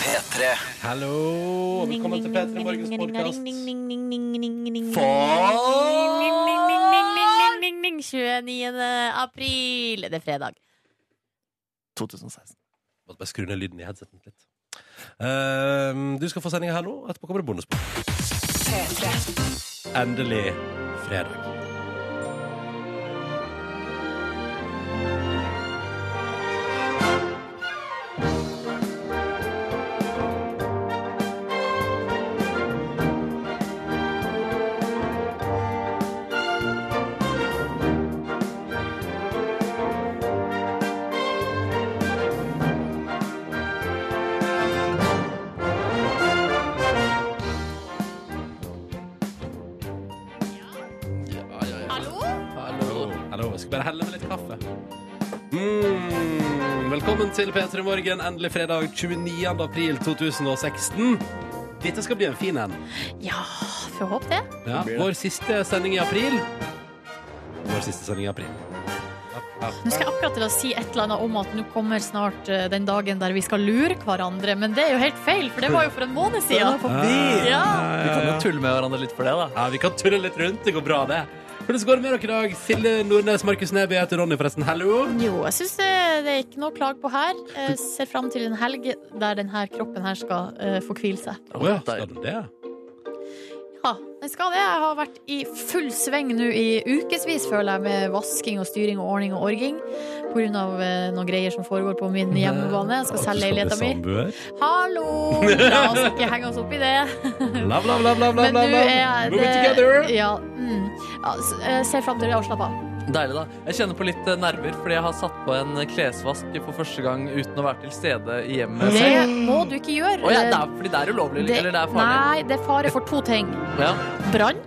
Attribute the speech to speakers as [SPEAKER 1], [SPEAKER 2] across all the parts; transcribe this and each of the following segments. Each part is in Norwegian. [SPEAKER 1] P3
[SPEAKER 2] Hallo, og velkommen til P3 Morgens podkast.
[SPEAKER 3] 29. april. Det er fredag.
[SPEAKER 2] 2016. Måtte bare skru ned lyden i headseten litt. Ehm, du skal få sendinga her nå. Etterpå kommer det bonusbord. Endelig fredag.
[SPEAKER 3] Hallo?
[SPEAKER 2] Hallo. Hallo. Jeg skal bare helle med litt kaffe. Mm. Velkommen til P3 Morgen, endelig fredag 29. april 2016. Dette skal bli en fin en.
[SPEAKER 3] Ja, får håpe det.
[SPEAKER 2] Ja. Vår siste sending i april. Vår siste sending i april.
[SPEAKER 3] Nå skal jeg akkurat til å si et eller annet om at nå kommer snart eh, den dagen der vi skal lure hverandre, men det er jo helt feil, for det var jo for en måned siden. Ja.
[SPEAKER 4] Vi kan jo tulle med hverandre litt for det, da.
[SPEAKER 2] Ja, vi kan tulle litt rundt. Det går bra, det. Hvordan går det med dere i dag? Silje Nordnes, Markus Neby, jeg heter Ronny, forresten. Hallo.
[SPEAKER 3] Jo, jeg syns det, det er ikke noe å klage på her. Jeg ser fram til en helg der denne kroppen her skal eh, få hvile seg.
[SPEAKER 2] Å ja, skal den det?
[SPEAKER 3] Ja, den skal det. Jeg har vært i full sving nå i ukevis, føler jeg, med vasking og styring og ordning og orging. På grunn av eh, noen greier som foregår på min hjemmebane. Jeg skal selge leiligheta mi. Hallo! La oss ikke henge oss opp i det.
[SPEAKER 2] Bla, bla, bla, bla, bla,
[SPEAKER 3] Men nå
[SPEAKER 2] bla.
[SPEAKER 3] er
[SPEAKER 2] Moving
[SPEAKER 3] det
[SPEAKER 2] together.
[SPEAKER 3] ja, mm, ja, s- eh, Ser fram til det og slapp av.
[SPEAKER 4] Deilig, da. Jeg kjenner på litt eh, nerver, fordi jeg har satt på en eh, klesvask for første gang uten å være til stede i hjemmet.
[SPEAKER 3] Det må du ikke gjøre. Eh,
[SPEAKER 4] Å ja, det er, fordi det er ulovlig,
[SPEAKER 3] Det-
[SPEAKER 4] eller det er farlig.
[SPEAKER 3] Nei, det er fare for to ting.
[SPEAKER 4] Ja.
[SPEAKER 3] Brann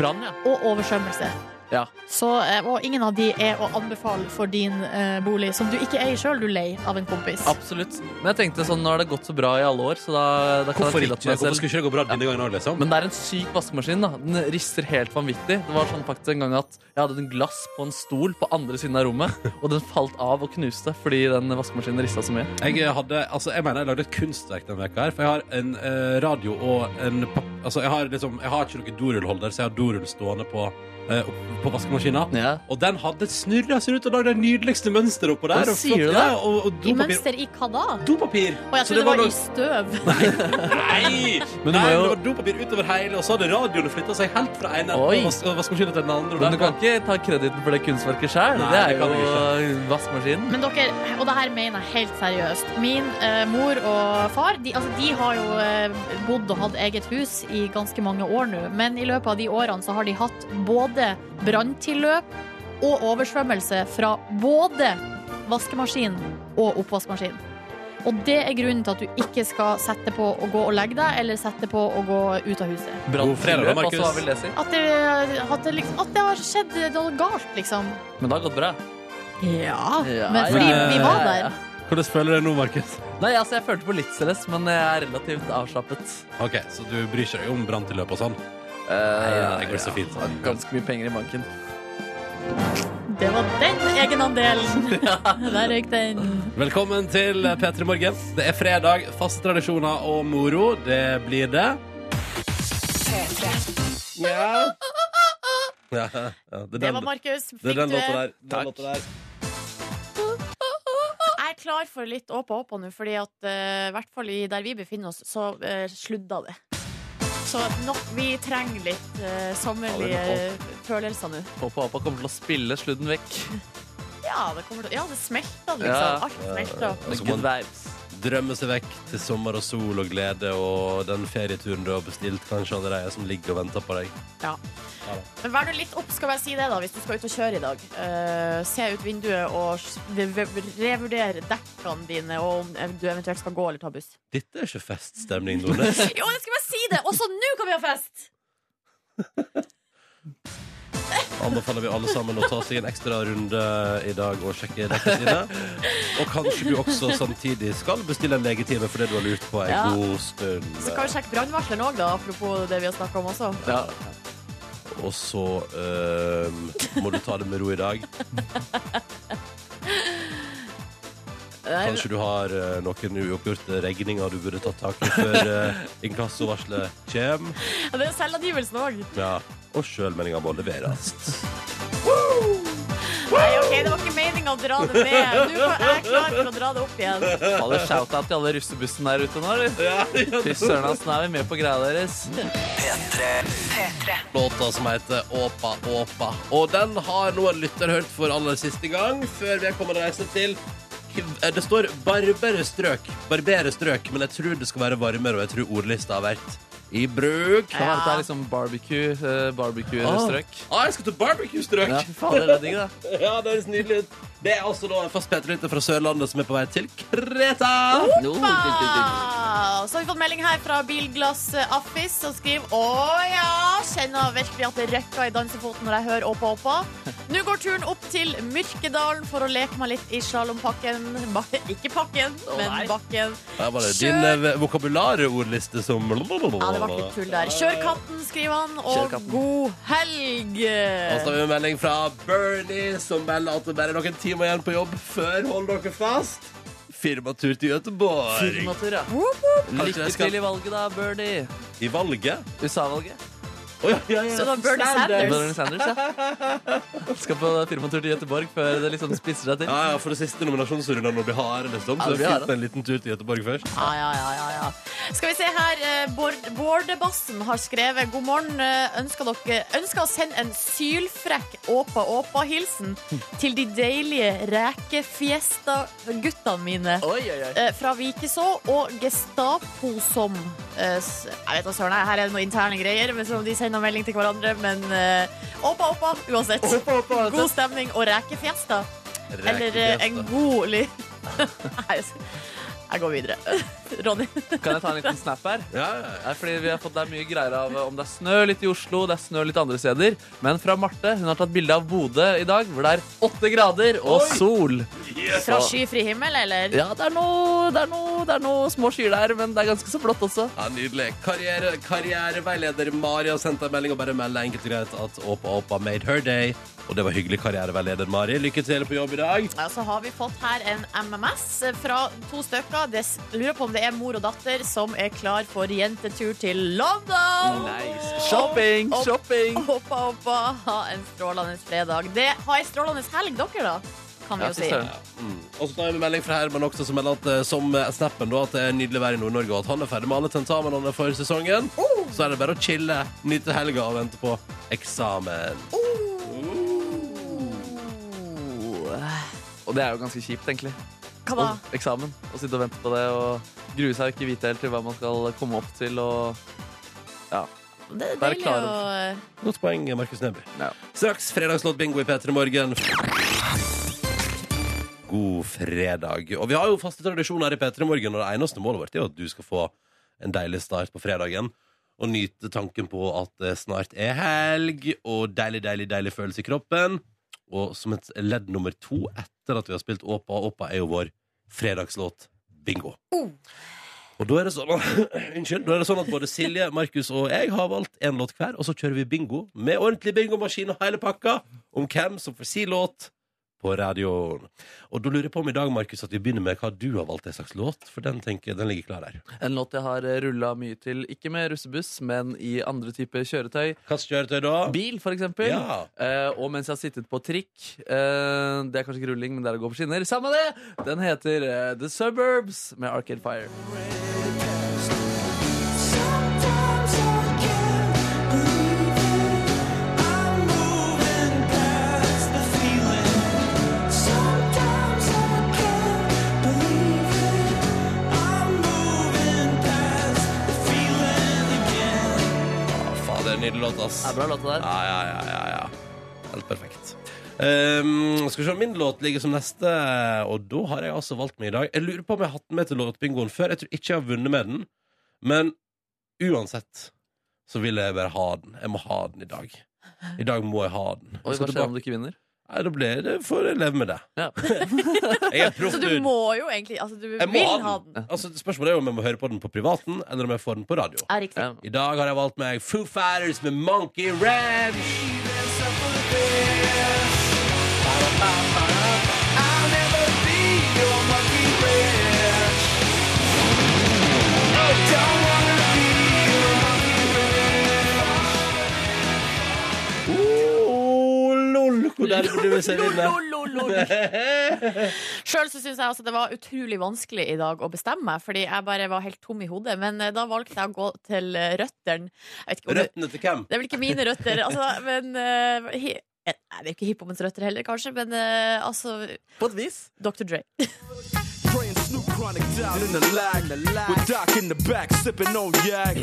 [SPEAKER 4] Brann, ja.
[SPEAKER 3] og oversvømmelse.
[SPEAKER 4] Ja.
[SPEAKER 3] Så, eh, og ingen av de er å anbefale for din eh, bolig, som du ikke eier sjøl, du leier av en kompis.
[SPEAKER 4] Absolutt. Men jeg tenkte sånn, nå har det gått så bra i alle år, så da, da kan
[SPEAKER 2] Hvorfor
[SPEAKER 4] jeg
[SPEAKER 2] ikke?
[SPEAKER 4] tillate meg
[SPEAKER 2] Hvorfor
[SPEAKER 4] selv
[SPEAKER 2] skulle ikke det gå bra denne gangen òg, liksom?
[SPEAKER 4] Men det er en syk vaskemaskin. da Den rister helt vanvittig. Det var sånn faktisk en gang at Jeg hadde en glass på en stol på andre siden av rommet, og den falt av og knuste fordi den vaskemaskinen rista så mye.
[SPEAKER 2] Jeg hadde, altså jeg mener jeg lagde et kunstverk denne veka her For jeg har en eh, radio og en pap Altså jeg har liksom Jeg har ikke noen dorullholder Så jeg har dorull stående på eh, opp- På vaskemaskina
[SPEAKER 4] Ja.
[SPEAKER 2] Og den hadde snurret seg ut Og lagde det nydeligste mønster oppå der
[SPEAKER 4] Hva
[SPEAKER 2] og
[SPEAKER 4] sier du
[SPEAKER 2] flott-
[SPEAKER 4] da?
[SPEAKER 2] Ja, og, og
[SPEAKER 3] I
[SPEAKER 2] dopapir
[SPEAKER 3] mønster i hva da?
[SPEAKER 2] Dopapir
[SPEAKER 3] Og jeg
[SPEAKER 2] Så
[SPEAKER 3] trodde det var
[SPEAKER 2] lagd-
[SPEAKER 3] i støv.
[SPEAKER 2] Nei,
[SPEAKER 4] Men
[SPEAKER 2] nei
[SPEAKER 4] du må
[SPEAKER 2] det
[SPEAKER 4] jo-
[SPEAKER 2] var dopapir utover hele Og så hadde radioen flyttet seg helt fra en
[SPEAKER 4] Oi.
[SPEAKER 2] enden Vas vaskemaskinen til den andre og
[SPEAKER 4] Men du
[SPEAKER 2] der-
[SPEAKER 4] kan ikke ta krediten for det kunstverket sjøl.
[SPEAKER 2] Nei,
[SPEAKER 4] Det er
[SPEAKER 2] det kan jeg
[SPEAKER 4] jo vaskemaskinen.
[SPEAKER 3] Men dere, og det her mener jeg helt seriøst. Min eh, mor og far de, altså, de har jo eh, bodd og hatt eget hus i ganske mange år nå. Men i løpet av de årene så har de hatt både branntilløp og oversvømmelse fra både vaskemaskin og oppvaskmaskin. Og det er grunnen til at du ikke skal sette på å gå og legge deg, eller sette på å gå ut av huset.
[SPEAKER 2] God fredag da,
[SPEAKER 4] Branntilløp, altså,
[SPEAKER 2] Markus.
[SPEAKER 4] hva vil det si?
[SPEAKER 3] At det, at det, liksom, at det har skjedd noe galt, liksom.
[SPEAKER 4] Men det har gått bra.
[SPEAKER 3] Ja,
[SPEAKER 4] Ja,
[SPEAKER 3] men fordi
[SPEAKER 2] ja, ja,
[SPEAKER 3] vi var
[SPEAKER 4] ja,
[SPEAKER 3] der.
[SPEAKER 4] ja.
[SPEAKER 2] Hvordan føler du deg nå, Markus?
[SPEAKER 4] Nei, altså, jeg følte på litt stress, men jeg er relativt avslappet.
[SPEAKER 2] Ok, så du bryr seg om branntilløp og sånn
[SPEAKER 4] Eh,
[SPEAKER 2] det går så fint.
[SPEAKER 4] har Ganske mye penger i banken.
[SPEAKER 3] Det var den egenandelen. Der røyk den.
[SPEAKER 2] Velkommen til P3 Morgen. Det er fredag, faste tradisjoner og moro. Det blir det. Ja. Ja, ja, det, er
[SPEAKER 3] Det
[SPEAKER 2] den,
[SPEAKER 3] var Markus.
[SPEAKER 2] det er
[SPEAKER 3] Fikk
[SPEAKER 2] den
[SPEAKER 3] du
[SPEAKER 2] låta der. Den
[SPEAKER 4] Takk.
[SPEAKER 2] låta der.
[SPEAKER 3] Jeg er klar for litt åp og åpå nå, fordi at eh, i hvert fall i der vi befinner oss, så eh, sludda det. Så nok, vi trenger litt eh, sommerlige
[SPEAKER 4] Ja,
[SPEAKER 3] følelser nå.
[SPEAKER 4] Håper Apa kommer til å spille sludden vekk.
[SPEAKER 3] Ja, det kommer til Ja, det smelter liksom.
[SPEAKER 4] Ja.
[SPEAKER 3] Alt smelter.
[SPEAKER 2] Altså,
[SPEAKER 4] Altså,
[SPEAKER 2] man-
[SPEAKER 4] Good vibes.
[SPEAKER 2] Drømme seg vekk til sommer og sol og glede og den ferieturen du har bestilt, kanskje allerede, som ligger og venter på deg.
[SPEAKER 3] Men vær nå litt opp, skal jeg si det, da, hvis du skal ut og kjøre i dag. Eh, se ut vinduet og s- v- v- revurdere dekkene dine, og om du eventuelt skal gå eller ta buss.
[SPEAKER 2] Dette er ikke feststemning, Nordnes.
[SPEAKER 3] Jo, jeg skulle bare si det! Også nå kan vi ha fest!
[SPEAKER 2] Anbefaler vi alle sammen å ta seg en ekstra runde i dag og sjekke dekkene sine. Og kanskje du også samtidig skal bestille en legetime fordi du har lurt på ei
[SPEAKER 3] Ja.
[SPEAKER 2] god stund.
[SPEAKER 3] Så kan vi sjekke brannvarsleren òg, da, apropos det vi har snakka om også.
[SPEAKER 4] Ja.
[SPEAKER 2] Og så ehm, øhm, må du ta det med ro i dag. Kanskje du har eh, noen uoppgjorte regninger du burde tatt tak i før eh, inkassovarselet kommer.
[SPEAKER 3] Ja, det er selvangivelsen òg.
[SPEAKER 2] Ja. Og sjølmeldinga må leveres.
[SPEAKER 3] Nei, OK, det var ikke meninga å dra det ned. Nå er jeg klar for å dra det opp igjen.
[SPEAKER 4] Fader, shout-out til alle russebussen der ute nå, eller? Fy søren, ass, nå er vi med på greia deres.
[SPEAKER 2] Låta som heter Åpa Åpa. Og den har nå en lytter hørt for aller siste gang, før vi kommer å reise til eh, det står barberstrøk, barberstrøk, men jeg tror det skal være varmere, og jeg tror ordlista har vært i bruk.
[SPEAKER 4] Ja. Dette er liksom barbecue, eh, barbecue-strøk.
[SPEAKER 2] Ah, jeg skal til barbecue-strøk!
[SPEAKER 4] Ja, fader, det er digg, da.
[SPEAKER 2] Ja, det høres nydelig ut. Det er altså da en fast P3-lytter fra Sørlandet som er på vei til Kreta.
[SPEAKER 3] Ah, Så har vi fått melding her fra Bilglass eh, Affis som skriver Å ja, kjenner virkelig at det røkker i dansefoten når jeg hører Åpa Åpa. Nå går turen opp til Myrkedalen for å leke meg litt i slalåmpakken. Ba- Ikke pakken, men bakken.
[SPEAKER 2] Der var det din eh, vokabularordliste som
[SPEAKER 3] Ja, det ble litt tull der. Kjør katten, skriver han,
[SPEAKER 4] Kjør
[SPEAKER 3] og
[SPEAKER 4] katten.
[SPEAKER 3] god helg.
[SPEAKER 2] Og så har vi en melding fra Bernie som melder at det bare er noen timer igjen på jobb før hold dere fast. Firmatur til Gøteborg.
[SPEAKER 4] Firmatur, ja.
[SPEAKER 3] Woop, woop.
[SPEAKER 2] Kanskje
[SPEAKER 4] Lykke
[SPEAKER 2] jeg skal-
[SPEAKER 4] til i valget, da, Birdie.
[SPEAKER 2] I valget.
[SPEAKER 4] USA-valget.
[SPEAKER 2] Å, ja, ja, ja.
[SPEAKER 3] Så det var Bernie Sanders.
[SPEAKER 4] Bernie Sanders, ja. Skal på firmatur til Göteborg før det liksom spisser seg til.
[SPEAKER 2] Ja, ja, for det siste nominasjonsrunden blir harde, liksom.
[SPEAKER 4] Ja,
[SPEAKER 2] Så
[SPEAKER 4] det
[SPEAKER 2] det
[SPEAKER 4] blir
[SPEAKER 2] er
[SPEAKER 4] harde.
[SPEAKER 2] fint med en liten tur til Gøteborg først.
[SPEAKER 3] Ja, ja, ja, ja, ja. Skal vi se her. eh, Bård, Bårdebassen har skrevet God morgen. eh, Ønsker, dere, ønsker å sende en sylfrekk åpa-åpa-hilsen til de deilige rekefiesta-guttene mine.
[SPEAKER 4] Oi, oi, oi.
[SPEAKER 3] eh, Fra Vikeså og Gestapo som eh, s- Jeg vet da søren, her er det noen interne greier. Men som de sender melding til hverandre. Men eh, åpa, åpa, uansett. God stemning og rekefiesta. Eller eh, en god ly... Nei, jeg går videre. Ronny.
[SPEAKER 4] Kan jeg ta en liten snap her?
[SPEAKER 2] Ja, ja, ja.
[SPEAKER 4] Nei, fordi vi har fått det er mye greier av eh, om det er snø litt i Oslo, det er snø litt andre steder. Men fra Marte, hun har tatt bilde av Bodø i dag, hvor det er åtte grader og
[SPEAKER 2] Oi!
[SPEAKER 4] sol.
[SPEAKER 3] Fra skyfri himmel, eller?
[SPEAKER 4] Ja, det er noe, det er noe, det er noe små skyer der, men det er ganske så blått også.
[SPEAKER 2] Ja, Nydelig. Karriere, karriereveileder Mari har sendt en melding og bare melder enkelt og greit at Åpa Åpa made her day. Og det var hyggelig, karriereveileder Mari. Lykke til på jobb i dag.
[SPEAKER 3] Ja, så har vi fått her en MMS fra to stykker. Det s- lurer på om det er mor og datter som er klar for jentetur til London.
[SPEAKER 4] Shopping,
[SPEAKER 3] Opp, opp,
[SPEAKER 4] shopping.
[SPEAKER 3] Hoppa, hoppa. Ha en strålende fredag. Det, ha ei strålende helg, dere, da. Kan vi
[SPEAKER 4] Ja,
[SPEAKER 3] jo
[SPEAKER 4] fy
[SPEAKER 3] si.
[SPEAKER 4] søren.
[SPEAKER 2] Mm. Og så tar vi med melding fra Herman også, som melder at eh, som eh, snappen da, at det er nydelig vær i Nord-Norge, og at han er ferdig med alle tentamenene for sesongen. Så er det bare å chille, nyte helga og vente på eksamen.
[SPEAKER 4] Og det er jo ganske kjipt, egentlig.
[SPEAKER 3] Hva da?
[SPEAKER 4] Og eksamen. Å sitte og vente på det og grue seg og ikke vite helt til hva man skal komme opp til. Og
[SPEAKER 3] Det er
[SPEAKER 4] Vær
[SPEAKER 3] deilig
[SPEAKER 4] klar
[SPEAKER 3] å
[SPEAKER 2] Godt poeng, Markus Neby.
[SPEAKER 4] Ja.
[SPEAKER 2] Straks fredagslåt bingo i P3 Morgen. God fredag. Og vi har jo faste tradisjoner i P3 Morgen, og det eneste målet vårt er jo at du skal få en deilig start på fredagen. Og nyte tanken på at det snart er helg, og deilig, deilig, deilig følelse i kroppen. Og som et ledd nummer to etter at vi har spilt Åpa Åpa, er jo vår fredagslåt bingo. Og da er, det sånn at, unnskyld, da er det sånn at både Silje, Markus og jeg har valgt én låt hver, og så kjører vi bingo med ordentlig bingomaskin og hele pakka om hvem som får si låt på radioen. Og da lurer jeg på om i dag, Markus, at vi begynner med hva du har valgt en slags låt, for den, tenker, jeg- den ligger klar der.
[SPEAKER 4] en låt jeg har rulla mye til, ikke med russebuss, men i andre typer kjøretøy.
[SPEAKER 2] Hva slags kjøretøy da?
[SPEAKER 4] Bil, for eksempel.
[SPEAKER 2] Ja.
[SPEAKER 4] Eh, og mens jeg har sittet på trikk eh, Det er kanskje ikke rulling, men det er å gå på skinner. Samme det! Den heter eh, The Suburbs med Arcade Fire.
[SPEAKER 2] Faen, det er en nydelig låt, ass.
[SPEAKER 4] Det er bra låta der.
[SPEAKER 2] Ja, ja, ja, ja, ja. Helt perfekt. Ehm, skal vi se om min låt ligger som neste, og da har jeg altså valgt meg i dag. Jeg lurer på om jeg har hatt den med til låtbingoen før. Jeg tror ikke jeg har vunnet med den, men uansett så vil jeg bare ha den. Jeg må ha den i dag. I dag må jeg ha den.
[SPEAKER 4] Oi,
[SPEAKER 2] Jeg
[SPEAKER 4] hva
[SPEAKER 2] skal
[SPEAKER 4] skjer om
[SPEAKER 2] tilbake.
[SPEAKER 4] du ikke vinner?
[SPEAKER 2] Nei, da blir det, får jeg leve med det.
[SPEAKER 4] Ja.
[SPEAKER 2] Jeg er proff,
[SPEAKER 3] Så du
[SPEAKER 2] dude.
[SPEAKER 3] må jo egentlig Altså, du
[SPEAKER 2] Jeg må
[SPEAKER 3] vil ha
[SPEAKER 2] ha
[SPEAKER 3] den.
[SPEAKER 2] den. Altså, spørsmålet er jo om jeg må høre på den på privaten, eller om jeg får den på radio.
[SPEAKER 3] Ja, riktig.
[SPEAKER 4] Ja.
[SPEAKER 2] I dag har jeg valgt meg Foo Fighters med Monkey Ranch. der burde vi se vinne.
[SPEAKER 3] Sjøl syns jeg altså det var utrolig vanskelig i dag å bestemme meg, fordi jeg bare var helt tom i hodet. Men eh, da valgte jeg å gå til eh, røttene. Jeg vet ikke om det,
[SPEAKER 2] Røttene til hvem?
[SPEAKER 3] det er vel ikke mine røtter, altså, men eh, hi, eh, Nei, det er jo ikke hiphopens røtter heller, kanskje, men eh, altså
[SPEAKER 4] På et vis.
[SPEAKER 3] Dr. Dre.
[SPEAKER 5] Praying Snoop Chronic down in the lag. With Doc in the back, sipping on yak.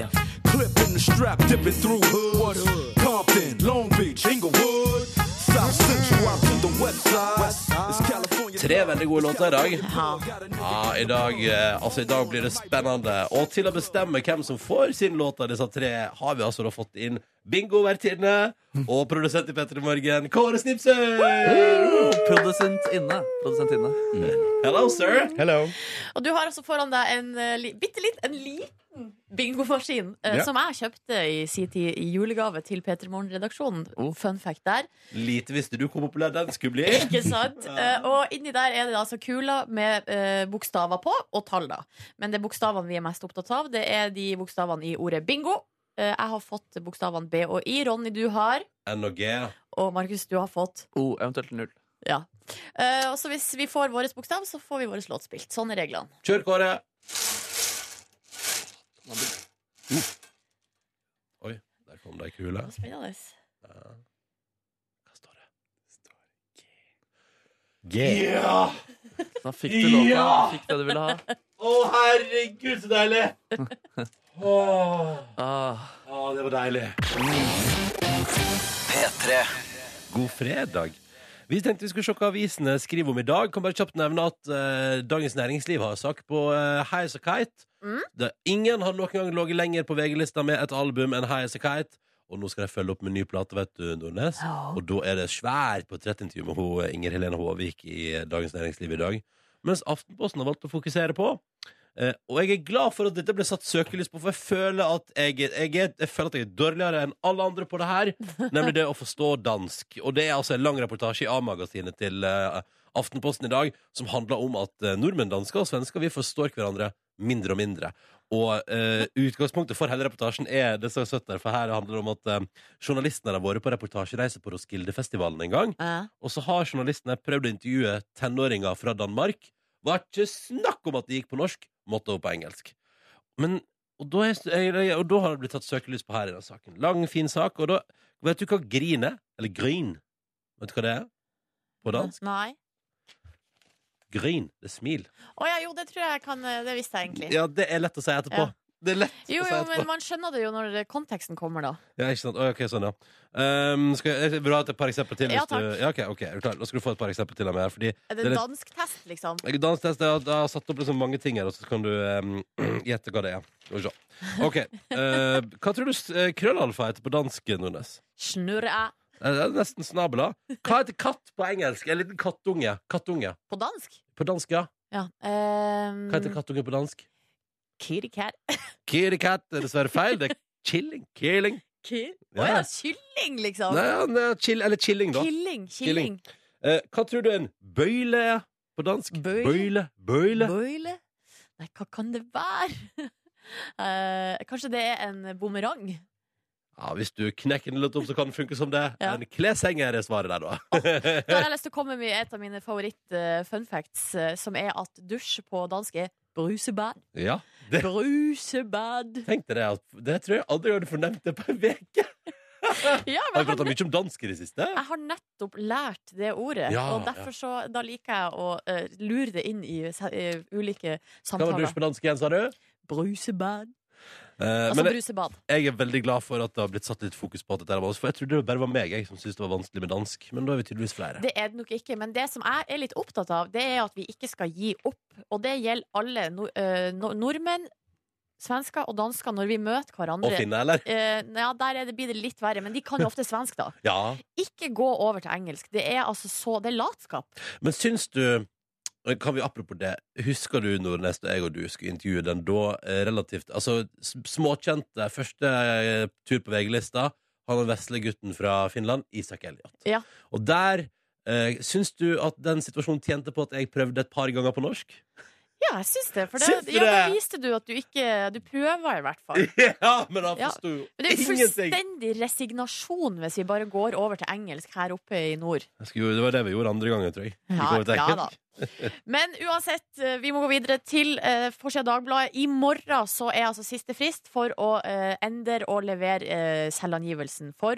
[SPEAKER 5] Clip in the strap, dipping through hoods. Compton, Long Beach, Inglewood. South Central out to the west side. It's California.
[SPEAKER 2] Tre veldig gode låter i dag.
[SPEAKER 3] Ja.
[SPEAKER 5] Ah,
[SPEAKER 2] Ja, i dag, eh, altså, I dag blir det spennende. Og til å bestemme hvem som får sin låt av disse tre, har vi altså da fått inn bingovertinne og produsent i Petter i Morgen, Kåre Snipsøy!
[SPEAKER 4] Produsent inne. Produsent inne.
[SPEAKER 2] Hello, sir.
[SPEAKER 6] Hello.
[SPEAKER 3] Og du har altså foran deg en eh, li, bitte litt, en liten bingomaskin eh,
[SPEAKER 6] Ja.
[SPEAKER 3] som jeg kjøpte i sin tid i julegave til P3 Morgen-redaksjonen.
[SPEAKER 4] Oh.
[SPEAKER 3] Fun fact der.
[SPEAKER 2] Lite visste du hvor populær den skulle bli.
[SPEAKER 3] Ikke sant? Eh, og inni der er det altså kuler med eh, bokstaver på, og tall, da. Men det er bokstavene vi er mest opptatt av, det er de bokstavene i ordet bingo. Eh, jeg har fått bokstavene B og I. Ronny, du har.
[SPEAKER 2] N og G.
[SPEAKER 3] Og Markus, du har fått.
[SPEAKER 4] O, eventuelt null.
[SPEAKER 3] Ja. Eh, og så hvis vi får vår bokstav, så får vi vår låt spilt. Sånn er reglene.
[SPEAKER 2] Kjør, Kåre. Oi, der kom det ei kule.
[SPEAKER 3] Det var Spennende.
[SPEAKER 2] Hva står det? G. Ja!
[SPEAKER 4] Da fikk du låta.
[SPEAKER 2] Ja!
[SPEAKER 4] Fikk det du ville ha.
[SPEAKER 2] Å, herregud, så deilig! Åh,
[SPEAKER 4] Ah.
[SPEAKER 2] åh, det var deilig. God fredag. Vi tenkte vi skulle se hva avisene skriver om i dag. Kan bare kjapt nevne at eh, Dagens Næringsliv har en sak på eh, High As A Kite.
[SPEAKER 3] Mm.
[SPEAKER 2] Det, ingen har noen gang ligget lenger på VG-lista med et album enn High As A Kite. Og nå skal de følge opp med en ny plate, vet du, Nordnes.
[SPEAKER 3] Ja.
[SPEAKER 2] Og da er det svært på et intervju med ho, Inger Helene Håvik i Dagens Næringsliv i dag. Mens Aftenposten har valgt å fokusere på. Eh, og jeg er glad for at dette ble satt søkelys på, for jeg føler at jeg, er- jeg, er- jeg, føler at jeg er dårligere enn alle andre på det her. Nemlig det å forstå dansk. Og det er altså en lang reportasje i A-magasinet til eh, Aftenposten i dag som handler om at eh, nordmenn, dansker og svensker vi forstår hverandre mindre og mindre. Og eh, utgangspunktet for hele reportasjen er det som er søtt der, for her handler det om at eh, journalistene har vært på reportasjereise på Roskildefestivalen en gang.
[SPEAKER 3] Eh,
[SPEAKER 2] Og så har journalistene prøvd å intervjue tenåringer fra Danmark. Var ikke snakk om at de gikk på norsk, måtte over på engelsk. Men, og, da er, jeg- og da har det blitt tatt søkelys på her i den saken. Lang, fin sak. Og da Vet du hva grin er? Eller grin? Vet du hva det er? På dansk?
[SPEAKER 3] Nei.
[SPEAKER 2] Grin. Det er smil.
[SPEAKER 3] Å ja, jo, det tror jeg kan eh, Det visste jeg egentlig.
[SPEAKER 2] Ja, det er lett å si etterpå.
[SPEAKER 3] Ja.
[SPEAKER 2] Det er lett
[SPEAKER 3] Jo,
[SPEAKER 2] å si
[SPEAKER 3] jo,
[SPEAKER 2] etterpå.
[SPEAKER 3] men man skjønner det jo når eh, konteksten kommer, da.
[SPEAKER 2] Ja, ikke sant? Å, ok, sånn, ja. Ehm, skal jeg, jeg vil ha et par eksempler til. hvis
[SPEAKER 3] Ja, takk.
[SPEAKER 2] Du, ja, ok, ok, er du klar? Da skal du få et par eksempler til av meg. her, Fordi
[SPEAKER 3] Er
[SPEAKER 2] Det
[SPEAKER 3] det
[SPEAKER 2] er litt-
[SPEAKER 3] dansktest, liksom?
[SPEAKER 2] jeg- danstest, jeg, har- jeg har satt opp liksom mange ting her, og så kan du ehm, gjette hva det er. Skal vi se. Ok, eh, Hva tror du s- eh, krøllalfa heter på dansk, Nordnes?
[SPEAKER 3] Snurre æ
[SPEAKER 2] Eh, Det er nesten snabela. Hva heter katt på engelsk? En liten kattunge. Kattunge.
[SPEAKER 3] på dansk?
[SPEAKER 2] På dansk, ja.
[SPEAKER 3] Ja. Um,
[SPEAKER 2] Hva heter kattunge på dansk?
[SPEAKER 3] Kitty cat.
[SPEAKER 2] Kitty cat er dessverre feil. Det er chilling. Killing.
[SPEAKER 3] Kill?
[SPEAKER 2] Ja.
[SPEAKER 3] Å ja, kylling, liksom.
[SPEAKER 2] Nei, ja, nei, chill, eller chilling, da.
[SPEAKER 3] Killing. Killing.
[SPEAKER 2] Killing. Eh, hva tror du en bøyle er på dansk?
[SPEAKER 3] Bøyle?
[SPEAKER 2] Bøyle. bøyle.
[SPEAKER 3] Bøyle? Nei, hva kan det være? Eh, kanskje det er en bumerang?
[SPEAKER 2] Ja, hvis du knekker den litt opp, så kan den funke som det.
[SPEAKER 3] Ja.
[SPEAKER 2] En kleshenger er svaret der, da.
[SPEAKER 3] Da har jeg lyst til å komme med et av mine favoritt-fun facts, eh, som er at dusj på dansk er brusebad.
[SPEAKER 2] ja. Det,
[SPEAKER 3] Brusebad.
[SPEAKER 2] tenk deg det. at- Det tror jeg aldri jeg hadde fornemt det på en uke.
[SPEAKER 3] Ja,
[SPEAKER 2] Har vi
[SPEAKER 3] men
[SPEAKER 2] prata mye om dansk i det siste?
[SPEAKER 3] Jeg har nettopp lært det ordet,
[SPEAKER 2] Ja,
[SPEAKER 3] og derfor så, da liker jeg å eh, lure det inn i, se- i ulike
[SPEAKER 2] Hva var dusj
[SPEAKER 3] samtaler.
[SPEAKER 2] på dansk igjen, sa du?
[SPEAKER 3] Brusebad.
[SPEAKER 2] Eh,
[SPEAKER 3] Altså
[SPEAKER 2] men jeg,
[SPEAKER 3] brusebad.
[SPEAKER 2] jeg er veldig glad for at det har blitt satt litt fokus på at dette her var oss. For jeg trodde det bare var meg jeg som syntes det var vanskelig med dansk. Men da er vi tydeligvis flere.
[SPEAKER 3] Det er det nok ikke, men det som jeg er litt opptatt av, det er at vi ikke skal gi opp. Og det gjelder alle nor- eh, nor- nordmenn, svensker og dansker når vi møter
[SPEAKER 2] Og
[SPEAKER 3] hverandre.
[SPEAKER 2] finne, eller?
[SPEAKER 3] Eh, ja, der er det, blir det litt verre, men de kan jo ofte svensk, da.
[SPEAKER 2] Ja.
[SPEAKER 3] Ikke gå over til engelsk. Det er altså så Det er latskap.
[SPEAKER 2] Men syns du kan vi apropos det, Husker du når neste jeg og du skulle intervjue den da eh, relativt altså, s- Småkjente, første eh, tur på VG-lista, han den vesle gutten fra Finland, Isak Elliot.
[SPEAKER 3] Ja.
[SPEAKER 2] Og der eh, Syns du at den situasjonen tjente på at jeg prøvde et par ganger på norsk?
[SPEAKER 3] Ja, jeg syns det. For det,
[SPEAKER 2] Syns du
[SPEAKER 3] ja, da
[SPEAKER 2] det?
[SPEAKER 3] viste du at du ikke Du prøver, i hvert fall.
[SPEAKER 2] Ja, men han
[SPEAKER 3] Ja.
[SPEAKER 2] forsto jo
[SPEAKER 3] Men det er jo
[SPEAKER 2] ingenting.
[SPEAKER 3] fullstendig resignasjon hvis vi bare går over til engelsk her oppe i nord.
[SPEAKER 2] Jeg skulle- Det var det vi gjorde andre gangen, tror jeg. Vi
[SPEAKER 3] Ja,
[SPEAKER 2] går over til
[SPEAKER 3] ja da.
[SPEAKER 2] engelsk.
[SPEAKER 3] Men uansett, eh, vi må gå videre til eh, forsida av Dagbladet. I morgen så er altså siste frist for å eh, endre og levere eh, selvangivelsen for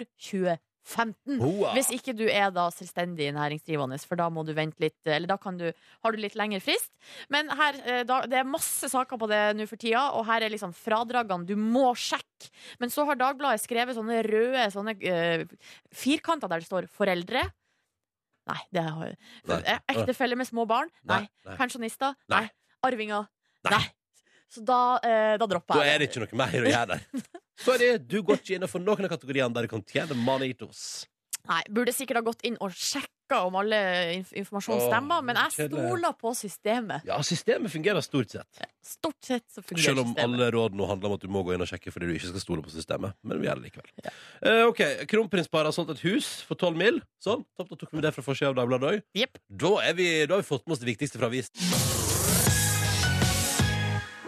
[SPEAKER 3] 2015.
[SPEAKER 2] Hoa.
[SPEAKER 3] Hvis ikke du er da selvstendig næringsdrivende, for da må du vente litt, eller da kan du, har du litt lengre frist. Men her, eh, da, det er masse saker på det nå for tida, og her er liksom fradragene du må sjekke. Men så har Dagbladet skrevet sånne røde sånne, eh, firkanter der det står 'foreldre'. Nei, det har
[SPEAKER 2] Nei.
[SPEAKER 3] Eh, Ektefelle med små barn? Nei.
[SPEAKER 2] Nei, nei.
[SPEAKER 3] Pensjonister?
[SPEAKER 2] Nei.
[SPEAKER 3] Nei. Arvinger?
[SPEAKER 2] Nei.
[SPEAKER 3] Nei. Så da, eh, da dropper
[SPEAKER 2] Da
[SPEAKER 3] jeg
[SPEAKER 2] er det ikke noe mer å gjøre der. Sorry, du går ikke innenfor noen av kategoriene der du kan tjene manitos.
[SPEAKER 3] Nei, Burde sikkert ha gått inn og sjekka om alle inf informasjon
[SPEAKER 2] Åh,
[SPEAKER 3] stemmer, men jeg
[SPEAKER 2] kjedelig.
[SPEAKER 3] stoler på systemet.
[SPEAKER 2] Ja, systemet fungerer stort sett.
[SPEAKER 3] Stort sett så fungerer
[SPEAKER 2] Selv om
[SPEAKER 3] systemet.
[SPEAKER 2] alle råd nå handler om at du må gå inn og sjekke fordi du ikke skal stole på systemet. Men vi gjør det likevel. Eh, ok, Kronprinsparet har solgt et hus for 12 mil. Sånn, topp, da tok vi det fra forsida av Dagbladet òg.
[SPEAKER 3] Jepp.
[SPEAKER 2] Da, er vi, da har vi fått med oss det viktigste fra avisen.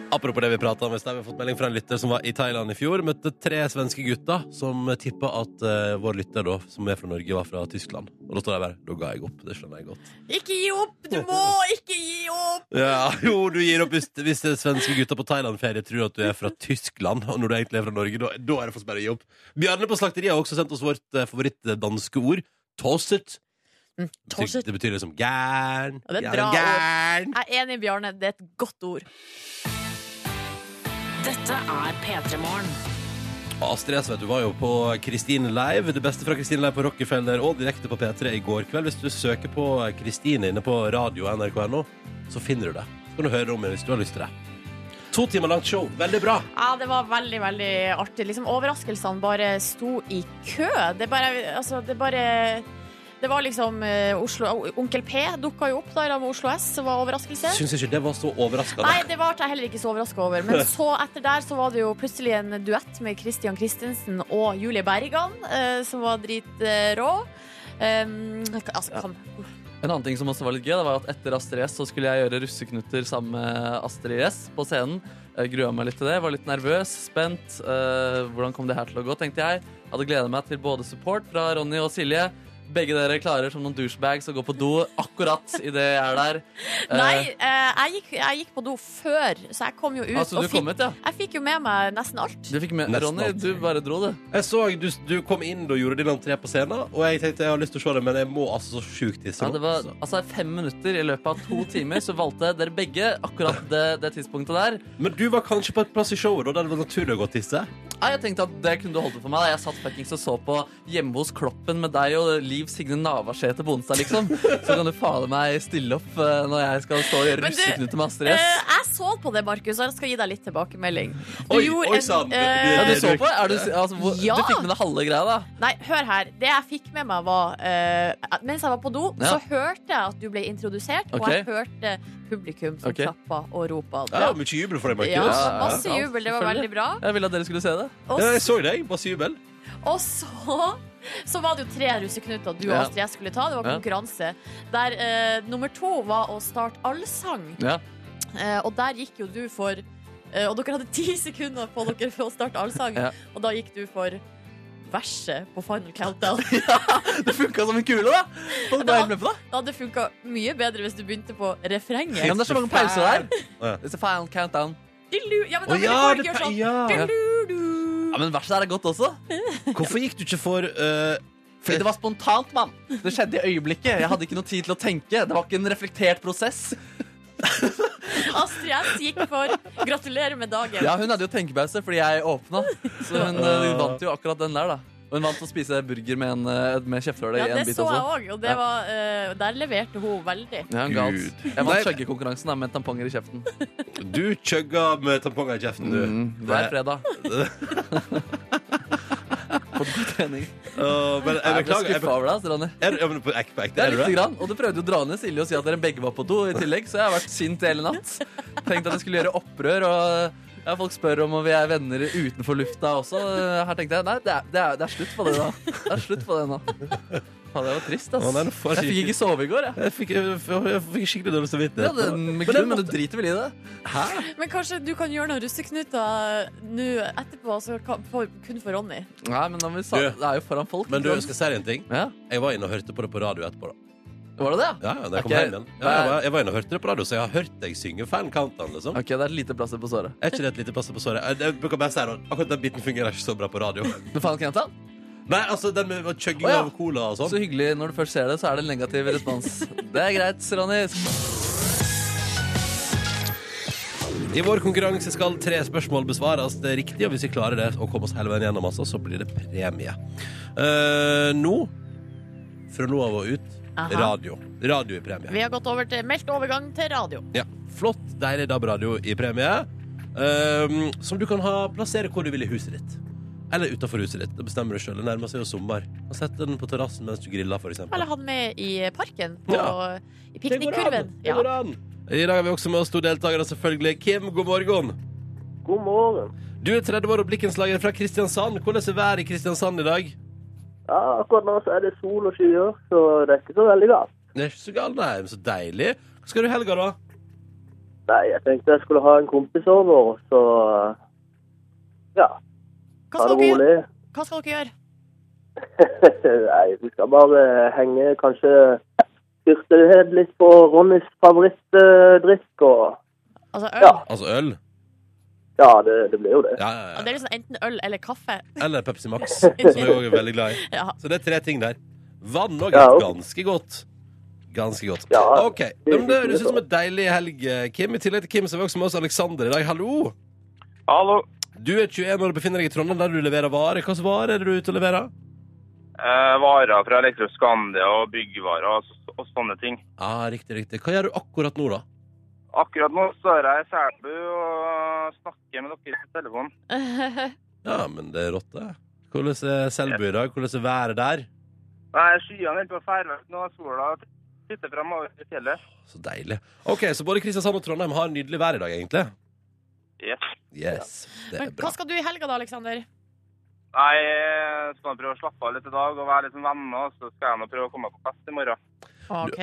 [SPEAKER 2] Apropos det vi pratet om, i sted, vi har fått melding fra en lytter som var i Thailand i fjor. Møtte tre svenske gutter som tippa at eh, vår lytter, da, som er fra Norge, var fra Tyskland. Og da står jeg bare Da ga jeg opp. Det skjønner jeg godt.
[SPEAKER 3] Ikke gi opp! Du må ikke gi opp!
[SPEAKER 2] Ja, jo, du gir opp hvis, hvis det er svenske gutter på Thailand-ferie tror at du er fra Tyskland, og når du egentlig er fra Norge, da, da er det faktisk bare å gi opp. Bjarne på slakteriet har også sendt oss vårt eh, favoritt-danske ord. Tosset.
[SPEAKER 3] Mm,
[SPEAKER 2] Det betyr- Det betyr liksom gæren.
[SPEAKER 3] Ja, det
[SPEAKER 2] gæren,
[SPEAKER 3] er bra ord.
[SPEAKER 2] gæren.
[SPEAKER 3] Jeg er enig, Bjarne. Det er et godt ord.
[SPEAKER 7] Dette er P3 Morgen.
[SPEAKER 2] Astrid S, vet du, var jo på Kristine Live. Det beste fra Kristine Live på Rockefeller og direkte på P3 i går kveld. Hvis du søker på Kristine inne på radio nrk.no, så finner du det. Så kan du høre om det hvis du har lyst til det. To timer langt show. Veldig bra.
[SPEAKER 3] Ja, det var veldig, veldig artig. Liksom, overraskelsene bare sto i kø. Det bare Altså, det bare Det var liksom eh, Oslo Onkel P dukka jo opp da i lag med Oslo S, som var overraskelse.
[SPEAKER 2] Syns ikke det var så overraskende.
[SPEAKER 3] Nei, det var jeg heller ikke så overraska over. Men så etter der så var det jo plutselig en duett med Christian Christensen og Julie Bergan, eh, som var dritrå. Um, altså, kan,
[SPEAKER 4] En annen ting som også var litt gøy, det var at etter Astrid S så skulle jeg gjøre russeknutter sammen med Astrid S på scenen. Jeg grua meg litt til det. Var litt nervøs, spent. Eh, hvordan kom det her til å gå, tenkte jeg. Hadde gleda meg til både support fra Ronny og Silje. Begge dere klarer som noen douchebags å gå på do akkurat idet jeg er der. Eh,
[SPEAKER 3] Nei, eh, jeg, gikk, jeg gikk på do før, så jeg kom jo ut.
[SPEAKER 4] altså,
[SPEAKER 3] og
[SPEAKER 4] du
[SPEAKER 3] fikk,
[SPEAKER 4] kom ut, ja.
[SPEAKER 3] jeg fikk jo med meg nesten alt.
[SPEAKER 4] Du fikk med
[SPEAKER 2] Nesten
[SPEAKER 4] Ronny,
[SPEAKER 2] alt.
[SPEAKER 4] du bare dro, du.
[SPEAKER 2] Jeg så du, du kom inn og gjorde din entré på scenen, og jeg tenkte jeg har lyst til å se det, men jeg må altså så sjukt tisse.
[SPEAKER 4] Ja,
[SPEAKER 2] nå.
[SPEAKER 4] det var
[SPEAKER 2] Så-
[SPEAKER 4] altså, fem minutter i løpet av to timer, så valgte dere begge akkurat det, det tidspunktet der.
[SPEAKER 2] Men du var kanskje på et plass i showet da der det var naturlig å gå og tisse?
[SPEAKER 4] Nei, jeg tenkte at det kunne du holdt ut for meg. da. Jeg satt fuckings og så på hjemme hos Kloppen med deg og Liv Signe Navarsete på onsdag, liksom. Så kan du fader meg stille opp eh, når jeg skal stå og gjøre
[SPEAKER 3] Men du,
[SPEAKER 4] russeknute med Astrid
[SPEAKER 3] Eh,
[SPEAKER 4] S.
[SPEAKER 3] jeg så på det, Markus, og jeg skal gi deg litt tilbakemelding.
[SPEAKER 2] Oi,
[SPEAKER 3] gjorde
[SPEAKER 2] oi,
[SPEAKER 3] en-
[SPEAKER 2] sann.
[SPEAKER 4] Ja,
[SPEAKER 3] eh,
[SPEAKER 4] du så på? Er du, altså, hvor,
[SPEAKER 3] Ja.
[SPEAKER 4] du fikk med deg halve greia, da?
[SPEAKER 3] Nei, hør her. Det jeg fikk med meg, var eh, at Mens jeg var på do,
[SPEAKER 4] Ja.
[SPEAKER 3] så hørte jeg at du ble introdusert, og
[SPEAKER 4] Ok.
[SPEAKER 3] jeg hørte publikum som
[SPEAKER 4] Ok.
[SPEAKER 3] klappa og ropa.
[SPEAKER 2] Ja, mye jubel for deg, Markus.
[SPEAKER 3] Ja,
[SPEAKER 2] Ja,
[SPEAKER 4] ja, ja.
[SPEAKER 3] masse jubel. Det var veldig bra.
[SPEAKER 4] Jeg ville at dere skulle se det.
[SPEAKER 3] Og,
[SPEAKER 2] jeg så deg. Masse jubel.
[SPEAKER 3] og så så var det jo tre russeknuter du og Astrid
[SPEAKER 4] Ja.
[SPEAKER 3] S skulle ta. Det var
[SPEAKER 4] Ja.
[SPEAKER 3] konkurranse. Der eh, nummer to var å starte allsang.
[SPEAKER 4] Ja.
[SPEAKER 3] Eh, og der gikk jo du for eh, Og dere hadde ti sekunder på dere for å starte allsang,
[SPEAKER 4] Ja.
[SPEAKER 3] og da gikk du for verset på Final Countdown.
[SPEAKER 4] Det funka som en kule, da!
[SPEAKER 3] Ja.
[SPEAKER 4] Folk var helt med på det.
[SPEAKER 3] Det hadde funka mye bedre hvis du begynte på refrenget.
[SPEAKER 4] Ja, men det er så mange pauser der.
[SPEAKER 2] Ja.
[SPEAKER 4] It's a final countdown.
[SPEAKER 3] Dilu- Ja, men da
[SPEAKER 2] Å
[SPEAKER 3] ville
[SPEAKER 2] ja,
[SPEAKER 3] folk
[SPEAKER 2] det,
[SPEAKER 3] gjøre sånn.
[SPEAKER 2] ja.
[SPEAKER 3] Dilu-du.
[SPEAKER 4] Ja, Men verset der er godt også.
[SPEAKER 2] Hvorfor gikk du ikke for eh,
[SPEAKER 4] Fordi det var spontant, mann. Det skjedde i øyeblikket. Jeg hadde ikke noe tid til å tenke. Det var ikke en reflektert prosess.
[SPEAKER 3] Astrid S gikk for 'gratulerer med dagen'.
[SPEAKER 4] Ja, hun hadde jo tenkepause fordi jeg åpna. Så hun eh, vant jo akkurat den der, da. Og hun vant å spise burger med, en, eh, med kjeftehull i
[SPEAKER 3] Ja,
[SPEAKER 4] en
[SPEAKER 3] det
[SPEAKER 4] bit
[SPEAKER 3] så jeg
[SPEAKER 4] også.
[SPEAKER 3] òg, og det
[SPEAKER 4] Ja.
[SPEAKER 3] var, eh, der leverte hun veldig.
[SPEAKER 4] Ja, hun ga alt.
[SPEAKER 2] Gud.
[SPEAKER 4] Jeg
[SPEAKER 2] Nei.
[SPEAKER 4] vant skjeggekonkurransen da, med tamponger i kjeften.
[SPEAKER 2] Du chugga med tamponger i kjeften, du.
[SPEAKER 4] Mm, hver fredag. Fått god trening.
[SPEAKER 2] Åh, men jeg
[SPEAKER 4] Jeg ble
[SPEAKER 2] beklager. Jeg
[SPEAKER 4] skuffa
[SPEAKER 2] beklager.
[SPEAKER 4] over deg, altså, Ronny.
[SPEAKER 2] Er, du- ja, men på, ek- på ekte,
[SPEAKER 4] Ja,
[SPEAKER 2] er du
[SPEAKER 4] lite
[SPEAKER 2] det?
[SPEAKER 4] grann. Og du prøvde jo å dra ned Silje og si at dere begge var på do i tillegg, så jeg har vært sint hele natt. Tenkte at jeg skulle gjøre opprør, og ja, folk spør om vi er venner utenfor lufta også. Her tenkte jeg nei, det er, det er, det er slutt på det, da. Det er slutt på det nå. Faen, det var trist, ass.
[SPEAKER 2] Å, nei, nå får
[SPEAKER 4] jeg
[SPEAKER 2] jeg
[SPEAKER 4] fikk
[SPEAKER 2] ikke-
[SPEAKER 4] ikke sove i går, jeg.
[SPEAKER 2] Jeg fikk, jeg fikk jeg fikk skikkelig dårlig
[SPEAKER 4] Ja, det,
[SPEAKER 2] samvittighet.
[SPEAKER 4] men,
[SPEAKER 2] den
[SPEAKER 4] men du driter vel i det?
[SPEAKER 3] Men kanskje du kan gjøre noen russeknuter eh, nå etterpå, så kan, for, kun for Ronny.
[SPEAKER 4] Nei, men da vi sa,
[SPEAKER 2] Du.
[SPEAKER 4] det er jo foran folk.
[SPEAKER 2] Men du,
[SPEAKER 4] ikke
[SPEAKER 2] jeg
[SPEAKER 4] sant?
[SPEAKER 2] skal si deg en ting.
[SPEAKER 4] ja.
[SPEAKER 2] Jeg var inne og hørte på det på radio etterpå. da
[SPEAKER 4] Var det det? ja?
[SPEAKER 2] Ja, ja, da jeg kom
[SPEAKER 4] Ok.
[SPEAKER 2] hjem igjen. Ja, jeg, var, jeg var inne og hørte det på radio, så jeg har hørt deg synge Fan-countdown. Liksom.
[SPEAKER 4] Ok, det er lite plaster på såret.
[SPEAKER 2] Er ikke det et lite passe på såret? Jeg- Jeg bruker bare si det, akkurat den biten fungerer ikke så bra på radio.
[SPEAKER 4] Men faen, Kentan,
[SPEAKER 2] Nei, altså, den med kjøgging
[SPEAKER 4] Å, ja.
[SPEAKER 2] av cola og
[SPEAKER 4] så
[SPEAKER 2] sånn.
[SPEAKER 4] hyggelig når du først ser det, så er det en negativ respons. Det er greit, Ronny.
[SPEAKER 2] I vår konkurranse skal tre spørsmål besvares det er riktig, og hvis vi klarer det og kommer oss hele veien gjennom, altså, så blir det premie. Eh, nå, fra nå av og ut,
[SPEAKER 8] Aha.
[SPEAKER 2] radio. Radio i premie.
[SPEAKER 8] Vi har gått over til meldt overgang til radio.
[SPEAKER 2] Ja. Flott, deilig DAB-radio i premie. Ehm, som du kan ha, plassere hvor du vil i huset ditt. Eller utenfor huset ditt. Det bestemmer du sjøl. Det nærmer seg jo sommer. Og Sett den på terrassen mens du griller, f.eks.
[SPEAKER 8] Eller han med i parken, på,
[SPEAKER 2] Ja.
[SPEAKER 8] i piknikkurven.
[SPEAKER 2] Det
[SPEAKER 8] Ja.
[SPEAKER 2] går an. I dag har vi også med oss to deltakere, selvfølgelig. Kim, god morgen.
[SPEAKER 9] God morgen.
[SPEAKER 2] Du er 30 år og blikkenslager fra Kristiansand. Hvordan er været i Kristiansand i dag?
[SPEAKER 9] Ja, akkurat nå så er det sol og skyer, så det er ikke så veldig galt.
[SPEAKER 2] Det er ikke så galt, nei. Men så deilig. Hva skal du i helga, da?
[SPEAKER 9] Nei, jeg tenkte jeg skulle ha en kompis over, så ja,
[SPEAKER 8] Hva,
[SPEAKER 9] ta
[SPEAKER 8] skal
[SPEAKER 9] det
[SPEAKER 8] dere, gjøre?
[SPEAKER 9] rolig.
[SPEAKER 8] Hva skal dere gjøre?
[SPEAKER 9] Nei, vi skal bare henge, kanskje styrte ned litt på Ronnys favorittdrikk, og
[SPEAKER 8] Altså øl?
[SPEAKER 9] Ja.
[SPEAKER 2] Altså øl?
[SPEAKER 9] ja, det, det blir jo det.
[SPEAKER 2] Ja, ja,
[SPEAKER 8] Ja,
[SPEAKER 2] ja.
[SPEAKER 8] Det er liksom enten øl eller kaffe.
[SPEAKER 2] Eller Pepsi Max, som jeg òg er veldig glad i.
[SPEAKER 8] Ja.
[SPEAKER 2] Så det er tre ting der. Vann og
[SPEAKER 9] Ja, ok.
[SPEAKER 2] ganske godt. Ganske godt.
[SPEAKER 9] Ja,
[SPEAKER 2] OK.
[SPEAKER 9] det
[SPEAKER 2] Det,
[SPEAKER 9] er
[SPEAKER 2] men det
[SPEAKER 9] fint,
[SPEAKER 2] høres ut som
[SPEAKER 9] det.
[SPEAKER 2] en deilig helg, eh, Kim. I tillegg til Kim så er vi også med oss Aleksander i dag. Hallo!
[SPEAKER 10] Hallo.
[SPEAKER 2] Du er 21 år og befinner deg i Trondheim, der du leverer varer. Hvilke varer er det du er ute og leverer?
[SPEAKER 10] Eh, varer fra Elektroskandia og byggvarer og, s- og sånne ting.
[SPEAKER 2] Ah, riktig, riktig. Hva gjør du akkurat nå, da?
[SPEAKER 10] Akkurat nå står jeg i Selbu og snakker med dere på telefon.
[SPEAKER 2] Ja, men det er rått, det. Hvordan er Selbu i dag? Hvordan er været der?
[SPEAKER 10] Nei, skyene holder på å fære vekk nå. Sola titter fremover i fjellet.
[SPEAKER 2] Så deilig. OK, så både Kristiansand og Trondheim har nydelig vær i dag, egentlig?
[SPEAKER 10] Yes.
[SPEAKER 2] Yes. Det
[SPEAKER 8] Men
[SPEAKER 2] er
[SPEAKER 8] hva
[SPEAKER 2] bra.
[SPEAKER 8] skal du i helga, da, Aleksander?
[SPEAKER 10] Nei, jeg skal prøve å slappe av litt i dag og være litt som venner, og så skal jeg nå prøve å komme på fest i morgen.
[SPEAKER 8] OK.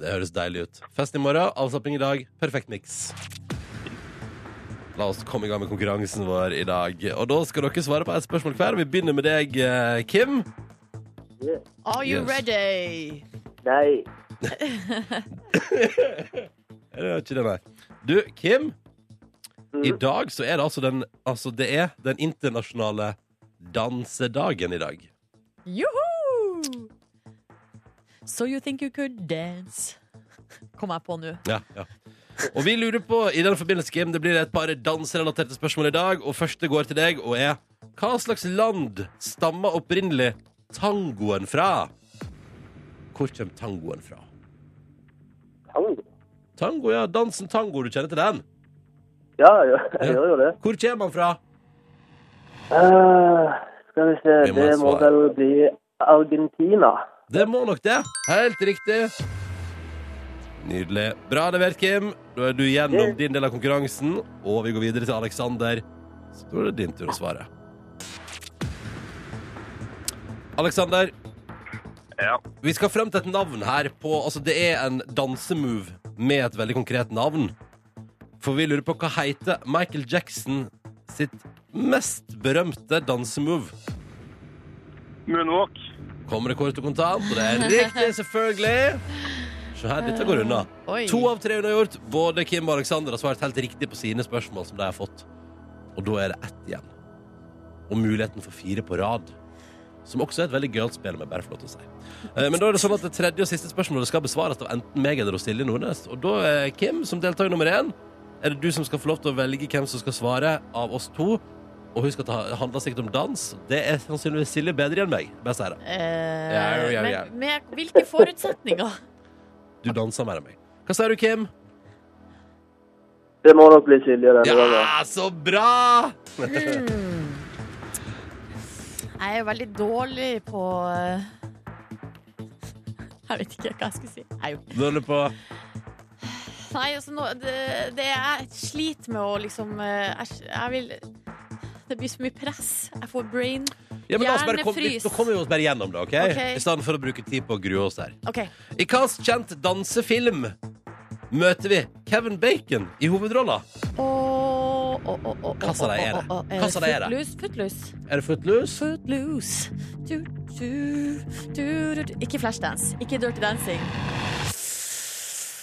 [SPEAKER 2] Det høres deilig ut. Fest i morgen, avslapping i dag. Perfekt miks. La oss komme i gang med konkurransen vår i dag. Og da skal dere svare på ett spørsmål hver. Vi begynner med deg, eh, Kim.
[SPEAKER 8] Are you
[SPEAKER 2] Yes.
[SPEAKER 8] ready?
[SPEAKER 9] Nei,
[SPEAKER 2] Er det ikke det, nei? Du, Kim. I dag så er det altså den Altså, det er den internasjonale dansedagen i dag.
[SPEAKER 8] Joho! So you think you could dance? Kom jeg på nå.
[SPEAKER 2] Ja, ja. Og vi lurer på, i den forbindelse, Kim, det blir et par danserelaterte spørsmål i dag. Og første går til deg og er Hva slags land stammer opprinnelig tangoen fra? Hvor kommer tangoen fra?
[SPEAKER 9] tango.
[SPEAKER 2] Tango, ja. Dansen tango. Du kjenner til den?
[SPEAKER 9] Ja, jeg, jeg gjør jo det.
[SPEAKER 2] Hvor kommer den fra?
[SPEAKER 9] Eh, skal vi se,
[SPEAKER 2] Vi må
[SPEAKER 9] det må
[SPEAKER 2] svare.
[SPEAKER 9] vel bli Argentina.
[SPEAKER 2] Det må nok det. Helt riktig. Nydelig. Bra levert, Kim. Da er du gjennom
[SPEAKER 9] Yeah.
[SPEAKER 2] din del av konkurransen, og vi går videre til Aleksander. Så da er det din tur å svare. Aleksander,
[SPEAKER 10] Ja.
[SPEAKER 2] vi skal frem til et navn her på Altså, det er en dansemove med et veldig konkret navn. For vi lurer på hva heter Michael Jackson sitt mest berømte dansemove.
[SPEAKER 10] Moonwalk.
[SPEAKER 2] Kommer det kort og kontant, og det er riktig, selvfølgelig. Se her, dette går unna.
[SPEAKER 8] Oi.
[SPEAKER 2] To av tre hun har gjort. Både Kim og Alexander har svart helt riktig på sine spørsmål. som de har fått. Og da er det ett igjen. Og muligheten for fire på rad. Som også er et veldig gøyalt spill, om jeg bare får lov til å si. Eh, Men da er det sånn at det tredje og siste spørsmålet skal besvares av enten meg eller Silje Nordnes. Og da, eh, Kim, som deltaker nummer én, er det du som skal få lov til å velge hvem som skal svare av oss to. Og husk at det handler sikkert om dans. Det er sannsynligvis Silje bedre enn meg. Bare si det.
[SPEAKER 8] Eh,
[SPEAKER 2] Ja, ja, ja.
[SPEAKER 8] Men med hvilke forutsetninger?
[SPEAKER 2] Du danser mer enn meg. Hva sier du, Kim?
[SPEAKER 9] Det må nok bli Silje denne gangen.
[SPEAKER 2] Ja, så bra!
[SPEAKER 8] Jeg er jo veldig dårlig på eh, Jeg vet ikke hva jeg skal si. Jeg er jo
[SPEAKER 2] Du holder på
[SPEAKER 8] Nei, altså nå, det, det jeg sliter med å liksom eh, Jeg, jeg vil
[SPEAKER 3] Det blir så mye press. Jeg får brain.
[SPEAKER 2] Ja, men la oss bare komme,
[SPEAKER 3] Hjernefrys.
[SPEAKER 2] da kommer vi oss bare gjennom det, ok?
[SPEAKER 3] Ok.
[SPEAKER 2] I stedet for å bruke tid på å grue oss der.
[SPEAKER 3] OK.
[SPEAKER 2] I hvilken kjent dansefilm møter vi Kevin Bacon i hovedrolla?
[SPEAKER 3] Åh, åh, åh, åh,
[SPEAKER 2] Hva sa de er det?
[SPEAKER 3] åh, åh, åh.
[SPEAKER 2] Hva sa de er det?
[SPEAKER 3] Footloose, footloose.
[SPEAKER 2] Er det Footloose?
[SPEAKER 3] Footloose. Du, du, du, du, du. Ikke Flashdance. Ikke Dirty Dancing.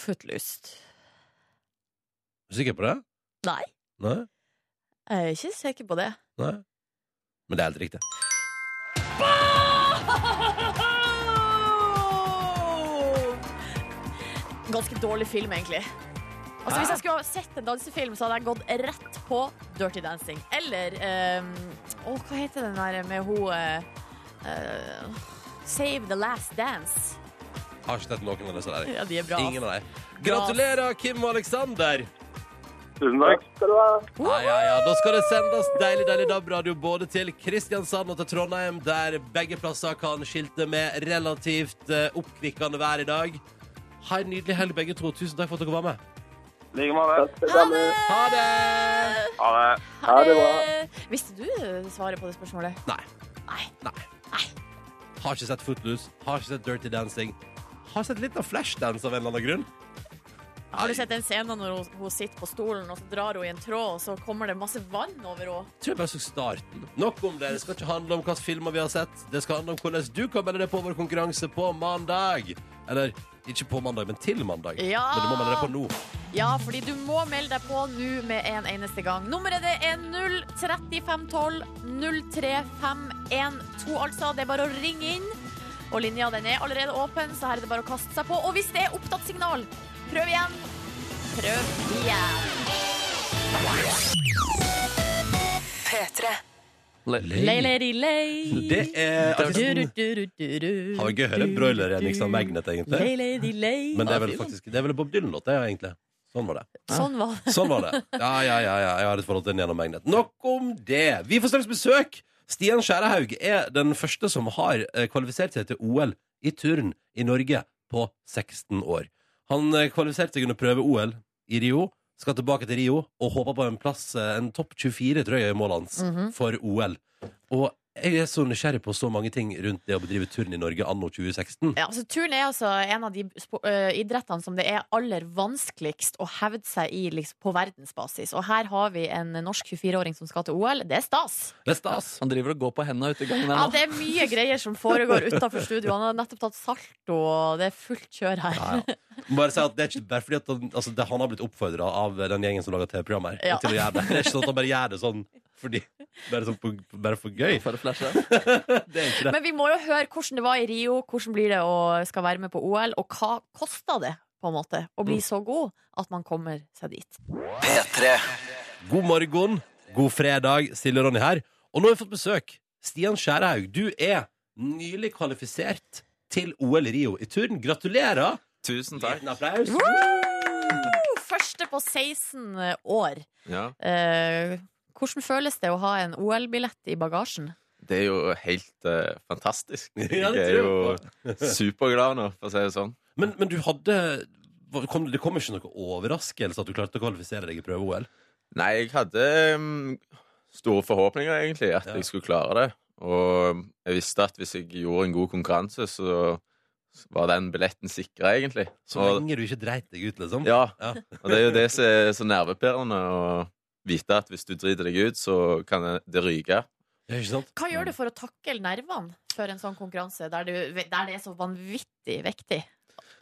[SPEAKER 3] Footloose.
[SPEAKER 2] Er du sikker på det?
[SPEAKER 3] Nei,
[SPEAKER 2] Nei?
[SPEAKER 3] jeg er ikke sikker på det.
[SPEAKER 2] Nei? Men det er helt riktig.
[SPEAKER 3] Ganske dårlig film, egentlig. Altså, hvis jeg skulle ha sett en dansefilm, så hadde jeg gått rett på Dirty Dancing. Eller um, å, Hva heter den der med hun eh, eh, Save the Last Dance.
[SPEAKER 2] Har ikke sett noen av disse der.
[SPEAKER 3] Ja, de er bra.
[SPEAKER 2] Ingen av dem. Gratulerer, Kim og Aleksander!
[SPEAKER 10] Tusen takk.
[SPEAKER 9] Skal du ha?
[SPEAKER 2] Ja, ja, ja. Da skal det sendes deilig, deilig DAB-radio både til Kristiansand og til Trondheim, der begge plasser kan skilte med relativt eh, oppkvikkende vær i dag. Ha en nydelig helg, begge to. Tusen takk for at dere var med.
[SPEAKER 10] I like måte.
[SPEAKER 9] Det samme.
[SPEAKER 3] eh,
[SPEAKER 2] Ha det!
[SPEAKER 10] Ha det.
[SPEAKER 9] Ha det bra.
[SPEAKER 3] Visste du eh, svaret på det spørsmålet?
[SPEAKER 2] Nei.
[SPEAKER 3] Nei.
[SPEAKER 2] Nei. Har ikke sett Footloose, har ikke sett Dirty Dancing. Har sett litt av Flashdance av en eller annen grunn.
[SPEAKER 3] Har du sett den scenen når hun, hun sitter på stolen og så drar hun i en tråd, og så kommer det masse vann over henne?
[SPEAKER 2] Jeg tror jeg bare så starten. Nok om det. Det skal ikke handle om hvilke filmer vi har sett. Det skal handle om hvordan du kan melde deg på vår konkurranse på mandag. Eller ikke på mandag, men til mandag.
[SPEAKER 3] Ja!
[SPEAKER 2] Men du må melde deg på nå.
[SPEAKER 3] Ja, fordi du må melde deg på nå med en eneste gang. Nummeret det er 03512 03512, altså. Det er bare å ringe inn. Og linja den er allerede åpen, så her er det bare å kaste seg på. Og hvis det er opptatt signal, prøv igjen. Prøv igjen. Leileri lei.
[SPEAKER 2] Det er artisten
[SPEAKER 3] Det
[SPEAKER 2] Har gøy å høre broiler enn liksom Magnet, egentlig.
[SPEAKER 3] Leileri lei.
[SPEAKER 2] Men det er vel faktisk Det er vel Bob Dylan-låt, det, er egentlig. Sånn var det.
[SPEAKER 3] Sånn var det.
[SPEAKER 2] Sånn var det. Ja, ja, ja, ja. Jeg har et forhold til den gjennom Magnet. Nok om det. Vi får straks besøk. Stian Skjærehaug er den første som har eh, kvalifisert seg til OL i turn i Norge på 16 år. Han eh, kvalifiserte seg under prøve-OL i Rio, skal tilbake til Rio og håper på en plass, eh, en topp 24, tror jeg, i målet hans for OL. Og jeg er så nysgjerrig på så mange ting rundt det å bedrive turn i Norge anno 2016.
[SPEAKER 3] Ja, altså, turn er altså en av de spo- ø, idrettene som det er aller vanskeligst å hevde seg i liksom, på verdensbasis. Og her har vi en norsk 24-åring som skal til OL. Det er stas!
[SPEAKER 2] Det er stas.
[SPEAKER 4] Han driver og går på hendene ute i gangen
[SPEAKER 3] Ja,
[SPEAKER 4] her nå.
[SPEAKER 3] Det er mye greier som foregår utafor studio. Han har nettopp tatt salto, og det er fullt kjør her.
[SPEAKER 2] Ja, ja. Bare si at det er ikke bare fordi at han, altså, det, han har blitt oppfordra av den gjengen som lager TV-program her,
[SPEAKER 3] Ja.
[SPEAKER 2] til å gjøre det. Det er ikke sånn at han bare gjør det sånn fordi Bare, sånn på, bare for gøy.
[SPEAKER 4] For å flashe.
[SPEAKER 2] Det er ikke det.
[SPEAKER 3] Men vi må jo høre hvordan det var i Rio, hvordan blir det å skal være med på OL, og hva kosta det på en måte å bli så god at man kommer seg dit.
[SPEAKER 2] God morgen, god fredag. Silje og Ronny her. Og nå har vi fått besøk. Stian Skjærhaug, du er nylig kvalifisert til OL i Rio i turn. Gratulerer!
[SPEAKER 5] Tusen takk.
[SPEAKER 2] Liten applaus.
[SPEAKER 3] Første på 16 år.
[SPEAKER 5] Ja.
[SPEAKER 3] Eh, hvordan føles det å ha en OL-billett i bagasjen?
[SPEAKER 5] Det er jo helt eh, fantastisk.
[SPEAKER 2] Ja, det
[SPEAKER 5] jeg er
[SPEAKER 2] tror
[SPEAKER 5] jo
[SPEAKER 2] jeg
[SPEAKER 5] superglad nå, for å si det sånn.
[SPEAKER 2] Men, men du hadde kom, Det kom ikke noe overraskelse at du klarte å kvalifisere deg i prøve-OL?
[SPEAKER 5] Nei, jeg hadde mm, store forhåpninger, egentlig, at
[SPEAKER 2] Ja.
[SPEAKER 5] jeg skulle klare det. Og jeg visste at hvis jeg gjorde en god konkurranse, så var den billetten sikra, egentlig.
[SPEAKER 2] Så
[SPEAKER 5] Og-
[SPEAKER 2] lenge du ikke dreit deg ut, liksom?
[SPEAKER 5] Ja,
[SPEAKER 2] Ja.
[SPEAKER 5] og det er jo det som er så nervepirrende å vite at hvis du driter deg ut, så kan det ryke.
[SPEAKER 2] Ja, Ikke sant?
[SPEAKER 3] Hva gjør du for å takle nervene før en sånn konkurranse, der, du, der det er så vanvittig viktig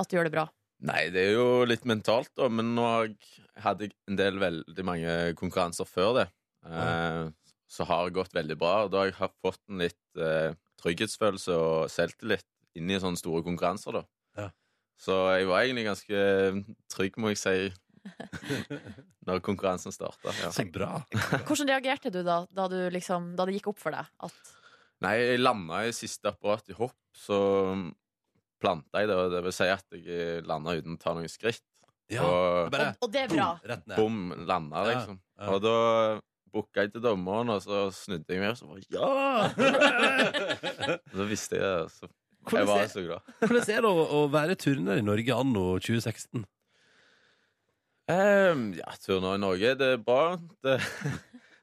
[SPEAKER 3] at du gjør det bra?
[SPEAKER 5] Nei, det er jo litt mentalt, da, men nå har jeg- hadde jeg en del veldig mange konkurranser før det. Eh, så har det gått veldig bra, og da har jeg hatt- fått en litt eh, trygghetsfølelse og selvtillit inn i sånne store konkurranser, da.
[SPEAKER 2] Ja.
[SPEAKER 5] Så jeg var egentlig ganske eh, trygg, må jeg si, når konkurransen starta. Ja.
[SPEAKER 2] Så bra.
[SPEAKER 3] Hvordan reagerte du da, da, du liksom, da det gikk opp for deg at
[SPEAKER 5] Nei, jeg landa i siste apparat i hopp, så planta jeg det. og Det vil si at jeg landa uten å ta noen skritt.
[SPEAKER 2] Ja,
[SPEAKER 5] og
[SPEAKER 2] bare
[SPEAKER 3] Og, og det er bra.
[SPEAKER 2] rett ned.
[SPEAKER 5] bom, landa,
[SPEAKER 2] Ja,
[SPEAKER 5] liksom.
[SPEAKER 2] ja.
[SPEAKER 5] Og da booka jeg til dommeren, og så snudde jeg meg, og så bare ja! Og så visste jeg det. og Så jeg
[SPEAKER 2] Hvordan
[SPEAKER 5] var
[SPEAKER 2] er,
[SPEAKER 5] så glad.
[SPEAKER 2] hvordan er det å, å være turner i Norge anno 2016?
[SPEAKER 5] Ehm, ja, turner i Norge, det er bra. Det,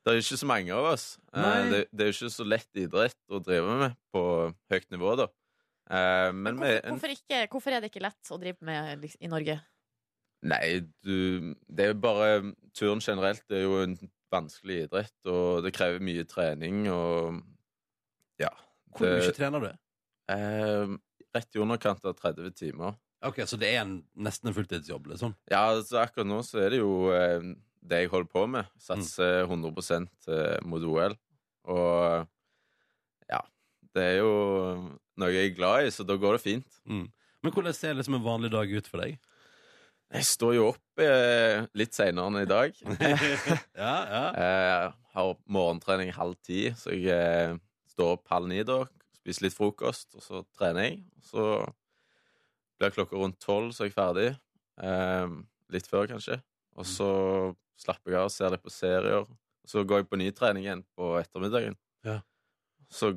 [SPEAKER 5] Det er jo ikke så mange av oss. Eh,
[SPEAKER 2] Nei.
[SPEAKER 5] Det, det er jo ikke så lett idrett å drive med på høyt nivå, da. Eh, Men vi
[SPEAKER 3] Hvorfor,
[SPEAKER 5] en-
[SPEAKER 3] hvorfor, ikke, hvorfor er det ikke lett å drive med liksom, i Norge?
[SPEAKER 5] Nei, du Det er jo bare Turn generelt er jo en vanskelig idrett, og det krever mye trening og Ja.
[SPEAKER 2] Hvor mye trener du?
[SPEAKER 5] eh, Rett i underkant av 30 timer.
[SPEAKER 2] Ok, Så det er en, nesten en fulltidsjobb, liksom?
[SPEAKER 5] Ja, altså akkurat nå så er det jo eh, det jeg holder på med. Satser 100 eh, mot OL. Og ja, det er jo noe jeg er glad i, så da går det fint.
[SPEAKER 2] Mm. Men hvordan ser liksom en vanlig dag ut for deg?
[SPEAKER 5] Jeg står jo opp eh, litt seinere enn i dag.
[SPEAKER 2] Ja, ja.
[SPEAKER 5] eh, har morgentrening halv ti, så jeg eh, står opp halv ni da, spiser litt frokost, og så trener jeg. Så blir klokka rundt tolv, så er jeg ferdig. Eh, litt før, kanskje. Og så slapper jeg av, ser litt på serier. Så går jeg på ny trening igjen på ettermiddagen.
[SPEAKER 2] Ja.
[SPEAKER 5] Så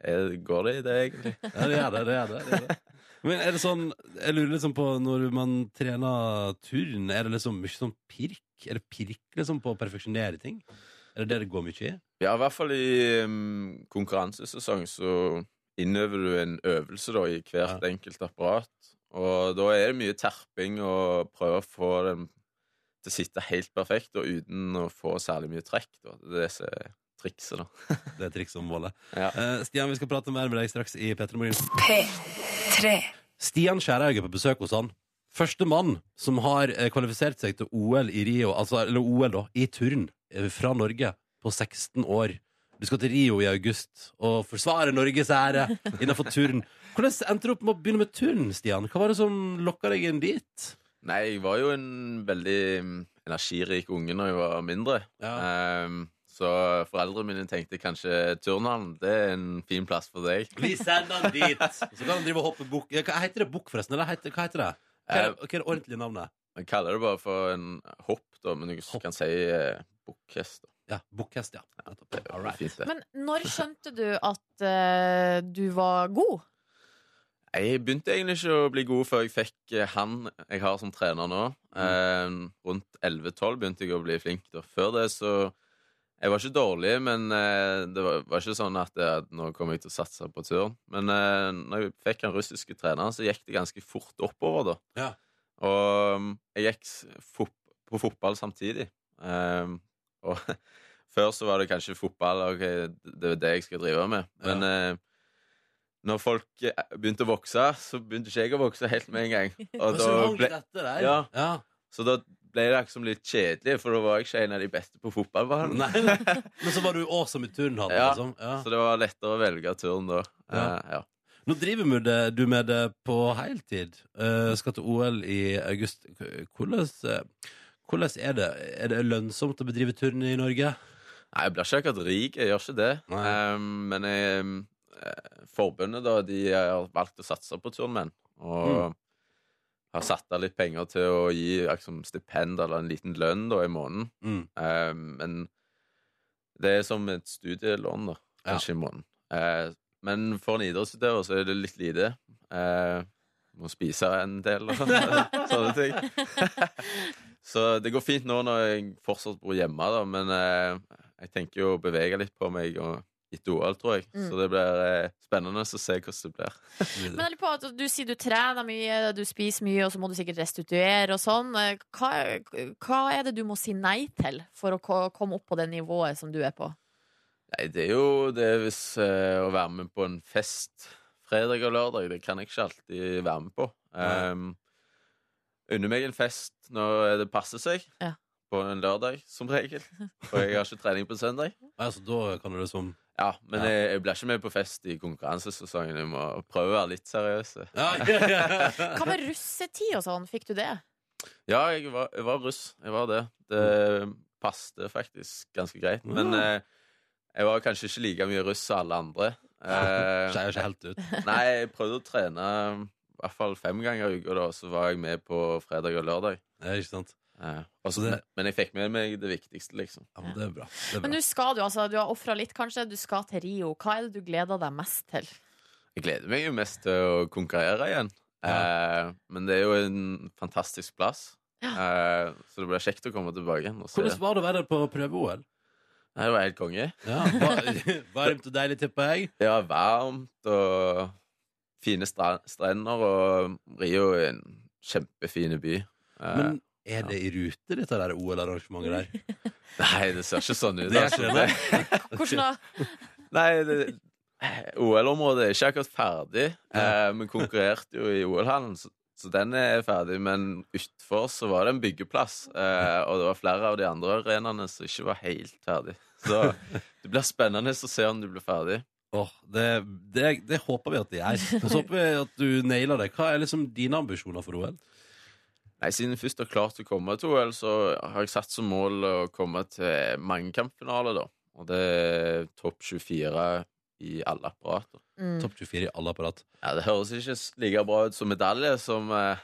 [SPEAKER 5] er, går det i det, egentlig.
[SPEAKER 2] Ja, det gjør det. det, gjør det, det, gjør det. Men er det sånn Jeg lurer liksom på når man trener turn, er det liksom mye sånn pirk? Er det pirk liksom på å perfeksjonere ting? Er det det det går mye i?
[SPEAKER 5] Ja, i hvert fall i mm, konkurransesesong så innøver du en øvelse da i hvert enkelt apparat. Og da er det mye terping og prøve å få den til å sitte helt perfekt og uten å få særlig mye trekk. Da. Det er det som er trikset, da.
[SPEAKER 2] Det er trikset om målet.
[SPEAKER 5] Ja.
[SPEAKER 2] Eh, Stian, vi skal prate mer med deg straks i P3 Morgen. Stian Skjærhaug er på besøk hos han. Første mann som har eh, kvalifisert seg til OL i Rio, altså, eller OL da, i turn eh, fra Norge på 16 år. Du skal til Rio i august og forsvare Norges ære innenfor turn. Hvordan endte du opp med å begynne med turn, Stian? Hva var det som lokka deg inn dit?
[SPEAKER 5] Nei, jeg var jo en veldig mm, energirik unge når jeg var mindre. Ehm, så foreldrene mine tenkte kanskje turnhallen, det er en fin plass for deg.
[SPEAKER 2] Vi sender han dit! Så kan han drive og hoppe bukk. Ja, Hva heter det bukk, forresten? Eller heter, hva heter det? Hva er, hva er det ordentlige navnet?
[SPEAKER 5] Eh, Jeg kaller det bare for en hopp, da, men du kan si eh, bukkhest. da.
[SPEAKER 2] Ja, Bukkhest, ja. Nettopp.
[SPEAKER 5] Det er
[SPEAKER 2] All right.
[SPEAKER 5] fint, det.
[SPEAKER 3] Men når skjønte du at eh, du var god?
[SPEAKER 5] Jeg begynte egentlig ikke å bli god før jeg fikk eh, han jeg har som trener nå. Eh, rundt 11-12 begynte jeg å bli flink. Da. Før det så Jeg var ikke dårlig, men eh, det var, var ikke sånn at eh, nå kommer jeg til å satse på turn. Men eh, når jeg fikk han russiske treneren, så gikk det ganske fort oppover, da.
[SPEAKER 2] Ja.
[SPEAKER 5] Og mm, jeg gikk s- fot på fotball samtidig. Eh, og før så var det kanskje fotball, ok, det er det jeg skal drive med. Men eh, når folk eh, begynte å vokse, så begynte ikke jeg å vokse helt med en gang.
[SPEAKER 2] så
[SPEAKER 5] Og da
[SPEAKER 2] langt
[SPEAKER 5] ble,
[SPEAKER 2] etter der.
[SPEAKER 5] Ja.
[SPEAKER 2] Ja.
[SPEAKER 5] så da ble det liksom litt kjedelig, for da var jeg ikke en av de beste på fotballbanen.
[SPEAKER 2] Nei. Men så var du awesome i turnhallen,
[SPEAKER 5] Ja.
[SPEAKER 2] liksom. Ja.
[SPEAKER 5] Så det var lettere å velge turn da.
[SPEAKER 2] Ja.
[SPEAKER 5] Eh, ja.
[SPEAKER 2] Nå driver med det, du med det på heltid. Eh, skal til OL i august. K- Hvordan, eh, hvordan er det? Er det lønnsomt å bedrive turn i Norge?
[SPEAKER 5] Nei, jeg blir ikke akkurat rik, jeg gjør ikke det.
[SPEAKER 2] Nei.
[SPEAKER 5] Eh, men jeg, eh, forbundet da, de har valgt å satse på turnmenn. Og har satt av litt penger til å gi liksom, stipend eller en liten lønn da, i måneden.
[SPEAKER 2] Mm.
[SPEAKER 5] Eh, men det er som et studielån, da,
[SPEAKER 2] Ja.
[SPEAKER 5] kanskje i måneden. Eh, men for en idrettsutøver så er det litt lite. Eh, må spise en del og sånne ting. så det går fint nå når jeg fortsatt bor hjemme, da, men eh, jeg tenker jo å bevege litt på meg og etter OL, tror jeg.
[SPEAKER 3] Mm.
[SPEAKER 5] Så det blir eh, spennende å se hvordan det blir.
[SPEAKER 3] Men jeg lurer på at Du sier du trener mye, du spiser mye, og så må du sikkert restituere og sånn. Eh, Hva, hva er det du må si nei til for å ko- komme opp på det nivået som du er på?
[SPEAKER 5] Nei, det er jo det hvis eh, å være med på en fest fredag og lørdag. Det kan jeg ikke alltid være med på. Um, Unner meg en fest når det passer seg.
[SPEAKER 3] Ja.
[SPEAKER 5] På en lørdag, som regel. For jeg har ikke trening på søndag.
[SPEAKER 2] Altså, da kan du liksom
[SPEAKER 5] Ja, Men
[SPEAKER 2] Ja.
[SPEAKER 5] Jeg, jeg blir ikke med på fest i konkurransesesongen. Jeg må prøve å være litt seriøs.
[SPEAKER 2] ja.
[SPEAKER 3] Hva med russetid og sånn? Fikk du det?
[SPEAKER 5] Ja, jeg var, jeg var russ. Jeg var det. Det passte faktisk ganske greit. Men eh, jeg var kanskje ikke like mye russ som alle andre. Eh,
[SPEAKER 2] Skeier seg helt ut.
[SPEAKER 5] Nei, jeg prøvde å trene um, i hvert fall fem ganger i uka, da, så var jeg med på fredag og lørdag.
[SPEAKER 2] Ja, ikke sant?
[SPEAKER 5] Eh, og
[SPEAKER 2] Så
[SPEAKER 5] så-
[SPEAKER 2] det-
[SPEAKER 5] men jeg fikk med meg det viktigste, liksom.
[SPEAKER 2] Ja, men det er bra. Det er
[SPEAKER 3] Men
[SPEAKER 2] bra.
[SPEAKER 3] nå skal du altså, du har ofra litt, kanskje. Du skal til Rio. Hva er det du gleder deg mest til?
[SPEAKER 5] Jeg gleder meg jo mest til å konkurrere igjen. Eh, men det er jo en fantastisk plass, eh, så det blir kjekt å komme tilbake igjen. Og se.
[SPEAKER 2] Hvordan var det å være på prøve-OL?
[SPEAKER 5] Det er jo helt konge.
[SPEAKER 2] Ja, va- varmt og deilig, tipper jeg.
[SPEAKER 5] Det var varmt og fine stra strender, og Rio er en kjempefin by. Eh,
[SPEAKER 2] Men er det i rute, dette der OL-arrangementet der?
[SPEAKER 5] nei, det ser ikke sånn ut.
[SPEAKER 2] Det er
[SPEAKER 5] altså.
[SPEAKER 2] ikke det.
[SPEAKER 3] Hvordan da?
[SPEAKER 5] Nei, det, OL-området er ikke akkurat ferdig. Eh, vi konkurrerte jo i OL-hallen, så, så den er ferdig. Men utenfor så var det en byggeplass, eh, og det var flere av de andre arenaene som ikke var helt ferdig. Så det blir spennende å se om du blir ferdig.
[SPEAKER 2] Åh, det, det, det håper vi at det gjør. Og så håper vi at du nailer det. Hva er liksom dine ambisjoner for OL?
[SPEAKER 5] Nei, Siden jeg først har klart å komme til OL, så har jeg satt som mål å komme til mangekampfinale, da. Og det er topp 24 i alle apparater.
[SPEAKER 2] Topp 24 i alle apparat.
[SPEAKER 5] Ja, Det høres ikke s- like bra ut som medalje, som eh,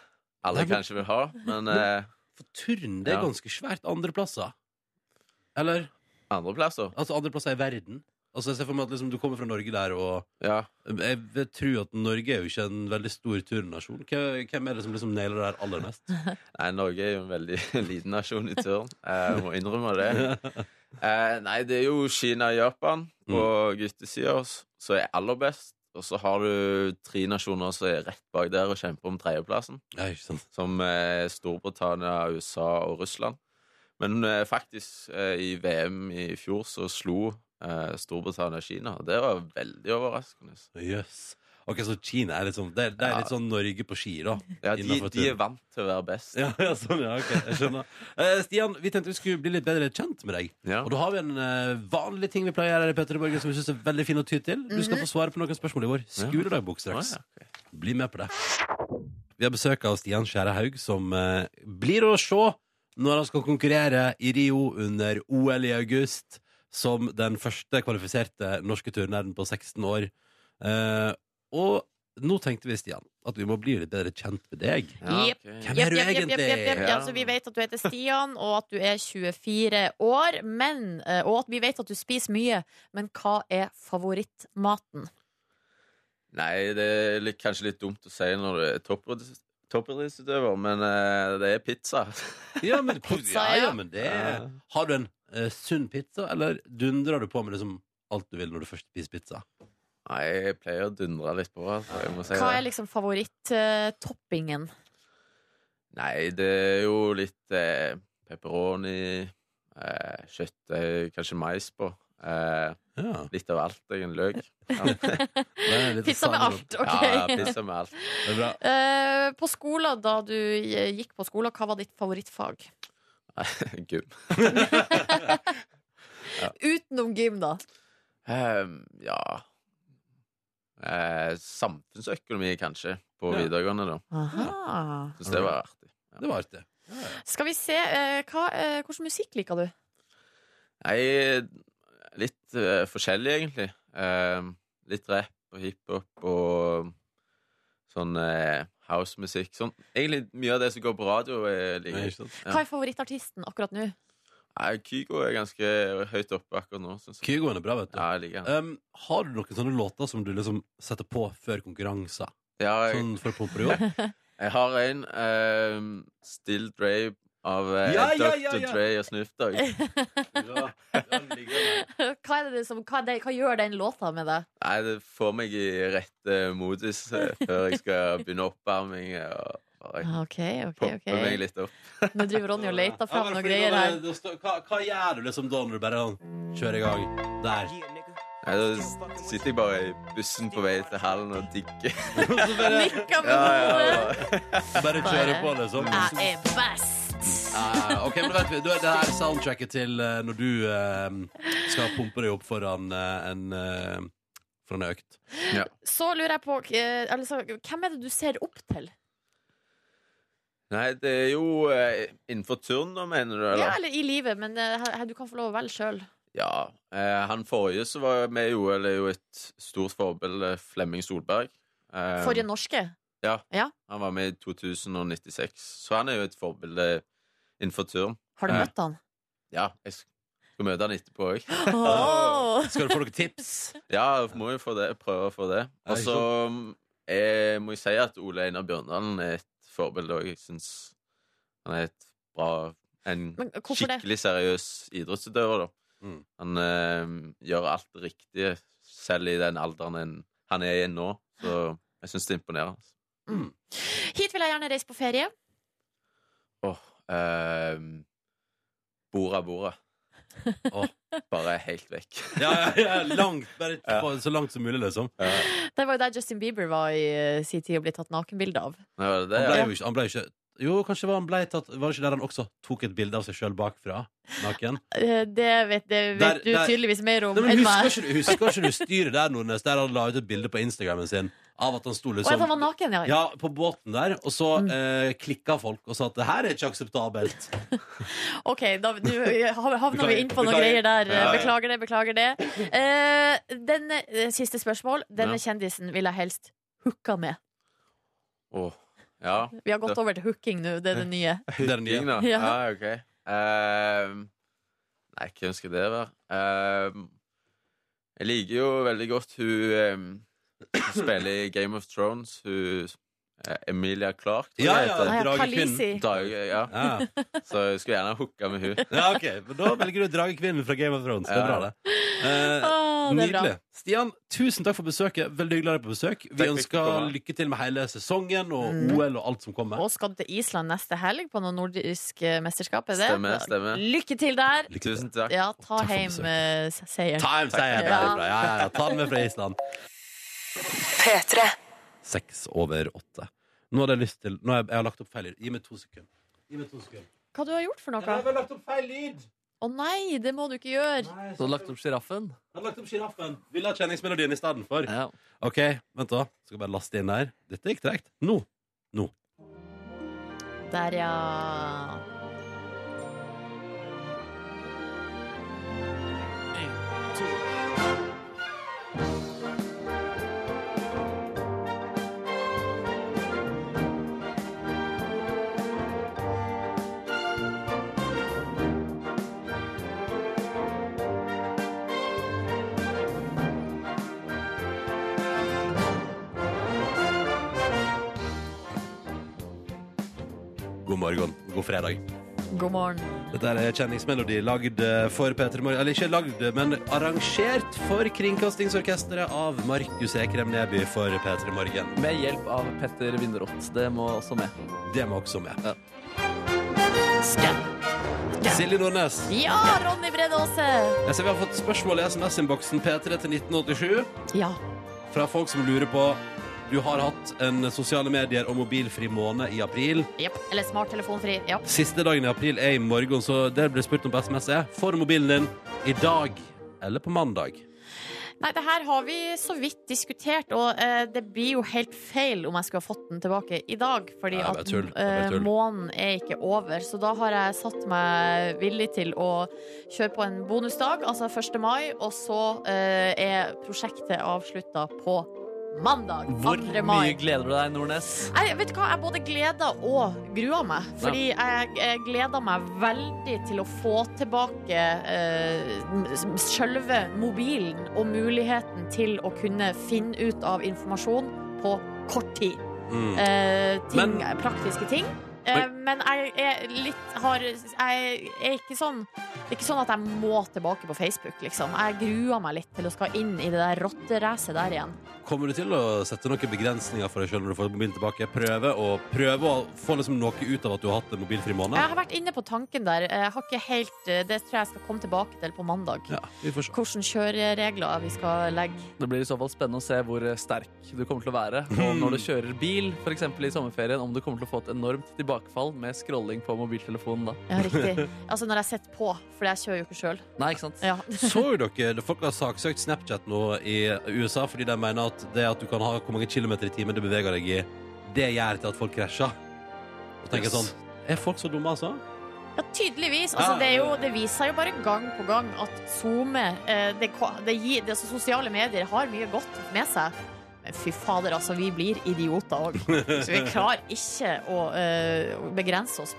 [SPEAKER 5] alle
[SPEAKER 2] Nei, men-
[SPEAKER 5] kanskje vil ha, men eh,
[SPEAKER 2] For turn, det er
[SPEAKER 5] Ja.
[SPEAKER 2] ganske svært. Andreplasser. Eller?
[SPEAKER 5] andreplasser
[SPEAKER 2] Altså andreplasser i verden. Altså, jeg ser for meg at liksom, du kommer fra Norge der, og
[SPEAKER 5] Ja.
[SPEAKER 2] jeg vil tro at Norge er jo ikke en veldig stor turnnasjon. Hva- Hvem er det som liksom nailer det her aller mest?
[SPEAKER 5] Nei, Norge er jo en veldig liten nasjon i turn. Eh, Jeg må innrømme det. Eh, Nei, det er jo Kina og Japan
[SPEAKER 2] Mm.
[SPEAKER 5] på guttesida s- som er aller best. Og så har du tre nasjoner som er rett bak der og kjemper om tredjeplassen.
[SPEAKER 2] Nei, ikke sant?
[SPEAKER 5] som eh, Storbritannia, USA og Russland. Men eh, faktisk, eh, i VM i fjor så slo eh, Storbritannia Kina. og Det var veldig overraskende.
[SPEAKER 2] Jøss. Ok, så Kina er litt sånn Det er, det er litt sånn Norge på ski, da.
[SPEAKER 5] Ja, de,
[SPEAKER 2] Innenfor
[SPEAKER 5] de
[SPEAKER 2] turn.
[SPEAKER 5] er vant til å være best.
[SPEAKER 2] Ja, ja, sånn, ja, ok, jeg skjønner Eh, Stian, vi tenkte vi skulle bli litt bedre kjent med deg
[SPEAKER 5] Ja.
[SPEAKER 2] Og da har vi en eh, vanlig ting vi pleier å gjøre her i Petter Borgen Som vi synes er veldig fin å ty til Du skal få svare på noen spørsmål i vår Skoledagbok straks
[SPEAKER 5] Ah, ja, ok.
[SPEAKER 2] Bli med på det Vi har besøk av Stian Skjære Haug Som eh, blir å se når han skal konkurrere i Rio under OL i august Som den første kvalifiserte norske turneren på 16 år Eh, Og nå tenkte vi, Stian At vi må bli litt bedre kjent med deg
[SPEAKER 5] Ja,
[SPEAKER 3] Jepp.
[SPEAKER 5] ok.
[SPEAKER 2] Hvem
[SPEAKER 3] Jepp,
[SPEAKER 2] er du
[SPEAKER 3] jepp, jepp,
[SPEAKER 2] egentlig?
[SPEAKER 3] jepp, jepp, jepp.
[SPEAKER 5] Ja.
[SPEAKER 3] Altså, vi vet at du heter Stian, og at du er 24 år. Men, eh, og at vi vet at du spiser mye. Men hva er favorittmaten?
[SPEAKER 5] Nei, det er litt, kanskje litt dumt å si når du er toppidretts- toppidrettsutøver, men eh, det er pizza.
[SPEAKER 2] Ja, men,
[SPEAKER 3] Pizza,
[SPEAKER 2] ja, ja,
[SPEAKER 3] ja.
[SPEAKER 2] men det er- Har du en eh, sunn pizza, eller dundrer du på med liksom alt du vil når du først spiser pizza?
[SPEAKER 5] Nei, jeg pleier å dundre litt på. Altså, jeg må si
[SPEAKER 3] Hva
[SPEAKER 5] det.
[SPEAKER 3] er liksom favorittoppingen?
[SPEAKER 5] Nei, det er jo litt eh, pepperoni, eh, kjøttdeig, kanskje mais på. Eh,
[SPEAKER 2] Ja,
[SPEAKER 5] litt av alt, egentlig. Løk. Ja,
[SPEAKER 2] det er litt
[SPEAKER 3] Pizza
[SPEAKER 2] sammen.
[SPEAKER 3] med alt,
[SPEAKER 5] ja,
[SPEAKER 3] OK?
[SPEAKER 5] pizza med alt.
[SPEAKER 2] Det er bra.
[SPEAKER 3] Eh, På skolen, da du eh, gikk på skolen, hva var ditt favorittfag?
[SPEAKER 5] Gym.
[SPEAKER 3] Utenom gym, da.
[SPEAKER 5] Ehm, ja eh, Samfunnsøkonomi, kanskje, på
[SPEAKER 2] Ja.
[SPEAKER 5] videregående, da.
[SPEAKER 3] Aha.
[SPEAKER 5] Syns det var artig.
[SPEAKER 2] Det var artig.
[SPEAKER 3] Skal vi se eh, hva, eh, Hvilken musikk liker du?
[SPEAKER 5] Nei, litt eh, forskjellig, egentlig. Ehm, litt rap og hiphop og sånn eh, housemusikk. Sånn, egentlig mye av det som går på radio, eh, jeg
[SPEAKER 2] Nei,
[SPEAKER 5] liker.
[SPEAKER 2] ikke sant?
[SPEAKER 5] Ja.
[SPEAKER 3] Hva er favorittartisten akkurat nå?
[SPEAKER 5] Nei, Kygo er ganske høyt oppe akkurat nå, syns jeg.
[SPEAKER 2] Kygoen er bra, vet du.
[SPEAKER 5] Ja, jeg liker han.
[SPEAKER 2] Um, har du noen sånne låter som du liksom setter på før konkurranser?
[SPEAKER 5] Ja, jeg,
[SPEAKER 2] Sånn for å pumpe deg opp?
[SPEAKER 5] Jeg har en ehm, Still Dre av eh,
[SPEAKER 2] Ja, ja, ja,
[SPEAKER 5] Dr.
[SPEAKER 2] ja.
[SPEAKER 5] Dre og Snoop Dogg.
[SPEAKER 2] Ja, den ligger der.
[SPEAKER 3] Hva, er det som, hva, er det, hva gjør den låta med deg?
[SPEAKER 5] Nei, det får meg i rett eh, modus eh, før jeg skal begynne oppvarming. eh, Og bare
[SPEAKER 3] Ah, OK, OK.
[SPEAKER 5] poppe
[SPEAKER 3] ok
[SPEAKER 5] meg litt opp.
[SPEAKER 3] Nå driver Ronny og leter
[SPEAKER 2] Ja,
[SPEAKER 3] fram
[SPEAKER 2] men
[SPEAKER 3] noen
[SPEAKER 2] fordi
[SPEAKER 3] greier
[SPEAKER 2] da-
[SPEAKER 3] her.
[SPEAKER 2] da står- Hva, hva gjør du liksom da når du bare sånn kjører i gang? Der.
[SPEAKER 5] Nei, da s- sitter jeg bare i bussen på vei til hallen og digger.
[SPEAKER 2] Så bare,
[SPEAKER 3] Nikker med
[SPEAKER 5] Ja,
[SPEAKER 3] hodet.
[SPEAKER 5] ja, ja.
[SPEAKER 2] bare kjører på, liksom.
[SPEAKER 3] Jeg er best!
[SPEAKER 2] Ah, ok, men da vet vi, da er Det her er soundtracket til eh, når du eh, skal pumpe deg opp foran eh, en eh, Foran en økt.
[SPEAKER 3] Så lurer jeg på eh, altså, Hvem er det du ser opp til?
[SPEAKER 5] Nei, det er jo eh, innenfor turn, da, mener du?
[SPEAKER 3] Ja,
[SPEAKER 5] Eller?
[SPEAKER 3] eller i livet, men eh, her- her- du kan få lov å velge sjøl.
[SPEAKER 5] Ja. eh, han forrige som var med i OL, er jo et stort forbilde, Flemming Solberg. Eh,
[SPEAKER 3] Forrige norske.
[SPEAKER 5] Han var med i 2096, så han er jo et forbilde innenfor turn.
[SPEAKER 3] Har du
[SPEAKER 5] Ja.
[SPEAKER 3] møtt han?
[SPEAKER 5] Ja, jeg sk- skal møte han etterpå òg.
[SPEAKER 3] Åh.
[SPEAKER 2] Skal du få noen tips?
[SPEAKER 5] Ja, må jo få det, prøve å få det.
[SPEAKER 2] Ja,
[SPEAKER 5] Og så eh, må jeg si at Ole Einar Bjørndalen er et forbilde òg. Jeg syns han er et bra En
[SPEAKER 3] Men hvorfor det?
[SPEAKER 5] skikkelig seriøs idrettsutøver, da.
[SPEAKER 2] Mm.
[SPEAKER 5] Han eh, gjør alt riktig, selv i den alderen en, han er i nå. Så jeg syns det er imponerende.
[SPEAKER 3] Hit vil jeg gjerne reise på ferie.
[SPEAKER 5] Åh, eh, Bora Bora.
[SPEAKER 2] Åh.
[SPEAKER 5] Bare helt vekk.
[SPEAKER 2] Ja, ja, ja, langt, bare
[SPEAKER 5] Ja.
[SPEAKER 2] få det så langt som mulig, liksom.
[SPEAKER 3] Det var jo der Justin Bieber var i eh, sin tid og ble tatt nakenbilde av.
[SPEAKER 5] Nå var det det,
[SPEAKER 2] Han ble
[SPEAKER 5] ja.
[SPEAKER 2] jo ikke, han ble ikke Jo, kanskje var han ble tatt Var det ikke der han også tok et bilde av seg sjøl bakfra? Naken?
[SPEAKER 3] Eh, Det vet, det vet
[SPEAKER 2] Der-
[SPEAKER 3] du
[SPEAKER 2] der-
[SPEAKER 3] tydeligvis mer om
[SPEAKER 2] Nei, men
[SPEAKER 3] enn
[SPEAKER 2] husker
[SPEAKER 3] meg.
[SPEAKER 2] ikke, du, husker ikke du styret der, Nordnes, der han la ut et bilde på Instagramen sin av at han sto
[SPEAKER 3] Og at han var Mm.
[SPEAKER 2] liksom
[SPEAKER 3] naken, ja.
[SPEAKER 2] ja, på båten der, og så eh, klikka folk og sa at det her er ikke akseptabelt.
[SPEAKER 3] Ok, da nå havner vi
[SPEAKER 2] Beklager,
[SPEAKER 3] inn på noen
[SPEAKER 2] beklager.
[SPEAKER 3] greier der.
[SPEAKER 2] Ja, ja.
[SPEAKER 3] Beklager det, beklager det. Eh, denne, eh, siste spørsmål. Denne kjendisen vil jeg helst hooka med.
[SPEAKER 5] Åh, ja.
[SPEAKER 3] Vi har gått over til hooking nå, det er det nye.
[SPEAKER 2] Det er den nye.
[SPEAKER 5] Ting, da.
[SPEAKER 3] Ja.
[SPEAKER 5] Ja, Ah, ok. Ehm, nei, hvem skal det være? Ehm, jeg liker jo veldig godt hun ehm, som spiller i Game of Thrones. Hun eh, Emilia Clark. tror jeg
[SPEAKER 2] Ja,
[SPEAKER 5] det
[SPEAKER 2] ja,
[SPEAKER 5] heter.
[SPEAKER 3] ja,
[SPEAKER 2] dragekvinnen.
[SPEAKER 3] Khaleesi.
[SPEAKER 5] Dag, ja.
[SPEAKER 2] Ja.
[SPEAKER 5] Så jeg skulle gjerne hooka med hun
[SPEAKER 2] ja, ok, men Da velger du dragekvinnen fra Game of Thrones. Det er bra, det. Eh,
[SPEAKER 3] Å, det er bra.
[SPEAKER 2] Nydelig. Stian, tusen takk for besøket. Veldig hyggelig å ha deg på besøk. Vi
[SPEAKER 5] for
[SPEAKER 2] ønsker
[SPEAKER 5] at du kom.
[SPEAKER 2] lykke til med hele sesongen og OL og alt som kommer.
[SPEAKER 3] Og skal du til Island neste helg på noe nordisk eh, mesterskap? Er det?
[SPEAKER 5] Stemmer, stemmer.
[SPEAKER 3] Lykke til der!
[SPEAKER 2] Lykke til.
[SPEAKER 5] Tusen takk.
[SPEAKER 3] Ja, ta
[SPEAKER 2] Takk for
[SPEAKER 3] hjem
[SPEAKER 2] besøket.
[SPEAKER 3] eh, se- seieren.
[SPEAKER 2] Ta en seier.
[SPEAKER 3] Ja.
[SPEAKER 2] Ja. Ja, ja, ja. Ta den med fra Island. Seks over åtte. Nå hadde jeg lyst til Nå har jeg, jeg har lagt opp feil lyd. Gi meg to sekunder. Gi meg to sekunder.
[SPEAKER 3] Hva du har gjort for
[SPEAKER 2] Jeg har
[SPEAKER 3] noe?
[SPEAKER 2] vel lagt opp feil lyd!
[SPEAKER 3] Å nei, det må du ikke gjøre!
[SPEAKER 2] Nei,
[SPEAKER 4] Så du har lagt opp sjiraffen?
[SPEAKER 2] Jeg har lagt opp giraffen. Ville ha kjenningsmelodien i stedet for.
[SPEAKER 4] Ja.
[SPEAKER 2] OK, vent, da. Skal bare laste inn der. Dette gikk tregt. Nå.
[SPEAKER 3] Der, ja.
[SPEAKER 2] God morgen. God fredag.
[SPEAKER 3] God morgen.
[SPEAKER 2] Dette er kjenningsmelodi lagd eh, for Peter Morgen Eller ikke lagd, men arrangert for Kringkastingsorkesteret av Markus Ekrem Neby for P3 Morgen.
[SPEAKER 4] Med hjelp av Petter Winderot. Det må også med.
[SPEAKER 2] Det må også med.
[SPEAKER 4] Ja.
[SPEAKER 2] Silje Nordnes.
[SPEAKER 3] Ja, Ronny Brede Aase!
[SPEAKER 2] Jeg ser vi har fått spørsmål i SMS-innboksen P3 til 1987
[SPEAKER 3] Ja.
[SPEAKER 2] fra folk som lurer på Du har hatt en sosiale medier og mobilfri måned i april.
[SPEAKER 3] Jep. Eller smarttelefonfri. Ja.
[SPEAKER 2] Siste dagen i april er i morgen, så det blir spurt om på SMS er Får du mobilen din i dag eller på mandag?
[SPEAKER 3] Nei, det her har vi så vidt diskutert, og eh, det blir jo helt feil om jeg skulle ha fått den tilbake i dag. Fordi
[SPEAKER 2] Ja, det er
[SPEAKER 3] at
[SPEAKER 2] tull. Det er
[SPEAKER 3] eh,
[SPEAKER 2] tull.
[SPEAKER 3] måneden er ikke over. Så da har jeg satt meg villig til å kjøre på en bonusdag, altså 1. mai, og så eh, er prosjektet avslutta på mandag.
[SPEAKER 4] Hvor
[SPEAKER 3] 2. mai.
[SPEAKER 4] mye gleder du deg, Nordnes?
[SPEAKER 3] Jeg vet du hva, jeg både gleder og gruer meg. Fordi jeg, jeg gleder meg veldig til å få tilbake eh, sjølve mobilen og muligheten til å kunne finne ut av informasjon på kort tid.
[SPEAKER 2] Mm.
[SPEAKER 3] Eh, ting,
[SPEAKER 2] Men-
[SPEAKER 3] praktiske ting. Eh, men jeg er litt har, Jeg er ikke sånn Det er ikke sånn at jeg må tilbake på Facebook, liksom. Jeg gruer meg litt til å skal inn i det der rotteracet der igjen.
[SPEAKER 2] Kommer du til å sette noen begrensninger for deg selv når du får mobilen tilbake? Prøve å, prøve å få liksom noe ut av at du har hatt en mobilfri
[SPEAKER 3] Jeg
[SPEAKER 2] måned?
[SPEAKER 3] har vært inne på tanken der. Jeg har ikke helt, eh, det tror jeg jeg skal komme tilbake til på mandag.
[SPEAKER 2] Ja, vi får se.
[SPEAKER 3] Hvilke kjøreregler vi skal legge.
[SPEAKER 4] Det blir i så fall spennende å se hvor sterk du kommer til å være. Og når du kjører bil, f.eks. i sommerferien, om du kommer til å få et enormt tilbakefall med scrolling på mobiltelefonen da.
[SPEAKER 3] Ja, riktig. Altså når jeg sitter på, for jeg kjører jo ikke sjøl.
[SPEAKER 4] Nei, ikke sant?
[SPEAKER 3] Ja.
[SPEAKER 2] Så jo dere, det- folk har saksøkt Snapchat nå i USA fordi de mener at det at du kan ha hvor mange kilometer i timen du beveger deg i, det gjør til at folk krasjer. Og tenker jeg
[SPEAKER 4] Yes.
[SPEAKER 2] sånn Er folk så dumme, altså?
[SPEAKER 3] ja, tydeligvis. Altså, det, er jo, det viser seg jo bare gang på gang at SoMe eh, det, ko- det gir, det, så Sosiale medier har mye godt med seg. Men fy fader, altså. Vi blir idioter òg. Så vi klarer ikke å eh, begrense oss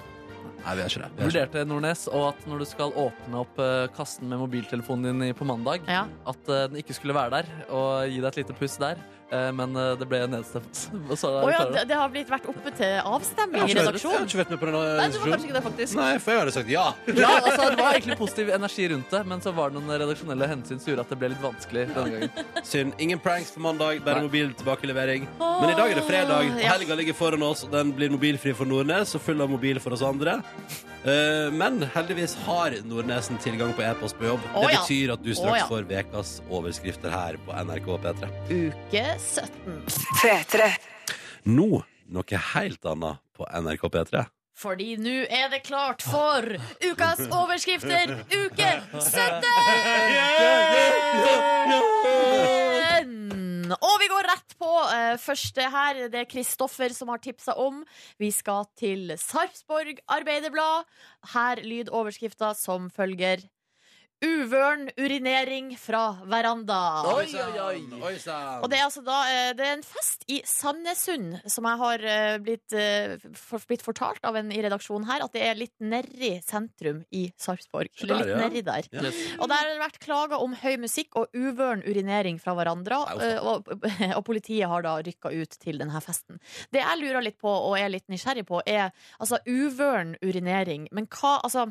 [SPEAKER 2] Nei, vi er ikke det. Vi er ikke det.
[SPEAKER 4] Vurderte Nordnes, og at når du skal åpne opp eh, kassen med mobiltelefonen din i- på mandag,
[SPEAKER 3] Ja.
[SPEAKER 4] at eh, den ikke skulle være der, og gi deg et lite puss der, eh, men eh, det ble nedstemt. Og så er
[SPEAKER 3] Å
[SPEAKER 4] det
[SPEAKER 3] ja,
[SPEAKER 4] klarer
[SPEAKER 3] det, det har blitt vært oppe til
[SPEAKER 2] Jeg
[SPEAKER 3] avstemning
[SPEAKER 2] har
[SPEAKER 3] i
[SPEAKER 2] ikke vært- jeg har
[SPEAKER 3] redaksjonen.
[SPEAKER 2] ikke vært med på den eh,
[SPEAKER 3] Nei, du var
[SPEAKER 2] diskusjonen.
[SPEAKER 3] kanskje ikke det, faktisk.
[SPEAKER 2] Nei, for jeg hadde sagt ja.
[SPEAKER 4] Ja, altså, det var egentlig positiv energi rundt det, men så var det noen redaksjonelle hensyn som gjorde at det ble litt vanskelig denne gangen.
[SPEAKER 2] Synd. Ingen pranks på mandag, bare
[SPEAKER 4] Nei.
[SPEAKER 2] mobil tilbakelevering. Men i dag er det fredag, og
[SPEAKER 3] Ja.
[SPEAKER 2] helga ligger foran oss, og den blir mobilfri for Nordnes og full av mobil for oss andre. Eh, Men heldigvis har Nordnesen tilgang på e-post på jobb.
[SPEAKER 3] Å,
[SPEAKER 2] Det
[SPEAKER 3] ja.
[SPEAKER 2] betyr at du
[SPEAKER 3] Å,
[SPEAKER 2] straks
[SPEAKER 3] ja.
[SPEAKER 2] får vekas overskrifter her på NRK P3.
[SPEAKER 3] Uke 17.
[SPEAKER 2] Nå noe helt annet på NRK P3.
[SPEAKER 3] Fordi nå er det klart for ukas overskrifter, uke 17! Og vi går rett på eh, første her. Det er Kristoffer som har tipsa om. Vi skal til Sarpsborg Arbeiderblad. Her lyd overskrifta som følger. Uvøren urinering fra veranda.
[SPEAKER 2] Oi sann!
[SPEAKER 3] Og det er altså da eh, Det er en fest i Sandnessund som jeg har eh, blitt, eh, for, blitt fortalt av en i redaksjonen her, at det er litt nedi sentrum i Sarpsborg.
[SPEAKER 2] Så
[SPEAKER 3] Eller
[SPEAKER 2] der,
[SPEAKER 3] litt
[SPEAKER 2] ja.
[SPEAKER 3] nedi der.
[SPEAKER 2] Ja.
[SPEAKER 3] Og der har det vært klager om høy musikk og uvøren urinering fra hverandre.
[SPEAKER 2] Au.
[SPEAKER 3] eh, Og, og politiet har da rykka ut til denne festen. Det jeg lurer litt på, og er litt nysgjerrig på, er altså uvøren urinering. Men hva, altså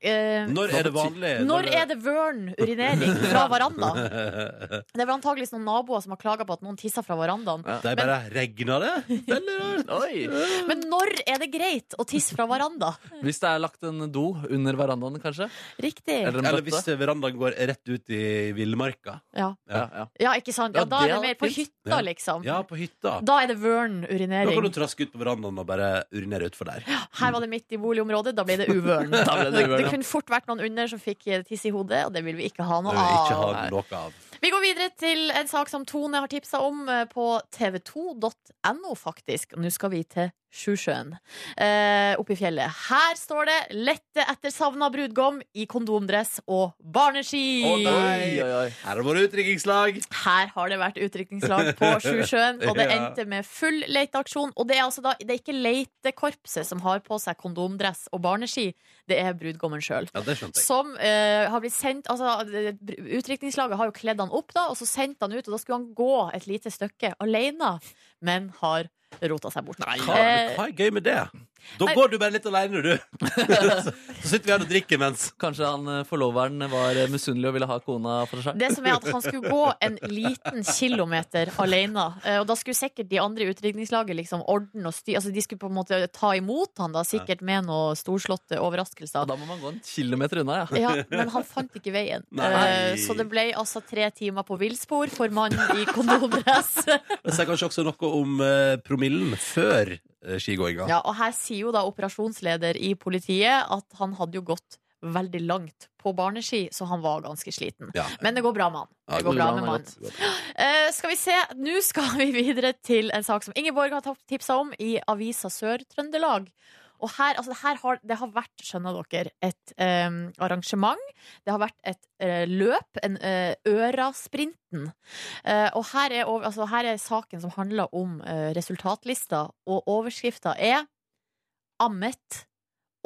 [SPEAKER 3] eh,
[SPEAKER 2] Når er det vanlig?
[SPEAKER 3] når er det vøren urinering fra veranda?
[SPEAKER 2] det
[SPEAKER 3] Det er vel antageligvis noen naboer som har klaga på at noen tisser fra verandaen.
[SPEAKER 2] er bare regner det? Veldig rart.
[SPEAKER 4] Oi.
[SPEAKER 3] Men når er det greit å tisse fra veranda?
[SPEAKER 4] Hvis det er lagt en do under verandaen, kanskje?
[SPEAKER 3] Riktig.
[SPEAKER 4] Eller en
[SPEAKER 2] Eller hvis
[SPEAKER 4] bøtte?
[SPEAKER 2] verandaen går rett ut i villmarka.
[SPEAKER 3] Ja,
[SPEAKER 4] Ja, ja.
[SPEAKER 3] ja ikke sant? Ja,
[SPEAKER 4] Ja,
[SPEAKER 3] da
[SPEAKER 4] det
[SPEAKER 3] er det
[SPEAKER 4] hadde
[SPEAKER 3] mer
[SPEAKER 4] vært
[SPEAKER 3] på
[SPEAKER 4] fint.
[SPEAKER 3] hytta,
[SPEAKER 2] Ja.
[SPEAKER 3] liksom.
[SPEAKER 2] Ja, på hytta.
[SPEAKER 3] Da er det vøren
[SPEAKER 2] Da kan du
[SPEAKER 3] urinering.
[SPEAKER 2] traske ut på verandaen og bare urinere utfor der.
[SPEAKER 3] Her var det midt i boligområdet, da ble det uvøren.
[SPEAKER 4] Da ble det uvøren, ja.
[SPEAKER 3] Det kunne fort vært noen under som fikk eh, tiss i hodet, og det vil vi ikke ha
[SPEAKER 2] Det
[SPEAKER 3] noe
[SPEAKER 2] vil jeg ikke
[SPEAKER 3] av.
[SPEAKER 2] ha noe av.
[SPEAKER 3] Vi går videre til en sak som Tone har tipsa om eh, på tv2.no, faktisk. Nå skal vi til Sjusjøen, eh, oppe i fjellet. Her står det 'Lette etter savna brudgom i kondomdress og barneski'.
[SPEAKER 2] Å, nei.
[SPEAKER 4] Oi, oi, oi.
[SPEAKER 2] Her er det våre utdrikningslag.
[SPEAKER 3] Her har det vært utrykningslag på Sjusjøen, og det
[SPEAKER 2] Ja.
[SPEAKER 3] endte med full leteaksjon. Og det er altså da, det er ikke letekorpset som har på seg kondomdress og barneski, det er brudgommen sjøl.
[SPEAKER 2] Ja, det skjønte jeg.
[SPEAKER 3] Som eh, har blitt sendt altså, Utdrikningslaget har jo kledd han opp, da og så sendt han ut. Og da skulle han gå et lite stykke alene, men har rota seg bort.
[SPEAKER 2] Hva,
[SPEAKER 3] Eh,
[SPEAKER 2] hva er gøy med det? Da
[SPEAKER 3] nei.
[SPEAKER 2] går du bare litt alene, du. Så så sitter vi her og drikker mens.
[SPEAKER 4] Kanskje han eh, forloveren var eh, misunnelig og ville ha kona for seg?
[SPEAKER 3] det som er at Han skulle gå en liten kilometer alene. eh, Og da skulle sikkert de andre i utdrikningslaget liksom ordne og styre. Altså, de skulle på en måte ta imot han da sikkert med noen storslåtte
[SPEAKER 4] Ja,
[SPEAKER 3] overraskelser.
[SPEAKER 4] da må man gå en kilometer unna, ja.
[SPEAKER 3] Ja, men han fant ikke veien.
[SPEAKER 2] Nei.
[SPEAKER 3] Eh, Så det ble altså tre timer på villspor for mannen i kondomdress.
[SPEAKER 2] Det sier kanskje også noe om eh, promillen før eh, skigåinga.
[SPEAKER 3] Ja, og her sier jo da operasjonsleder i politiet at han hadde jo gått veldig langt på barneski, så han var ganske sliten.
[SPEAKER 2] Ja.
[SPEAKER 3] Men det går bra med han.
[SPEAKER 2] Ja,
[SPEAKER 3] Det går bra med
[SPEAKER 4] han er
[SPEAKER 3] mannen. Eh, skal vi se, nå skal vi videre til en sak som Ingeborg har tatt- tipsa om i avisa Sør-Trøndelag. Og her, altså, her har, det har vært, skjønner dere, et eh, arrangement. Det har vært et eh, løp, en eh, Ørasprinten. Eh, og her er, over, altså, her er saken som handler om eh, resultatlista, og overskrifta er Ammet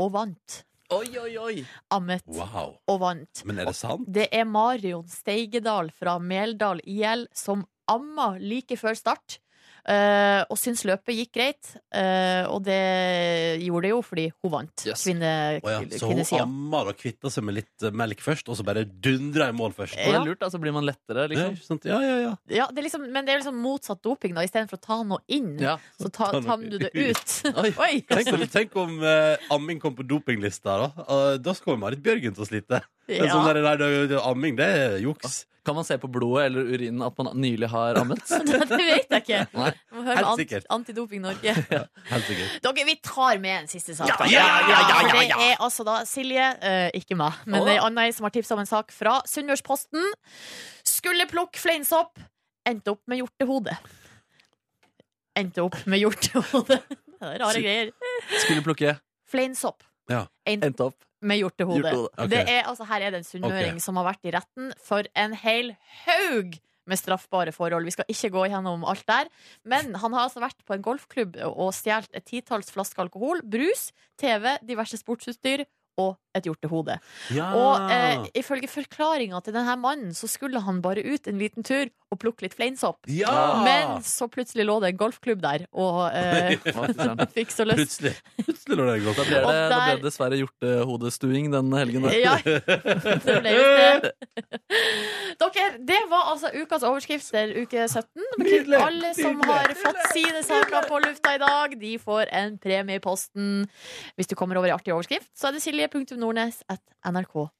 [SPEAKER 3] og vant.
[SPEAKER 4] Oi, oi, oi!
[SPEAKER 3] Ammet
[SPEAKER 2] Wow.
[SPEAKER 3] og vant.
[SPEAKER 2] Men er det sant?
[SPEAKER 3] Det er Marion Steigedal fra Meldal IL som amma like før start. eh, og syns løpet gikk greit, eh, og det gjorde det jo fordi hun vant.
[SPEAKER 4] Yes.
[SPEAKER 3] Kvinne,
[SPEAKER 2] Å ja, så hun
[SPEAKER 3] kvinnesida.
[SPEAKER 2] ammer og kvitter seg med litt eh, melk først, og så bare dundrer i mål først.
[SPEAKER 4] Og det
[SPEAKER 3] Ja.
[SPEAKER 4] er lurt, altså blir man lettere,
[SPEAKER 2] Ja,
[SPEAKER 4] liksom.
[SPEAKER 2] ikke sant? ja, ja, ja.
[SPEAKER 3] Ja, det er liksom, men det er liksom motsatt doping, da. Istedenfor å ta noe inn,
[SPEAKER 4] Ja.
[SPEAKER 3] så ta,
[SPEAKER 2] Ta noe
[SPEAKER 3] tam du det ut.
[SPEAKER 4] Oi.
[SPEAKER 3] Oi!
[SPEAKER 2] Tenk om, tenk om eh, amming kom på dopinglista, da. Eh, da kommer Marit Bjørgen til å slite. Men Sånn
[SPEAKER 3] Ja.
[SPEAKER 2] der, nei, det- det- amming, det er juks.
[SPEAKER 4] Kan man se på blodet eller urinen at man nylig har ammet?
[SPEAKER 3] Det vet jeg ikke.
[SPEAKER 4] Nei.
[SPEAKER 3] Må høre
[SPEAKER 2] Helt
[SPEAKER 3] med
[SPEAKER 2] sikkert.
[SPEAKER 3] ant, Antidoping Norge.
[SPEAKER 2] Helt sikkert.
[SPEAKER 3] Dere, vi tar med en siste sak. da.
[SPEAKER 2] ja, ja, ja, ja, ja.
[SPEAKER 3] Det er altså da Silje, eh, ikke meg, men
[SPEAKER 4] Å.
[SPEAKER 3] det er Anna som har tipsa om en sak fra Sunnmørsposten. Skulle plukke fleinsopp, endte opp med hjortehode. Endte opp med hjortehode. Det er rare greier.
[SPEAKER 4] Skulle plukke,
[SPEAKER 3] Fleinsopp
[SPEAKER 4] endte opp.
[SPEAKER 3] med hjortehode.
[SPEAKER 4] Hjortehode,
[SPEAKER 2] ok.
[SPEAKER 3] Det er, altså, her er det en sunnmøring
[SPEAKER 2] Ok.
[SPEAKER 3] som har vært i retten for en hel haug med straffbare forhold. Vi skal ikke gå gjennom alt der. Men han har altså vært på en golfklubb og stjålet et titalls flasker alkohol, brus, TV, diverse sportsutstyr og et hjortehode.
[SPEAKER 2] Ja.
[SPEAKER 3] Og eh, ifølge forklaringa til denne mannen så skulle han bare ut en liten tur og plukke litt fleinsopp.
[SPEAKER 2] ja!
[SPEAKER 3] Men så plutselig lå det en golfklubb der, og eh, han fikk så lyst.
[SPEAKER 2] Plutselig. Plutselig når det er
[SPEAKER 4] Da
[SPEAKER 2] godt.
[SPEAKER 4] ble det,
[SPEAKER 3] Og
[SPEAKER 4] da ble
[SPEAKER 3] der-
[SPEAKER 4] det dessverre hjortehodestuing den helgen. Der.
[SPEAKER 3] Ja, det ble visst det. Dere, det var altså ukas overskrifter, uke 17.
[SPEAKER 2] Nydelig,
[SPEAKER 3] Alle som
[SPEAKER 2] nydelig,
[SPEAKER 3] har fått sine saker på lufta i dag, de får en premie i posten. Hvis du kommer over i artig overskrift, så er det silje.nordnes at nrk.no.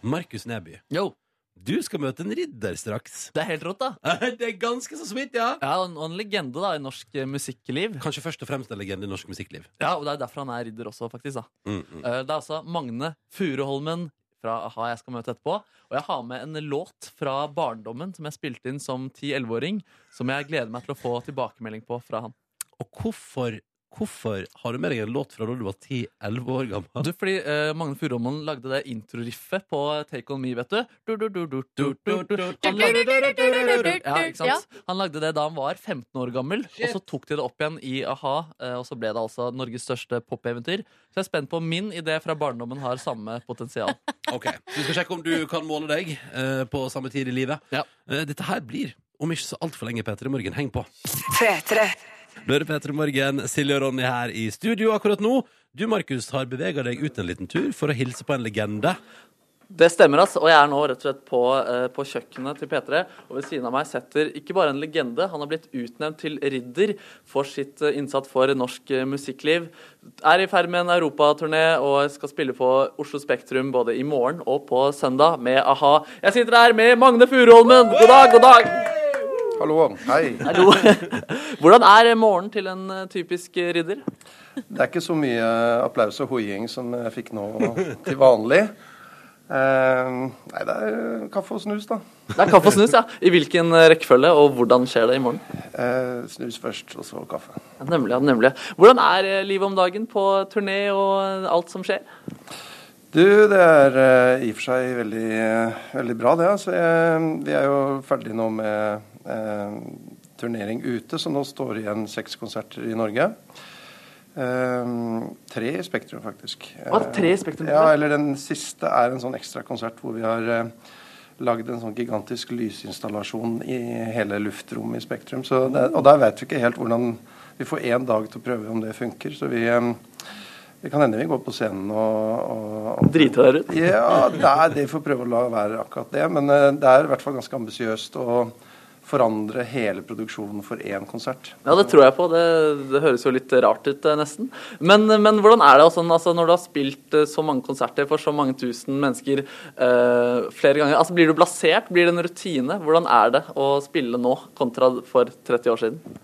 [SPEAKER 2] Markus Neby,
[SPEAKER 4] Yo,
[SPEAKER 2] du skal møte en ridder straks.
[SPEAKER 4] det er helt rått, da.
[SPEAKER 2] Det er ganske så smitt, ja.
[SPEAKER 4] Ja, og en, og en legende da i norsk eh, musikkliv.
[SPEAKER 2] Kanskje først og fremst en legende i norsk musikkliv.
[SPEAKER 4] Ja, og Det er derfor han er ridder også, faktisk. da
[SPEAKER 2] Mm, mm.
[SPEAKER 4] Eh, Det er altså Magne Furuholmen fra A-ha jeg skal møte etterpå. Og jeg har med en låt fra barndommen som jeg spilte inn som 10-11-åring, som jeg gleder meg til å få tilbakemelding på fra han.
[SPEAKER 2] Og hvorfor, hvorfor har du med deg en låt fra da du var 10-11 år gammel?
[SPEAKER 4] Du, fordi eh, Magne Furuholmen lagde det introriffet på Take On Me, vet du. du, du, du, du, du, du, du. Han lagde Ja, ikke
[SPEAKER 3] Ja.
[SPEAKER 4] sant? Han lagde det da han var 15 år gammel, og så tok de det opp igjen i a-ha. eh, Og så ble det altså Norges største popeventyr. Så jeg er spent på om min idé fra barndommen har samme potensial.
[SPEAKER 2] Ok, så Vi skal sjekke om du kan måle deg eh, på samme tid i livet.
[SPEAKER 4] Ja.
[SPEAKER 2] Eh, dette her blir om ikke så altfor lenge, Peter i morgen. Heng på. Nå er det Peter i morgen. Silje og Ronny her i studio akkurat nå. Du, Markus, har bevega deg ut en liten tur for å hilse på en legende.
[SPEAKER 4] Det stemmer, ass. Og jeg er nå rett og slett på, eh, på kjøkkenet til P3. Og ved siden av meg setter ikke bare en legende, han har blitt utnevnt til ridder for sitt eh, innsats for norsk eh, musikkliv. Er i ferd med en europaturné og skal spille på Oslo Spektrum både i morgen og på søndag med a-ha. Jeg sitter her med Magne Furuholmen. God dag, god dag!
[SPEAKER 11] Hallo. Hei.
[SPEAKER 4] Hallo. Hvordan er eh, morgenen til en eh, typisk eh, ridder?
[SPEAKER 11] Det er ikke så mye applaus og hoiing som jeg fikk nå til vanlig. Eh, nei, det er kaffe og snus, da.
[SPEAKER 4] Det er kaffe og snus, ja. I hvilken eh, rekkefølge, og hvordan skjer det i morgen?
[SPEAKER 11] Eh, snus først, og så kaffe.
[SPEAKER 4] Ja, Nemlig, ja, nemlig. Hvordan er eh, livet om dagen på turné og eh, alt som skjer?
[SPEAKER 11] Du, det er eh, i og for seg veldig, eh, veldig bra, det. Altså, jeg, vi er jo ferdig nå med eh, turnering ute, så nå står det igjen seks konserter i Norge. Eh, tre i Spektrum, faktisk.
[SPEAKER 4] Hva, tre i Spektrum?
[SPEAKER 11] Eh, Ja, eller den siste er en sånn ekstrakonsert hvor vi har eh, lagd en sånn gigantisk lysinstallasjon i hele luftrommet i Spektrum. Så det, og der vet vi ikke helt hvordan Vi får én dag til å prøve om det funker, så vi eh, det kan hende vi går på scenen og, og, og
[SPEAKER 4] Driter dere ut?
[SPEAKER 11] ja, det er det vi får prøve å la være akkurat det. Men eh, det er i hvert fall ganske ambisiøst å forandre hele produksjonen for én konsert.
[SPEAKER 4] Ja, det tror jeg på. Det, det høres jo litt rart ut, eh, nesten. Men, men hvordan er det altså, altså, når du har spilt eh, så mange konserter for så mange tusen mennesker eh, flere ganger? Altså, Blir du blasert? Blir det en rutine? Hvordan er det å spille nå kontra for 30 år siden?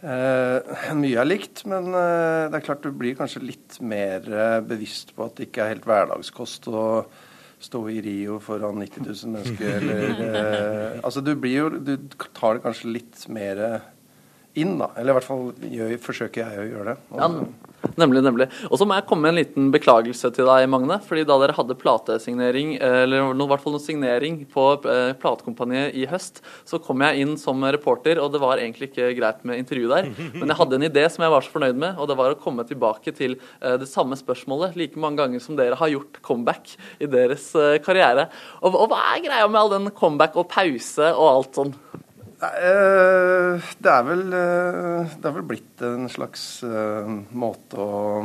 [SPEAKER 11] Eh, mye er likt, men eh, det er klart du blir kanskje litt mer eh, bevisst på at det ikke er helt hverdagskost å stå i Rio foran 90 000 mennesker. Eller, eh, altså du, blir jo, du tar det kanskje litt mer eh, inn, da. Eller i hvert fall gjør, forsøker jeg å gjøre det.
[SPEAKER 4] Ja, nemlig, nemlig. Og så må jeg komme med en liten beklagelse til deg, Magne. fordi da dere hadde platesignering, eller no, i hvert fall noe signering på eh, platekompaniet i høst, så kom jeg inn som reporter, og det var egentlig ikke greit med intervju der. Men jeg hadde en idé som jeg var så fornøyd med, og det var å komme tilbake til eh, det samme spørsmålet like mange ganger som dere har gjort comeback i deres eh, karriere. Og, og hva er greia med all den comeback og pause og alt sånn?
[SPEAKER 11] Nei, eh, det er vel eh, Det er vel blitt en slags eh, måte å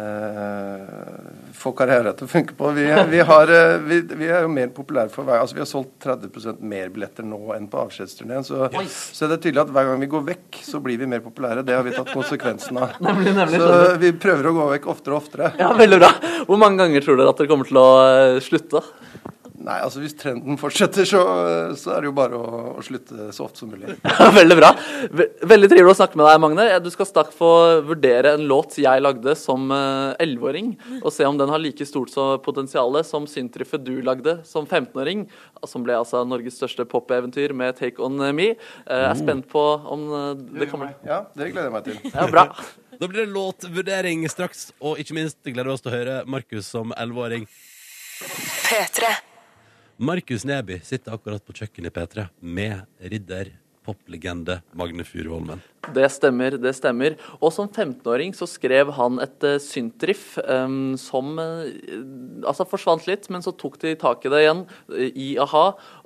[SPEAKER 11] eh, få karriere til å funke på. Vi, vi, har, eh, vi, vi er jo mer populære for hver Altså, vi har solgt 30 mer billetter nå enn på avskjedsturneen, så, så det er tydelig at hver gang vi går vekk, så blir vi mer populære. Det har vi tatt konsekvensen av. så vi prøver å gå vekk oftere og oftere.
[SPEAKER 4] Ja, veldig bra. Hvor mange ganger tror dere at dere kommer til å eh, slutte?
[SPEAKER 11] Nei, altså hvis trenden fortsetter, så, så er det jo bare å, å slutte så ofte som mulig.
[SPEAKER 4] Veldig bra. Ve- Veldig trivelig å snakke med deg, Magne. Du skal snart få vurdere en låt jeg lagde som eh, 11-åring, og se om den har like stort så- potensial som Syntriffet du lagde som 15-åring, som ble altså Norges største popeventyr med Take On Me. Eh, Jeg er spent på om eh, det kommer
[SPEAKER 11] Ja, det gleder jeg meg til.
[SPEAKER 4] Ja, bra.
[SPEAKER 2] Da blir det låtvurdering straks, og ikke minst gleder vi oss til å høre Markus som 11-åring.
[SPEAKER 12] P3.
[SPEAKER 2] Markus Neby sitter akkurat på kjøkkenet i P3 med ridder, poplegende Magne Furuholmen.
[SPEAKER 4] Det stemmer, det stemmer. Og som 15-åring så skrev han et uh, syntriff em, som eh, altså forsvant litt, men så tok de tak i det igjen eh, i a-ha.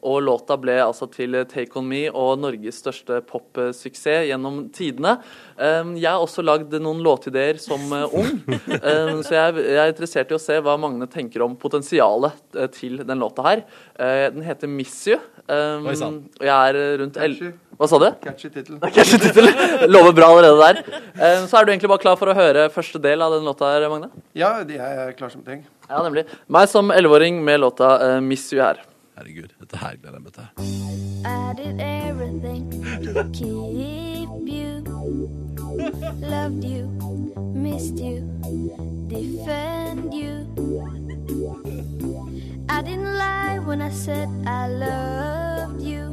[SPEAKER 4] Og låta ble altså til eh, Take On Me og Norges største popsuksess gjennom tidene. Em, jeg har også lagd noen låtideer som eh, ung, Em, så jeg, jeg er interessert i å se hva Magne tenker om potensialet eh, til den låta her. Eh, den heter Miss You. Em,
[SPEAKER 11] Oi, sann.
[SPEAKER 4] og jeg er eh, rundt el... Hva sa du?
[SPEAKER 11] Catchy tittel.
[SPEAKER 4] Catchy tittel. Lover bra allerede der. Eh, Så er du egentlig bare klar for å høre første del av den låta her, Magne?
[SPEAKER 11] Ja, de er klar som ting.
[SPEAKER 4] Ja, nemlig. Meg som 11-åring med låta eh, 'Miss You' her.
[SPEAKER 2] Herregud, dette her gleder jeg meg til.
[SPEAKER 13] I did everything to keep you. Loved you, missed you, defend you. I didn't lie when I said I loved you.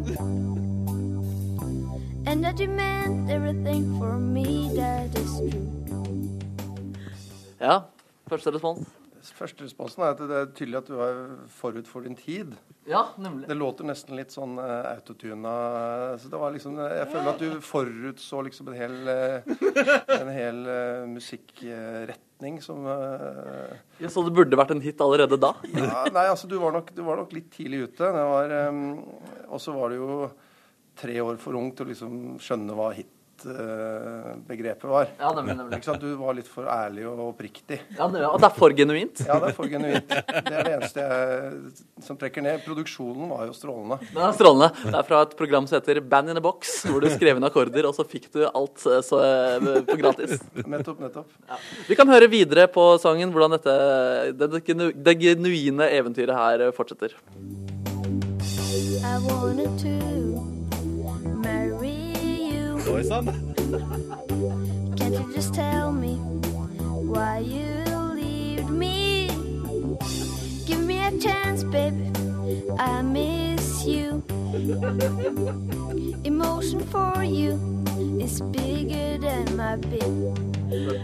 [SPEAKER 13] And that you meant everything for me, that is true.
[SPEAKER 4] Ja. Første respons.
[SPEAKER 11] Første responsen er at det er tydelig at du er forut for din tid.
[SPEAKER 4] Ja, nemlig.
[SPEAKER 11] Det låter nesten litt sånn uh, autotuna. Så det var liksom, jeg føler at du forutså liksom en hel, eh, en hel eh, musikkretning som eh,
[SPEAKER 4] Ja, Så det burde vært en hit allerede da?
[SPEAKER 11] ja, Nei, altså du var, nok, du var nok litt tidlig ute. Det var, eh, og så var du jo tre år for ung til å liksom skjønne hva hit-begrepet var.
[SPEAKER 4] Ja, nemlig, nemlig.
[SPEAKER 11] Ikke sant? Du var litt for ærlig og oppriktig.
[SPEAKER 4] Ja, det, og det er for genuint?
[SPEAKER 11] Ja, det er for genuint. Det er det eneste jeg som trekker ned. Produksjonen var jo strålende.
[SPEAKER 4] Den er strålende. Det er fra et program som heter Band in a Box, hvor du skrev inn akkorder, og så fikk du alt eh, så, eh, på gratis.
[SPEAKER 11] Nettopp, nettopp.
[SPEAKER 4] Vi kan høre videre på sangen hvordan dette, det, genu- det genuine eventyret her eh, fortsetter.
[SPEAKER 13] I wanted to marry you.
[SPEAKER 2] Oi sann!
[SPEAKER 13] Can't you just tell me why you leave me? Give me a chance, baby. I miss you. Emotion for you is bigger than my big.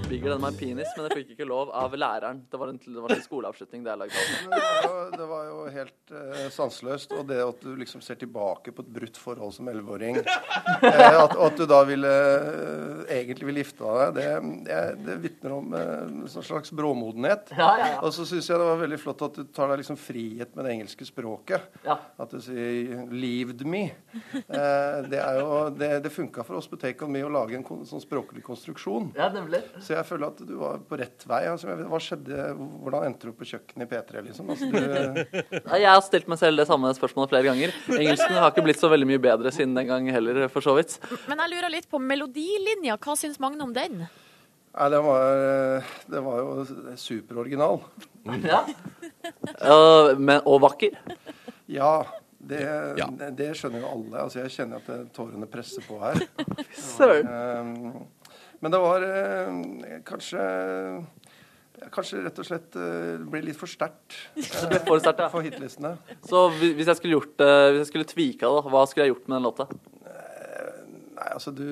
[SPEAKER 4] Bigger than my penis, men jeg fikk ikke lov av læreren. Det var en, det var en skoleavslutning det jeg lagde.
[SPEAKER 11] Men det var jo, det var jo helt eh, sanseløst. Og det at du liksom ser tilbake på et brutt forhold som 11-åring, eh, at, og at du da ville, eh, egentlig ville gifte deg, det, jeg- det vitner om eh, en sånn slags bråmodenhet.
[SPEAKER 4] Ja, ja, ja.
[SPEAKER 11] Og så syns jeg det var veldig flott at du tar deg liksom frihet med det engelske språket.
[SPEAKER 4] Ja.
[SPEAKER 11] At du sier 'leaved me'. Eh, det er jo, det, det funka for oss på Take On Me å lage en kon sånn språklig konstruksjon.
[SPEAKER 4] Ja, nemlig.
[SPEAKER 11] Så jeg føler at du var på rett vei. Altså, jeg vet, hva skjedde, Hvordan endte du opp på kjøkkenet i P3, liksom? Altså, du,
[SPEAKER 4] Nei, Jeg har stilt meg selv det samme spørsmålet flere ganger. Engelsken har ikke blitt så veldig mye bedre siden den gang heller, for så vidt.
[SPEAKER 3] Men jeg lurer litt på melodilinja. Hva syns Magne om den?
[SPEAKER 11] nei, det var, det var jo superoriginal.
[SPEAKER 4] Ja. Øh, men, og vakker.
[SPEAKER 11] Ja. Det, det, det skjønner jo alle. Altså, jeg kjenner at det- tårene presser på her.
[SPEAKER 4] Søren.
[SPEAKER 11] Ehm, Men det var eh, kanskje Kanskje rett og slett eh, det ble litt for sterkt eh,
[SPEAKER 4] Det ble for sterkt, ja.
[SPEAKER 11] for hitlistene.
[SPEAKER 4] Så hvi- hvis jeg skulle gjort det, hvis jeg skulle tvika det, hva skulle jeg gjort med den låta?
[SPEAKER 11] Nei, altså du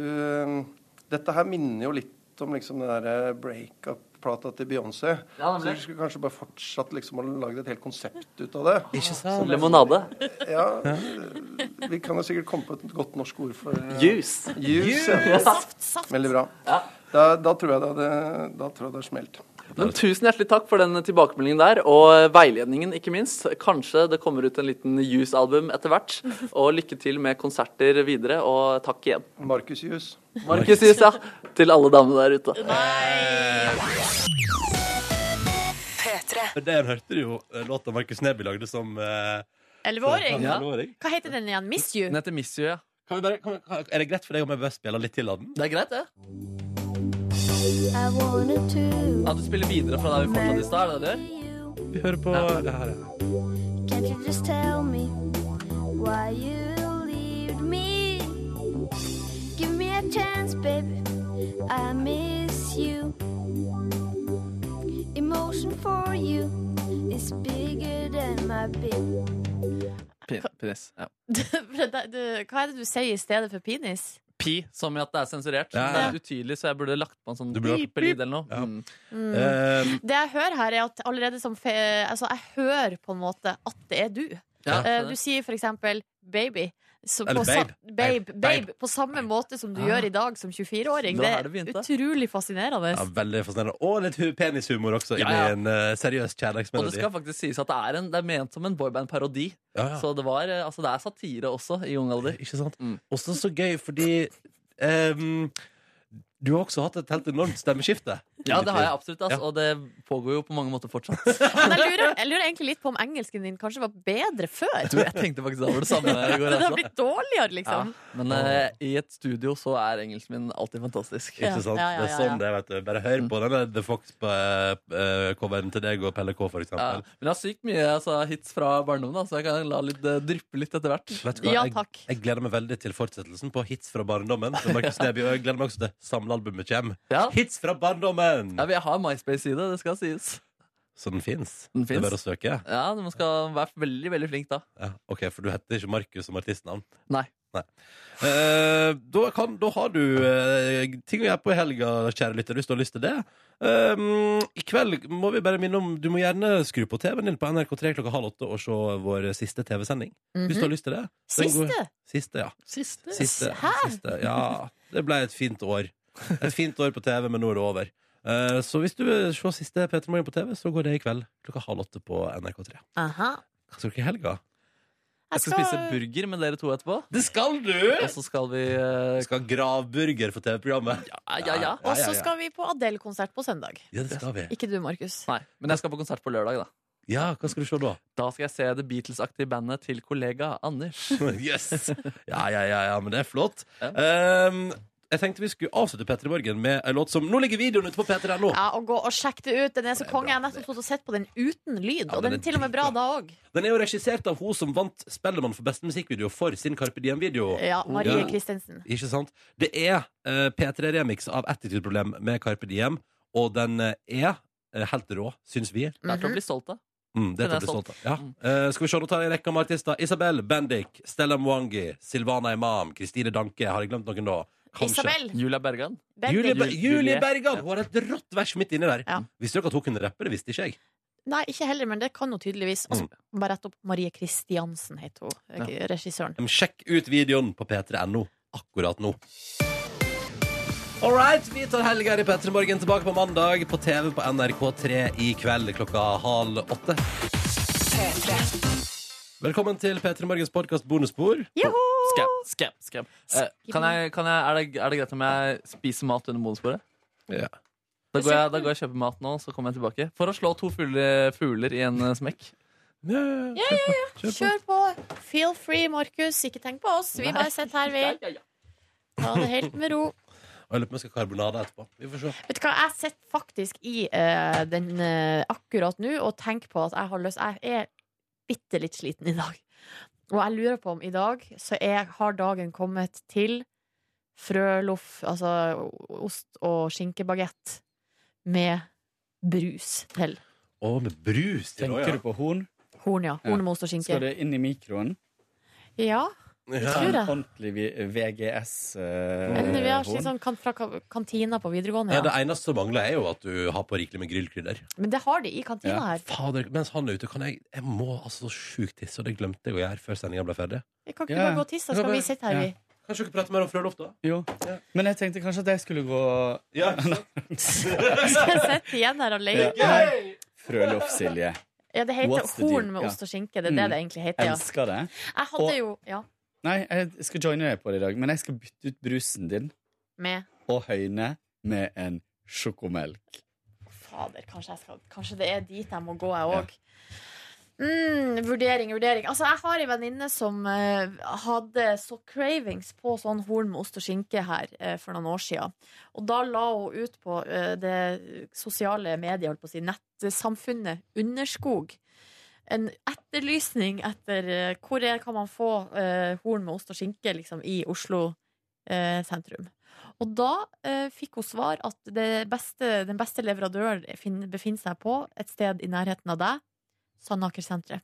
[SPEAKER 11] Dette her minner jo litt om liksom den derre breakup-plata til Beyoncé. så
[SPEAKER 4] Ja, nemlig.
[SPEAKER 11] du skulle kanskje bare fortsatt liksom å lage et helt konsept ut av det.
[SPEAKER 4] Ikke sant? Som limonade.
[SPEAKER 11] Ja. eh, Vi kan jo sikkert komme på et godt norsk ord for eh,
[SPEAKER 4] Juice.
[SPEAKER 11] Juice,
[SPEAKER 4] Ja.
[SPEAKER 11] ja.
[SPEAKER 4] Saft,
[SPEAKER 11] Veldig bra. Da, da tror jeg det hadde Da tror jeg det hadde smelt.
[SPEAKER 4] Men tusen hjertelig takk for den tilbakemeldingen der, og veiledningen ikke minst. Kanskje det kommer ut en liten Juice-album etter hvert. Og lykke til med konserter videre, og takk igjen.
[SPEAKER 11] Markus Juice.
[SPEAKER 4] Markus Juice, ja. Til alle damene der ute.
[SPEAKER 12] P3.
[SPEAKER 2] For der hørte du jo eh, låta Markus Neby lagde som eh,
[SPEAKER 3] Elleveåring?
[SPEAKER 2] som 11-åring.
[SPEAKER 3] Hva heter den igjen? Miss You?
[SPEAKER 4] Den heter Miss You, ja.
[SPEAKER 2] Kan vi bare, kan, vi- kan, er det greit for deg om jeg bare spiller litt til av den?
[SPEAKER 4] Det er greit, det.
[SPEAKER 13] I wanted to
[SPEAKER 4] Ja, du spiller videre fra der vi fortsatt i stad, er det det du gjør?
[SPEAKER 2] Vi hører på det her.
[SPEAKER 13] Can't Can't you just tell me why you leave me? Give me a chance, baby. I miss you. Emotion for you is bigger than my big.
[SPEAKER 4] Pin- Penis. Ja.
[SPEAKER 3] For det- du- Hva er det du sier i stedet for penis?
[SPEAKER 4] Pi, som i at det er sensurert.
[SPEAKER 3] Ja,
[SPEAKER 4] Det
[SPEAKER 3] ja.
[SPEAKER 4] er utydelig, så jeg burde lagt på en sånn
[SPEAKER 2] Du burde lagt-
[SPEAKER 4] pip-lyd eller noe. Mm.
[SPEAKER 3] Mm.
[SPEAKER 2] Eh,
[SPEAKER 3] Det jeg hører her, er at allerede som fe Altså, jeg hører på en måte at det er du.
[SPEAKER 2] Ja.
[SPEAKER 3] Eh, du sier for eksempel 'baby'. Så
[SPEAKER 2] Eller
[SPEAKER 3] på sa-
[SPEAKER 2] babe.
[SPEAKER 3] babe,
[SPEAKER 2] Babe.
[SPEAKER 3] babe, på samme måte som du
[SPEAKER 2] Ah.
[SPEAKER 3] gjør i dag som 24-åring.
[SPEAKER 2] Da
[SPEAKER 3] Det
[SPEAKER 2] er
[SPEAKER 3] er utrolig fascinerende.
[SPEAKER 2] Ja, veldig fascinerende. Og litt hu- penishumor også,
[SPEAKER 4] Ja,
[SPEAKER 2] inni
[SPEAKER 4] ja.
[SPEAKER 2] en eh, seriøs
[SPEAKER 4] Og det
[SPEAKER 2] kjærlighetsmelodi.
[SPEAKER 4] skal faktisk sies at det er, en, det er ment som en boyband-parodi.
[SPEAKER 2] Ja, ja.
[SPEAKER 4] Så Mm. det, var, eh, altså det er satire også, i ung alder.
[SPEAKER 2] Ikke sant? Også så gøy, fordi ehm, du har også hatt et helt enormt stemmeskifte.
[SPEAKER 4] Ja, det har jeg absolutt, ass,
[SPEAKER 2] Ja.
[SPEAKER 4] og det pågår jo på mange måter fortsatt.
[SPEAKER 3] Men jeg lurer, jeg lurer egentlig litt på om engelsken din kanskje var bedre før.
[SPEAKER 4] Du, jeg tenkte faktisk over det samme i går.
[SPEAKER 3] Men det har
[SPEAKER 4] altså.
[SPEAKER 3] blitt dårligere, liksom.
[SPEAKER 4] Ja, men eh, i et studio så er engelsken min alltid fantastisk.
[SPEAKER 2] Ikke sant? Det er sånn det, vet du. Bare
[SPEAKER 4] Mm.
[SPEAKER 2] hør på denne The Fox-coveren til deg og Pelle K, for
[SPEAKER 4] Ja,
[SPEAKER 2] eksempel.
[SPEAKER 4] men jeg har sykt mye altså, hits fra barndommen, da, så jeg kan la litt, eh, dryppe litt etter hvert.
[SPEAKER 2] Vet du hva? Jeg, jeg gleder meg veldig til fortsettelsen på Hits fra barndommen. Med Markus
[SPEAKER 4] Ja.
[SPEAKER 2] Neby, og jeg gleder meg også til samlealbumet kommer.
[SPEAKER 4] Ja.
[SPEAKER 2] Hits fra barndommen!
[SPEAKER 4] Ja, men jeg har MySpace-side, det skal sies.
[SPEAKER 2] Så den fins.
[SPEAKER 4] Den
[SPEAKER 2] Det er
[SPEAKER 4] finnes.
[SPEAKER 2] bare å søke.
[SPEAKER 4] Ja, du skal være veldig, veldig flink da.
[SPEAKER 2] Ja, ok, For du heter ikke Markus som artistnavn?
[SPEAKER 4] Nei.
[SPEAKER 2] Eh, da, kan, da har du eh, ting å gjøre på i helga, kjære lytter, hvis du har lyst til det. Um, I kveld må vi bare minne om Du må gjerne skru på TV-en din på NRK3 klokka halv åtte og se vår siste TV-sending.
[SPEAKER 4] Mhm.
[SPEAKER 2] Hvis du har lyst til det. Den
[SPEAKER 3] Siste?
[SPEAKER 2] går- Siste, ja.
[SPEAKER 3] Siste?
[SPEAKER 2] Siste,
[SPEAKER 3] Hæ?
[SPEAKER 2] siste, ja. Det ble et fint år. Et fint år på TV, men nå er det over. Eh, så hvis du vil se siste P3 Morgen på TV, så går det i kveld klokka halv åtte på NRK3.
[SPEAKER 3] Aha.
[SPEAKER 2] Hva skal dere i helga?
[SPEAKER 4] Jeg skal
[SPEAKER 2] skal-
[SPEAKER 4] spise burger med dere to etterpå.
[SPEAKER 2] Det skal du!
[SPEAKER 4] Og så skal vi eh,
[SPEAKER 2] Vi skal ha gravburger for TV-programmet.
[SPEAKER 4] Ja, ja, ja.
[SPEAKER 3] Og så skal vi på Adele-konsert på søndag.
[SPEAKER 2] Ja, det skal vi.
[SPEAKER 3] Ikke du, Markus.
[SPEAKER 4] Nei, men jeg skal på konsert på lørdag, da.
[SPEAKER 2] Ja, hva skal du se da?
[SPEAKER 4] Da skal jeg se The Beatles-aktige bandet til kollega Anders.
[SPEAKER 2] Yes! Ja, ja, ja, ja, men det er flott. Um, jeg tenkte vi skulle avslutte Petter i morgen med en låt som Nå ligger videoen ute på p3.no!
[SPEAKER 3] Ja, og gå og sjekk det ut. Den er så konge. Jeg har nettopp stått og sett på den uten lyd, og den
[SPEAKER 2] den
[SPEAKER 3] er til og med bra da òg.
[SPEAKER 2] Den er jo regissert av hun som vant Spellemann for beste musikkvideo for sin Carpe Diem-video.
[SPEAKER 3] Ja, Marie Kristensen.
[SPEAKER 2] Ikke sant? Det er eh, P3-remix av Attitude-problem med Carpe Diem, og den eh, er eh, helt rå, syns vi.
[SPEAKER 4] Det er
[SPEAKER 3] Mhm.
[SPEAKER 4] til å bli stolt av.
[SPEAKER 2] Mm, det er til å
[SPEAKER 4] Den er
[SPEAKER 2] bli
[SPEAKER 4] solgt.
[SPEAKER 2] stolt av. Ja. Eh, skal vi se, nå tar jeg rekka med artister. Isabel Bendik, Stella Mwangi, Silvana Imam, Kristine Danke. Har jeg glemt noen da?
[SPEAKER 3] Isabel.
[SPEAKER 4] Julia Bergan.
[SPEAKER 2] Julie, Ber
[SPEAKER 4] Jul-
[SPEAKER 2] Julie
[SPEAKER 4] Julie.
[SPEAKER 2] Bergan! Hun har et rått vers midt inni der. Visste dere at hun kunne rappe? Det visste ikke jeg.
[SPEAKER 3] Nei, ikke heller, men det kan hun tydeligvis. Og så bare rett opp Marie Kristiansen heter hun,
[SPEAKER 2] Mm.
[SPEAKER 3] eh,
[SPEAKER 2] Ja.
[SPEAKER 3] regissøren.
[SPEAKER 2] Men Sjekk ut videoen på p3.no akkurat nå. All right, vi tar helga i P3 Morgen tilbake på mandag på TV på NRK3 i kveld klokka halv åtte. Velkommen til P3 Morgens podkast bonusbord.
[SPEAKER 4] Skam, skam, skam. Eh, kan jeg, kan jeg, er, det, er det greit om jeg spiser mat under bonusbordet?
[SPEAKER 2] Ja.
[SPEAKER 4] Da går, jeg, da går jeg og kjøper mat nå, så kommer jeg tilbake. For å slå to fugler, fugler i en eh, smekk.
[SPEAKER 3] Ja, ja, ja. Kjør på. Feel free, Markus. Ikke tenk på oss. Vi
[SPEAKER 2] Nei.
[SPEAKER 3] bare sitter her, vi. Ta det helt med ro.
[SPEAKER 2] Og jeg lurer på om jeg skal ha karbonade etterpå. Vi får se.
[SPEAKER 3] Vet du hva, jeg sitter faktisk i eh, den eh, akkurat nå og tenker på at jeg har lyst Jeg er bitte litt sliten i dag. Og jeg lurer på om i dag så er, har dagen kommet til frøloff, altså ost- og skinkebagett med brus til.
[SPEAKER 2] Å, med brus til
[SPEAKER 14] Tenker du på horn?
[SPEAKER 3] Horn, ja. Hornmost og
[SPEAKER 14] Skal
[SPEAKER 3] skinke.
[SPEAKER 14] det inn i mikroen?
[SPEAKER 3] Ja.
[SPEAKER 14] Det
[SPEAKER 3] tror jeg.
[SPEAKER 14] Ordentlig eh,
[SPEAKER 3] Men vi har
[SPEAKER 14] VGS-horn.
[SPEAKER 3] slik sånn kan, fra ka- kantina på videregående.
[SPEAKER 2] Ja, det
[SPEAKER 3] Ja.
[SPEAKER 2] eneste som mangler, er jo at du har på rikelig med grillkrydder.
[SPEAKER 3] Men det har de i kantina her.
[SPEAKER 2] Fader, mens han er ute, kan jeg Jeg må altså så sjukt tisse, og det glemte jeg å gjøre før sendinga ble ferdig.
[SPEAKER 3] Jeg kan ikke du bare gå og tisse, så skal vi sitte her, vi.
[SPEAKER 2] Kanskje dere prater mer om Frølov, da?
[SPEAKER 14] Jo. Men jeg tenkte kanskje at jeg skulle gå
[SPEAKER 3] Skal jeg sitte igjen her alene?
[SPEAKER 14] Ja. Frøloff-Silje.
[SPEAKER 3] Ja, det heter
[SPEAKER 14] What's the deal?
[SPEAKER 3] horn med ost og skinke. Det er det
[SPEAKER 14] Mm.
[SPEAKER 3] det egentlig heter. Ja.
[SPEAKER 14] Elsker det.
[SPEAKER 3] Jeg hadde
[SPEAKER 14] Og-
[SPEAKER 3] jo Ja,
[SPEAKER 14] Nei, jeg skal joine deg på det i dag, men jeg skal bytte ut brusen din
[SPEAKER 3] med
[SPEAKER 14] og høyne med en sjokomelk.
[SPEAKER 3] Fader, kanskje, jeg skal, kanskje det er dit jeg må gå, jeg òg. Mm, vurdering, vurdering. Altså, Jeg har ei venninne som eh, hadde så cravings på sånn horn med ost og skinke her eh, for noen år sia. Og da la hun ut på eh, det sosiale mediet, holdt på å si, nettsamfunnet Underskog. en etterlysning etter eh, hvor er, kan man få eh, horn med ost og skinke liksom, i Oslo eh, sentrum. Og da eh, fikk hun svar at det beste, den beste leverandøren fin- befinner seg på et sted i nærheten av deg, Sandaker-senteret.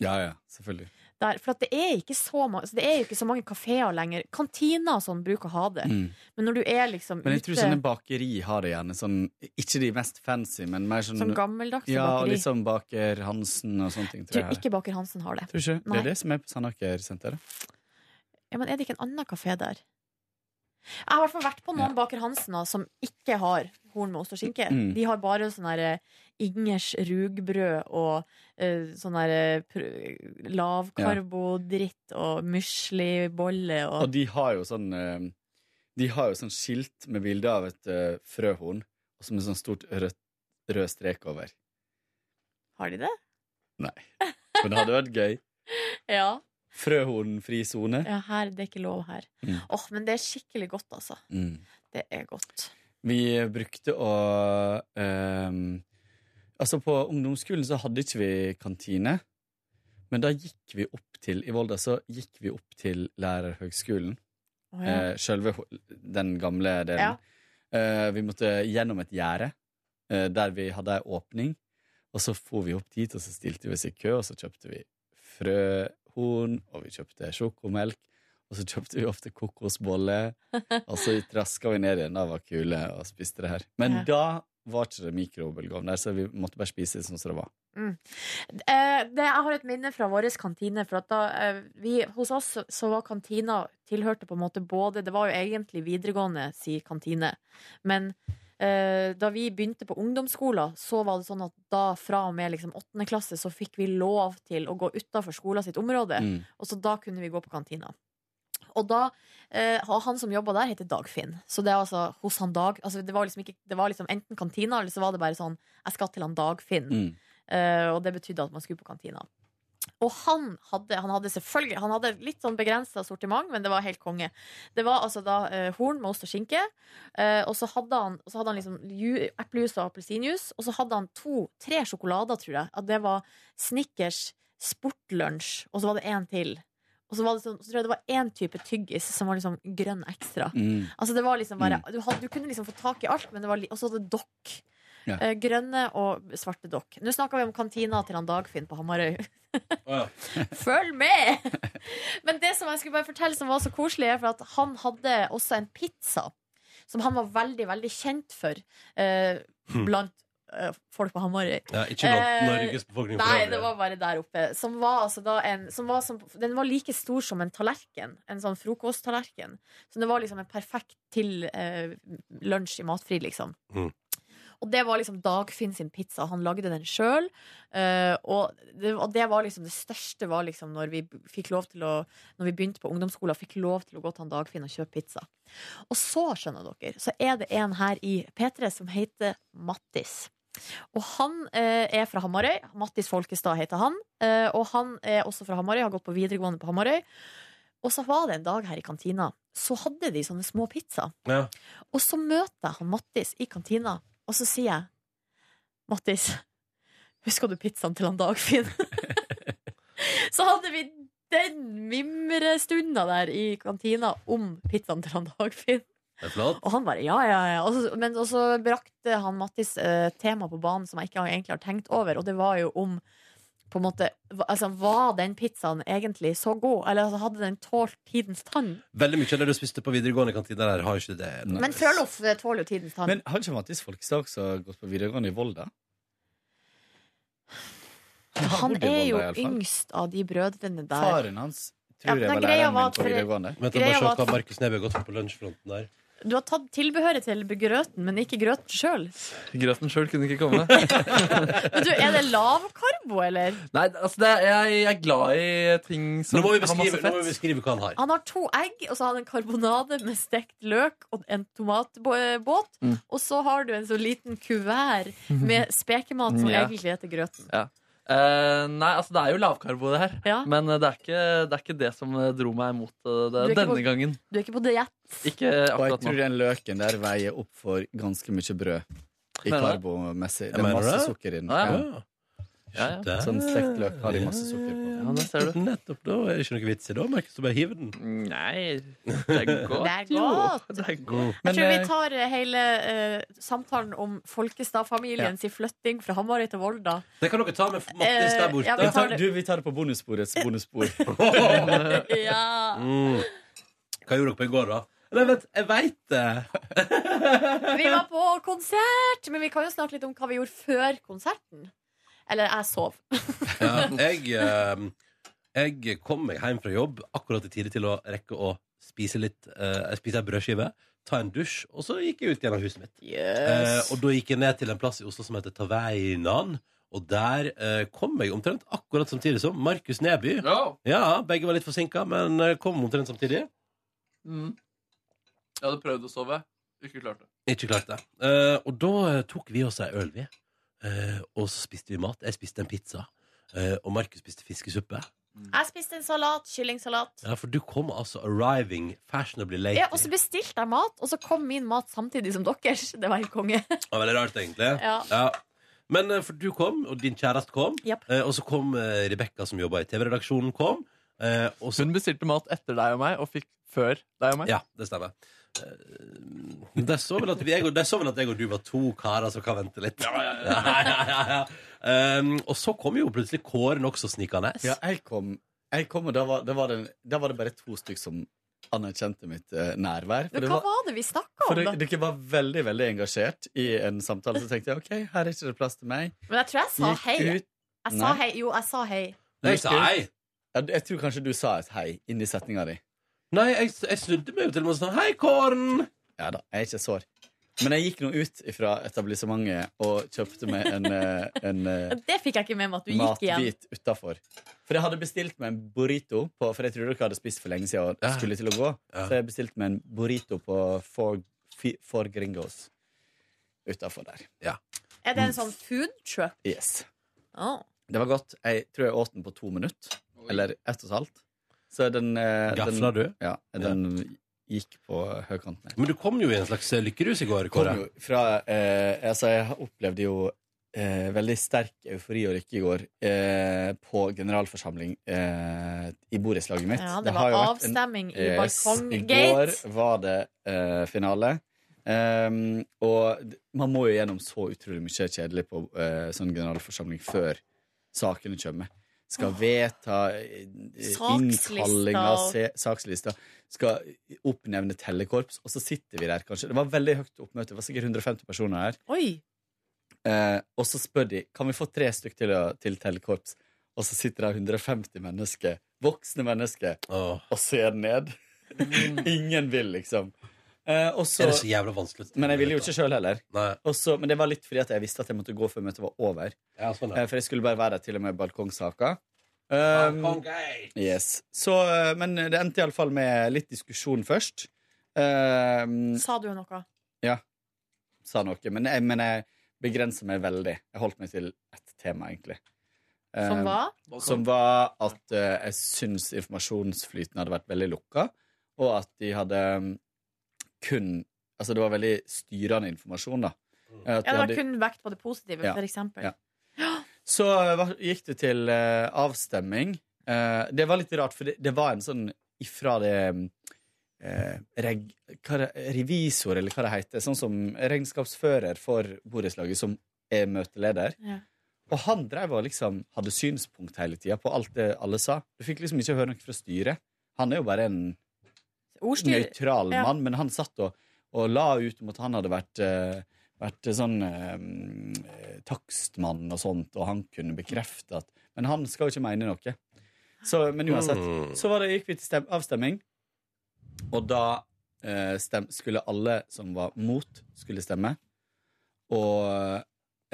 [SPEAKER 14] Ja, ja, selvfølgelig.
[SPEAKER 3] Der, for at det, er ikke så ma- altså, det er jo ikke så mange kafeer lenger. Kantiner og sånn bruker å ha det.
[SPEAKER 14] Mm.
[SPEAKER 3] Men når du er liksom
[SPEAKER 14] Men jeg
[SPEAKER 3] ute
[SPEAKER 14] tror sånne bakeri har det gjerne. Sånn, ikke de mest fancy, men mer sånn
[SPEAKER 3] Sånn gammeldagse
[SPEAKER 14] ja, og
[SPEAKER 3] bakeri.
[SPEAKER 14] litt sånn Baker Hansen og sånne ting. Tror
[SPEAKER 3] Tror
[SPEAKER 14] jeg.
[SPEAKER 3] ikke Baker Hansen har det.
[SPEAKER 14] Tror ikke. Det
[SPEAKER 3] Nei.
[SPEAKER 14] er det som er på Sandaker-senteret.
[SPEAKER 3] Ja, men er det ikke en annen kafé der? Jeg har i hvert fall vært på noen Baker Hansen da, som ikke har horn med ost og skinke.
[SPEAKER 14] Mm.
[SPEAKER 3] De har bare sånn her eh, Ingers rugbrød og eh, sånn her eh, pr- lavkarbodritt og muslibolle og,
[SPEAKER 14] Og de har jo sånn eh, De har jo sånn skilt med bilde av et eh, frøhorn og som en sånn stort rød, rød strek over.
[SPEAKER 3] Har de det?
[SPEAKER 14] Nei. Men det hadde vært gøy.
[SPEAKER 3] Ja.
[SPEAKER 14] Frøhornfri sone.
[SPEAKER 3] ja her, det er ikke lov her. Åh,
[SPEAKER 14] Mm.
[SPEAKER 3] Men det er skikkelig godt, altså.
[SPEAKER 14] Mm.
[SPEAKER 3] Det er godt.
[SPEAKER 14] Vi brukte å ehm, Altså, på ungdomsskolen så hadde ikke vi kantine. Men da gikk vi opp til I Volda så gikk vi opp til lærerhøgskolen.
[SPEAKER 15] Å, ja.
[SPEAKER 14] eh, Sjølve ho- den gamle delen.
[SPEAKER 15] Ja.
[SPEAKER 14] Eh, vi måtte gjennom et gjerde eh, der vi hadde ei åpning. Og så for vi opp dit, og så stilte vi oss i kø, og så kjøpte vi frøhorn, og vi kjøpte sjokomelk, og så kjøpte vi ofte kokosboller. Og så traska vi ned igjen, da var kule og spiste det her. Men
[SPEAKER 3] Ja.
[SPEAKER 14] da var ikke det mikrobølgeovn der, så vi måtte bare spise det sånn som det var.
[SPEAKER 3] Mm. Eh, det, jeg har et minne fra vår kantine. For at da, eh, vi, hos oss så- så var kantina tilhørte på en måte både Det var jo egentlig videregående si kantine. Men eh, da vi begynte på ungdomsskolen, så var det sånn at da fra og med liksom, åttende klasse så fikk vi lov til å gå utafor skolen sitt område.
[SPEAKER 16] Mm.
[SPEAKER 3] Og så da kunne vi gå på kantina. Og da, eh, Han som jobba der, heter Dagfinn. Så det er altså hos han Dag altså det, var liksom ikke, det var liksom enten kantina, eller så var det bare sånn Jeg skal til han Dagfinn.
[SPEAKER 14] Mm.
[SPEAKER 3] Eh, og det betydde at man skulle på kantina. Og han hadde, han hadde selvfølgelig Han hadde litt sånn begrensa sortiment, men det var helt konge. Det var altså da eh, horn med ost og skinke, eh, og så hadde han, og så hadde han liksom ju- eplejus og appelsinjuice, og så hadde han to-tre sjokolader, tror jeg. At det var Snickers, Sportlunsj, og så var det én til. Og så, var det sånn, så tror jeg det var én type tyggis som var liksom grønn ekstra.
[SPEAKER 14] Mm.
[SPEAKER 3] Altså det var liksom bare,
[SPEAKER 14] Mm.
[SPEAKER 3] du, hadde, du kunne liksom få tak i alt, men det var, li- og så hadde det dokk.
[SPEAKER 14] Ja.
[SPEAKER 3] Eh, grønne og svarte dokk. Nå snakker vi om kantina til han Dagfinn på Hamarøy. Følg med! Men det som jeg skulle bare fortelle som var så koselig, er for at han hadde også en pizza som han var veldig, veldig kjent for eh,
[SPEAKER 2] Hmm.
[SPEAKER 3] blant eh, folk på Hamarøy.
[SPEAKER 2] Ja, ikke blant
[SPEAKER 3] Eh,
[SPEAKER 2] Norges befolkning for
[SPEAKER 3] Nei,
[SPEAKER 2] øvrig.
[SPEAKER 3] det var bare der oppe. Som var altså da en som var som, Den var like stor som en tallerken. En sånn frokosttallerken. Så det var liksom en perfekt til eh, lunsj i Matfri, liksom. Og det var liksom Dagfinn sin pizza. Han lagde den sjøl. og, det- og det var liksom det største var liksom når vi b- fikk lov til å Når vi begynte på ungdomsskolen, fikk lov til å gå til han Dagfinn og kjøpe pizza. Og så, skjønner dere, så er det en her i P3 som heter Mattis. Og han eh, er fra Hamarøy. Mattis Folkestad heter han. Eh, og han er også fra Hamarøy, har gått på videregående på Hamarøy. Og så var det en dag her i kantina, så hadde de sånne små pizzaer.
[SPEAKER 2] Ja.
[SPEAKER 3] Og så møter jeg han Mattis i kantina, og så sier jeg Mattis, husker du pizzaen til han Dagfinn? så hadde vi den mimrestunda der i kantina om pizzaen til han Dagfinn.
[SPEAKER 2] Det er flott.
[SPEAKER 3] Og han bare ja, ja, ja. Og så, men, og så brakte han Mattis eh, tema på banen som jeg ikke egentlig har tenkt over, og det var jo om på en måte, hva- altså, Var den pizzaen egentlig så god? Eller altså, hadde den tålt tidens tann?
[SPEAKER 2] Veldig mye av det du spiste på videregående kantina der, har ikke det.
[SPEAKER 3] Men Frølof eh, tåler jo tidens tann.
[SPEAKER 14] Men har ikke Mattis Folkestad også gått på videregående i Volda?
[SPEAKER 3] han
[SPEAKER 14] bodde i
[SPEAKER 3] er
[SPEAKER 14] Volda
[SPEAKER 3] jo
[SPEAKER 14] i alle fall.
[SPEAKER 3] yngst av de brødrene der.
[SPEAKER 14] Faren hans
[SPEAKER 3] Ja,
[SPEAKER 14] tror
[SPEAKER 3] men
[SPEAKER 14] jeg var
[SPEAKER 3] greia
[SPEAKER 14] læreren
[SPEAKER 3] var at
[SPEAKER 14] min på
[SPEAKER 3] for-
[SPEAKER 14] videregående.
[SPEAKER 2] Vent, jeg
[SPEAKER 3] greia
[SPEAKER 2] må bare
[SPEAKER 3] var
[SPEAKER 2] se
[SPEAKER 3] at-
[SPEAKER 2] hva Markus Neby har gått for på lunsjfronten der.
[SPEAKER 3] Du har tatt tilbehøret til grøten, men ikke grøten sjøl.
[SPEAKER 4] Grøten sjøl kunne ikke komme.
[SPEAKER 3] Men du, er det lav karbo, eller?
[SPEAKER 4] Nei, altså det er, jeg, jeg er glad i ting som
[SPEAKER 2] Nå må vi
[SPEAKER 4] har masse
[SPEAKER 2] beskrive, nå
[SPEAKER 4] fett.
[SPEAKER 2] må vi beskrive hva han har.
[SPEAKER 3] Han har to egg, og så har han en karbonade med stekt løk og en tomatbåt.
[SPEAKER 4] Mm.
[SPEAKER 3] Og så har du en så liten kuvert med spekemat som
[SPEAKER 4] Ja.
[SPEAKER 3] egentlig heter grøten.
[SPEAKER 4] Ja. Eh, nei, altså det er jo lavkarbo, det her.
[SPEAKER 3] Ja.
[SPEAKER 4] Men eh, det er, ikke, det er ikke det som eh, dro meg imot eh, det
[SPEAKER 3] Du er ikke
[SPEAKER 4] denne
[SPEAKER 3] på-
[SPEAKER 4] gangen.
[SPEAKER 3] Du er ikke på diett.
[SPEAKER 4] Ikke
[SPEAKER 14] Og jeg
[SPEAKER 4] akkurat nå.
[SPEAKER 14] tror den løken der veier opp for ganske mye brød. I
[SPEAKER 4] Mener du det?
[SPEAKER 14] karbomessig. Det
[SPEAKER 2] Jeg
[SPEAKER 14] er
[SPEAKER 2] mener
[SPEAKER 14] masse
[SPEAKER 2] det.
[SPEAKER 14] sukker i den.
[SPEAKER 2] Ja, ja.
[SPEAKER 14] Ja.
[SPEAKER 2] Ja, ja.
[SPEAKER 14] Sånn stekt løk har de masse sukker på.
[SPEAKER 2] Ja, det ser du. Nettopp. Da er det ikke noe vits i det, Markus, å bare hive den.
[SPEAKER 4] Nei,
[SPEAKER 2] det
[SPEAKER 4] er
[SPEAKER 3] Det er godt. Jeg tror vi tar eh, hele eh, samtalen om Folkestad-familien
[SPEAKER 14] Ja.
[SPEAKER 3] sin flytting fra Hamarøy til Volda.
[SPEAKER 2] Det kan dere ta med
[SPEAKER 3] Mattis der Eh, borte. ja, vi
[SPEAKER 14] Vi
[SPEAKER 3] tar
[SPEAKER 14] tar,
[SPEAKER 3] det.
[SPEAKER 14] du, vi tar det på bonussporets bonusspor.
[SPEAKER 3] Ja.
[SPEAKER 2] Mm. Hva gjorde dere på i går, da? Nei, vent, jeg veit det!
[SPEAKER 3] Vi var på konsert, men vi kan jo snakke litt om hva vi gjorde før konserten. Eller jeg sov.
[SPEAKER 2] Ja, jeg, eh, jeg kom meg hjem fra jobb akkurat i tide til å rekke å spise litt eh, Spise ei brødskive, ta en dusj, og så gikk jeg ut igjen av huset mitt.
[SPEAKER 3] Yes.
[SPEAKER 2] Eh, og da gikk jeg ned til en plass i Oslo som heter Tavernan. Og der eh, kom jeg omtrent akkurat samtidig som Markus Neby. Ja, Begge var litt forsinka, men eh, kom omtrent samtidig.
[SPEAKER 4] Mm. Jeg hadde prøvd å sove. Ikke klart det.
[SPEAKER 2] Ikke klart det. Eh, og da eh, tok vi oss ei øl, vi. Eh, og så spiste vi mat. Jeg spiste en pizza. eh, og Markus spiste fiskesuppe.
[SPEAKER 3] Jeg spiste en salat, kyllingsalat.
[SPEAKER 2] Ja, For du kom altså arriving fashionably late.
[SPEAKER 3] Ja, og så bestilte jeg mat, og så kom min mat samtidig som deres. Det var helt konge.
[SPEAKER 2] Det var veldig rart, egentlig.
[SPEAKER 3] Ja.
[SPEAKER 2] Men eh, for du kom, og din kjæreste kom, eh, og så kom eh, Rebekka, som jobba i TV-redaksjonen, kom. eh, og så...
[SPEAKER 4] Hun bestilte mat etter deg og meg, og fikk før deg og meg.
[SPEAKER 2] Ja, det stemmer. Men De så vel at, vi, jeg, og- de så vel at jeg og du var to karer som kan vente litt. Ja, ja, ja, ja. Um, og så kom jo plutselig Kåren også snikende.
[SPEAKER 14] Ja, jeg kom, jeg kom og da var, da, var det, da var det bare to stykker som anerkjente mitt eh, nærvær. For
[SPEAKER 3] Men
[SPEAKER 14] det
[SPEAKER 3] hva
[SPEAKER 14] var-
[SPEAKER 3] var det vi snakka
[SPEAKER 14] For
[SPEAKER 3] om,
[SPEAKER 14] dere,
[SPEAKER 3] da?
[SPEAKER 14] dere var veldig veldig engasjert i en samtale, så tenkte jeg ok, her er ikke det plass til meg.
[SPEAKER 3] Men jeg tror jeg sa
[SPEAKER 14] Gikk
[SPEAKER 3] hei.
[SPEAKER 14] ut-
[SPEAKER 3] Jeg sa
[SPEAKER 14] Nei.
[SPEAKER 3] hei. Jo, jeg sa hei.
[SPEAKER 2] Jeg sa hei.
[SPEAKER 14] Ja, jeg tror kanskje du sa et hei inni setninga di.
[SPEAKER 2] Nei, jeg, jeg snudde meg jo til og med og sa hei, Kåren!
[SPEAKER 14] Ja da, jeg er ikke sår. Men jeg gikk nå ut fra etablissementet og kjøpte meg en, eh, en, eh,
[SPEAKER 3] Det fikk jeg ikke med meg at du gikk igjen.
[SPEAKER 14] matbit utafor. For jeg hadde bestilt meg en burrito, på, for jeg trodde dere hadde spist for lenge siden og skulle til å gå. Så jeg bestilte meg en burrito på Four, Fi- four Gringos utafor der.
[SPEAKER 3] Er det en sånn food truck?
[SPEAKER 14] Yes.
[SPEAKER 3] Å.
[SPEAKER 14] Det var godt. Jeg tror jeg åt den på to minutter. Eller ett og et halvt. Så den eh,
[SPEAKER 2] Gafla
[SPEAKER 14] den-
[SPEAKER 2] du?
[SPEAKER 14] Ja. Den gikk på høykanten.
[SPEAKER 2] Men du kom jo i en slags lykkerus i går,
[SPEAKER 14] Kom
[SPEAKER 2] Kåre.
[SPEAKER 14] jo fra eh, Altså, jeg opplevde jo eh, veldig sterk eufori og lykke i går eh, på generalforsamling eh, i borettslaget mitt.
[SPEAKER 3] Ja, det var
[SPEAKER 14] har jo vært
[SPEAKER 3] avstemming i
[SPEAKER 14] Yes,
[SPEAKER 3] balkonggate.
[SPEAKER 14] I går var det eh, finale. Ehm, og d- man må jo gjennom så utrolig mye kjedelig på eh, sånn generalforsamling før sakene kommer. Skal
[SPEAKER 15] Åh.
[SPEAKER 14] vedta eh,
[SPEAKER 15] Sakslister
[SPEAKER 14] innkallinger,
[SPEAKER 15] og-
[SPEAKER 14] se, sakslista, skal oppnevne tellekorps, og så sitter vi der, kanskje. Det var veldig høyt oppmøte, det var sikkert 150 personer her.
[SPEAKER 3] Oi.
[SPEAKER 14] Eh, og så spør de kan vi få tre stykk til, å- til tellekorps, og så sitter det 150 mennesker, voksne mennesker, og ser ned.
[SPEAKER 15] Mm.
[SPEAKER 14] Ingen vil, liksom. Eh, og så-
[SPEAKER 2] Er det så jævla vanskelig?
[SPEAKER 14] men jeg ville jo ikke sjøl heller.
[SPEAKER 2] Nei.
[SPEAKER 14] Og så- men det var litt fordi at jeg visste at jeg måtte gå før møtet var over.
[SPEAKER 2] Ja, sånn, ja.
[SPEAKER 14] Eh, For jeg skulle bare være der til og med balkongsaka. Um, yes. Så, eh, men det endte iallfall med litt diskusjon først. Um,
[SPEAKER 3] Sa du noe?
[SPEAKER 14] ja. Sa noe. Men jeg, men jeg begrenser meg veldig. Jeg holdt meg til ett tema, egentlig.
[SPEAKER 3] Som
[SPEAKER 14] Um,
[SPEAKER 3] var?
[SPEAKER 14] Som var at eh, jeg syns informasjonsflyten hadde vært veldig lukka, og at de hadde um, kun Altså, det var veldig styrende informasjon, da. At de
[SPEAKER 3] Ja, det var
[SPEAKER 14] hadde-
[SPEAKER 3] kun vekt på det positive,
[SPEAKER 14] Ja.
[SPEAKER 3] for eksempel.
[SPEAKER 14] Ja. Så eh, hva- gikk det til eh, avstemning. Eh, det var litt rart, for det, det var en sånn ifra det eh, reg, hva det, Revisor, eller hva det heter. Sånn som regnskapsfører for borettslaget, som er møteleder.
[SPEAKER 3] Ja.
[SPEAKER 14] Og han drev og liksom hadde synspunkt hele tida på alt det alle sa. Du fikk liksom ikke høre noe fra styret. Han er jo bare en
[SPEAKER 3] Ordstyr-
[SPEAKER 14] nøytral
[SPEAKER 3] Ja.
[SPEAKER 14] mann, men han satt og, og la ut om at han hadde vært eh, vært sånn eh, takstmann og sånt, og han kunne bekrefte at Men han skal jo ikke mene noe. Så, men uansett,
[SPEAKER 15] Mm.
[SPEAKER 14] så var det, gikk vi til stem, avstemning, og da eh, stem, skulle alle som var mot, skulle stemme. Og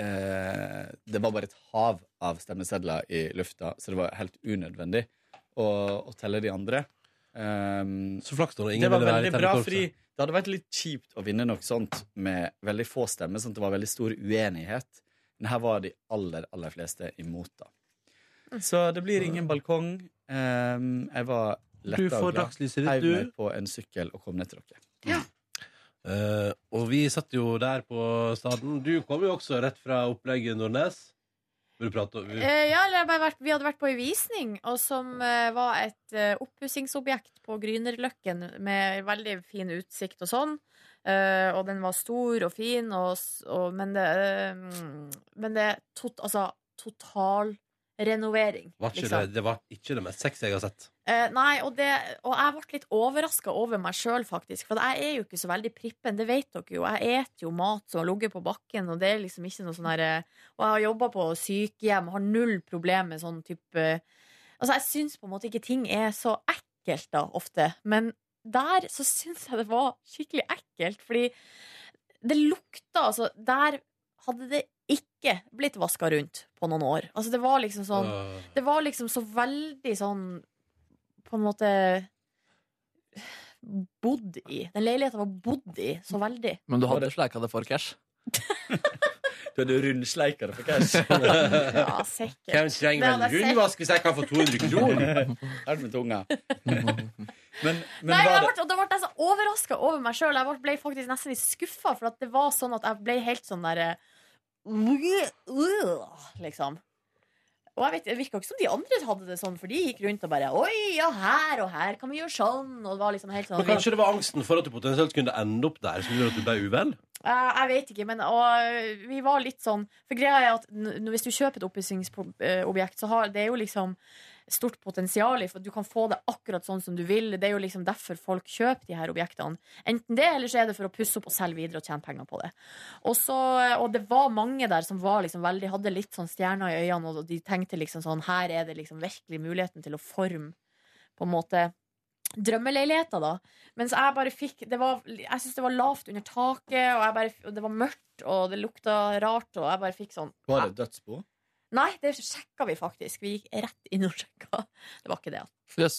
[SPEAKER 14] eh, det var bare et hav av stemmesedler i lufta, så det var helt unødvendig å, å telle de andre. Ehm,
[SPEAKER 2] Så flaks da, når ingen
[SPEAKER 14] det var
[SPEAKER 2] ville være i
[SPEAKER 14] veldig bra,
[SPEAKER 2] tellekorpset.
[SPEAKER 14] fordi det hadde vært litt kjipt å vinne noe sånt med veldig få stemmer, sånn at det var veldig stor uenighet. Men her var de aller, aller fleste imot, da. Så det blir ingen balkong. Ehm, jeg var letta
[SPEAKER 2] Du får
[SPEAKER 14] og glad.
[SPEAKER 2] dagslyset ditt,
[SPEAKER 14] Heiv
[SPEAKER 2] du.
[SPEAKER 14] meg på en sykkel og kom ned til dere.
[SPEAKER 2] Eh, og vi satt jo der på staden. Du kom jo også rett fra opplegget, Nordnes. Vil du prate om
[SPEAKER 3] Eh, ja, eller jeg har bare vært, vi hadde vært på en visning, og som eh, var et eh, oppussingsobjekt på Grünerløkken med veldig fin utsikt og sånn. Eh, og den var stor og fin, og, s- og, men det eh, Men det er tot, altså, liksom. totalrenovering.
[SPEAKER 2] var ikke det, det var ikke det mest sexy jeg har sett.
[SPEAKER 3] Eh, nei, og, det, og jeg ble litt overraska over meg sjøl, faktisk. For jeg er jo ikke så veldig prippen, det vet dere jo. Jeg eter jo mat som har ligget på bakken, og det er liksom ikke noe sånn her eh, Og jeg har jobba på sykehjem, har null problem med sånn type Altså, jeg syns på en måte ikke ting er så ekkelt, da, ofte. Men der så syns jeg det var skikkelig ekkelt, fordi det lukta altså Der hadde det ikke blitt vaska rundt på noen år. Altså, det var liksom sånn
[SPEAKER 2] Øh.
[SPEAKER 3] Det var liksom så veldig sånn på en måte bodd i. Den leiligheten var bodd i så veldig.
[SPEAKER 4] Men du hadde sleika det for cash?
[SPEAKER 14] Du hadde rundsleika det for cash?
[SPEAKER 3] Ja, sikkert. trenger
[SPEAKER 14] Kanskje
[SPEAKER 3] Det en hadde jeg sett. rundvask
[SPEAKER 14] hvis jeg kan få 200 kroner? Er det med tunga? Men, men
[SPEAKER 3] Nei,
[SPEAKER 14] var
[SPEAKER 3] jeg ble,
[SPEAKER 14] det
[SPEAKER 3] og Da ble jeg så overraska over meg sjøl. Jeg ble- ble faktisk nesten litt skuffa, for at det var sånn at jeg ble helt sånn derre Liksom. Og jeg vet, Det virka ikke som de andre hadde det sånn, for de gikk rundt og bare Oi, ja, her og her kan vi gjøre sånn. Og det var liksom helt sånn
[SPEAKER 2] Men kanskje det var angsten for at du potensielt kunne ende opp der som gjorde at du ble uvel?
[SPEAKER 3] Eh, jeg vet ikke, men og, vi var litt sånn For greia er at n n- hvis du kjøper et oppussingsobjekt, så har det er jo liksom stort potensial i for du kan få det akkurat sånn som du vil. Det er jo liksom derfor folk kjøper de her objektene. Enten det, eller så er det for å pusse opp og selge videre og tjene penger på det. Og, så, og det var mange der som var liksom veldig, hadde litt sånn stjerner i øynene, og de tenkte liksom sånn Her er det liksom virkelig muligheten til å forme på en måte drømmeleiligheter, da. Mens jeg bare fikk det var, Jeg syns det var lavt under taket, og, jeg bare, og det var mørkt, og det lukta rart, og jeg bare fikk sånn
[SPEAKER 14] Var det dødsbo?
[SPEAKER 3] Nei, det sjekka vi faktisk. Vi gikk rett inn og sjekka. Det var ikke det.
[SPEAKER 4] Yes.